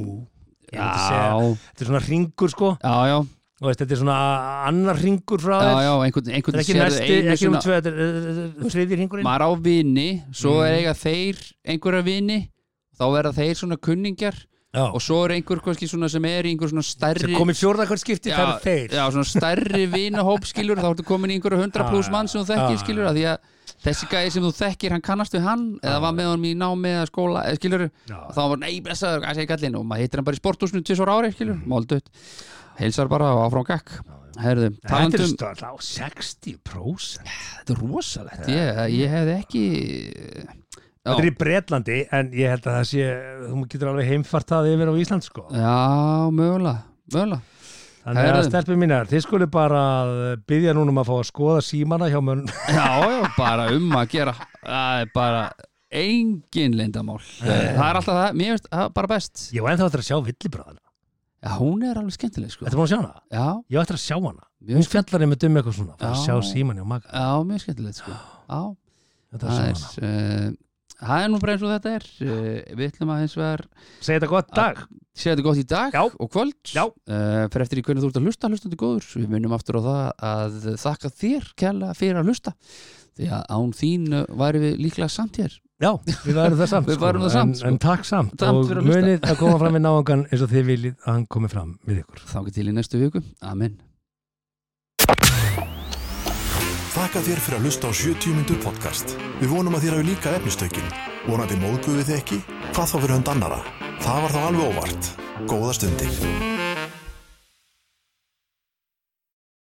S1: Ég myndi segja,
S3: já,
S1: Þetta er svona ringur sko
S3: já, já
S1: og veist, þetta er svona annar ringur frá
S3: já,
S1: þér
S3: já, einhvern,
S1: Þetta
S3: einhvern
S1: er ekki
S3: sérðu
S1: næsti,
S3: einu
S1: ekki um
S3: svona-
S1: tvö Þetta er, er, er, er þriði ringurinn
S3: maður á vini, svo
S1: Mm.
S3: er eiga þeir einhverja vini, þá verða þeir svona kunningjar
S1: Já,
S3: og svo er einhver kannski svona sem er í einhver svona
S1: sem
S3: stærri
S1: kom í fjórða hvert skipti,
S3: Já,
S1: það eru þeir
S3: já, svona stærri vinahóp skilur þá ertu komin í einhverju hundra pluss mann sem þú
S1: Já,
S3: þekkir
S1: já.
S3: skilur, af því að þessi gæði sem þú þekkir hann kannast við hann, eða var með honum í námi eða skóla, eða skilur,
S1: Já.
S3: þá var hann, nei, blessaður, hvað segir kallinn, og maður hittir hann bara í sporthúsinu tvisvar á ári, skilur,
S1: Mm.
S3: málduð heilsar bara og áfram gakk herðu,
S1: Þetta er
S3: talandum,
S1: stöð á 60%
S3: þetta er rosalegt ég, ég hefði ekki já,
S1: Þetta er í Bretlandi en ég held að það sé þú getur alveg heimfart það yfir á Ísland sko
S3: já, mögulega mögulega,
S1: Þannig að
S3: Herðu.
S1: stelpum mínar, þið skulle bara byggja núna um að fá að skoða símana hjá mönn
S3: já, já, bara um að gera það er bara engin lindamál, það er alltaf það mér finnst það er bara best
S1: Ég var ennþá eftir að sjá villibráðana
S3: Já, hún er alveg skemmtileg sko
S1: Þetta búin að sjá hana?
S3: Já,
S1: Ég var eftir að sjá hana
S3: mjög,
S1: Hún fjallar einmitt um eitthvað svona Fara að
S3: Já.
S1: sjá síman hjá maga
S3: já, mjög skemmtileg sko Já,
S1: Þetta var
S3: það
S1: sjá
S3: er
S1: hana
S3: uh, Það er nú bara eins og þetta er uh, Við ætlum að hins vegar
S1: Segði þetta gott dag
S3: Sér þetta gott í dag
S1: Já.
S3: og kvöld
S1: Já.
S3: Eh, Fer eftir í hvernig þú ert að hlusta, hlustandi góður Við minnum aftur á það að þakka þér kæla fyrir að hlusta Því að án þín eh, væri við líklega samt hér
S1: Já, við varum það samt
S3: Við værum það samt,
S1: en,
S3: sko.
S1: en takk samt
S3: Samt
S1: Og
S3: fyrir að hlusta.
S1: munið að koma fram við náungan eins og þið viljið að hann komi fram við ykkur
S3: Þá til í næstu viku, amen
S2: Þakka þér fyrir að hlusta á 70 myndur podcast. Við vonum að þér hafi líka efnistökin. Vonandi móðguðu þið ekki? Hvað þá fyrir hund annara? Það var þá alveg óvart. Góða stundir.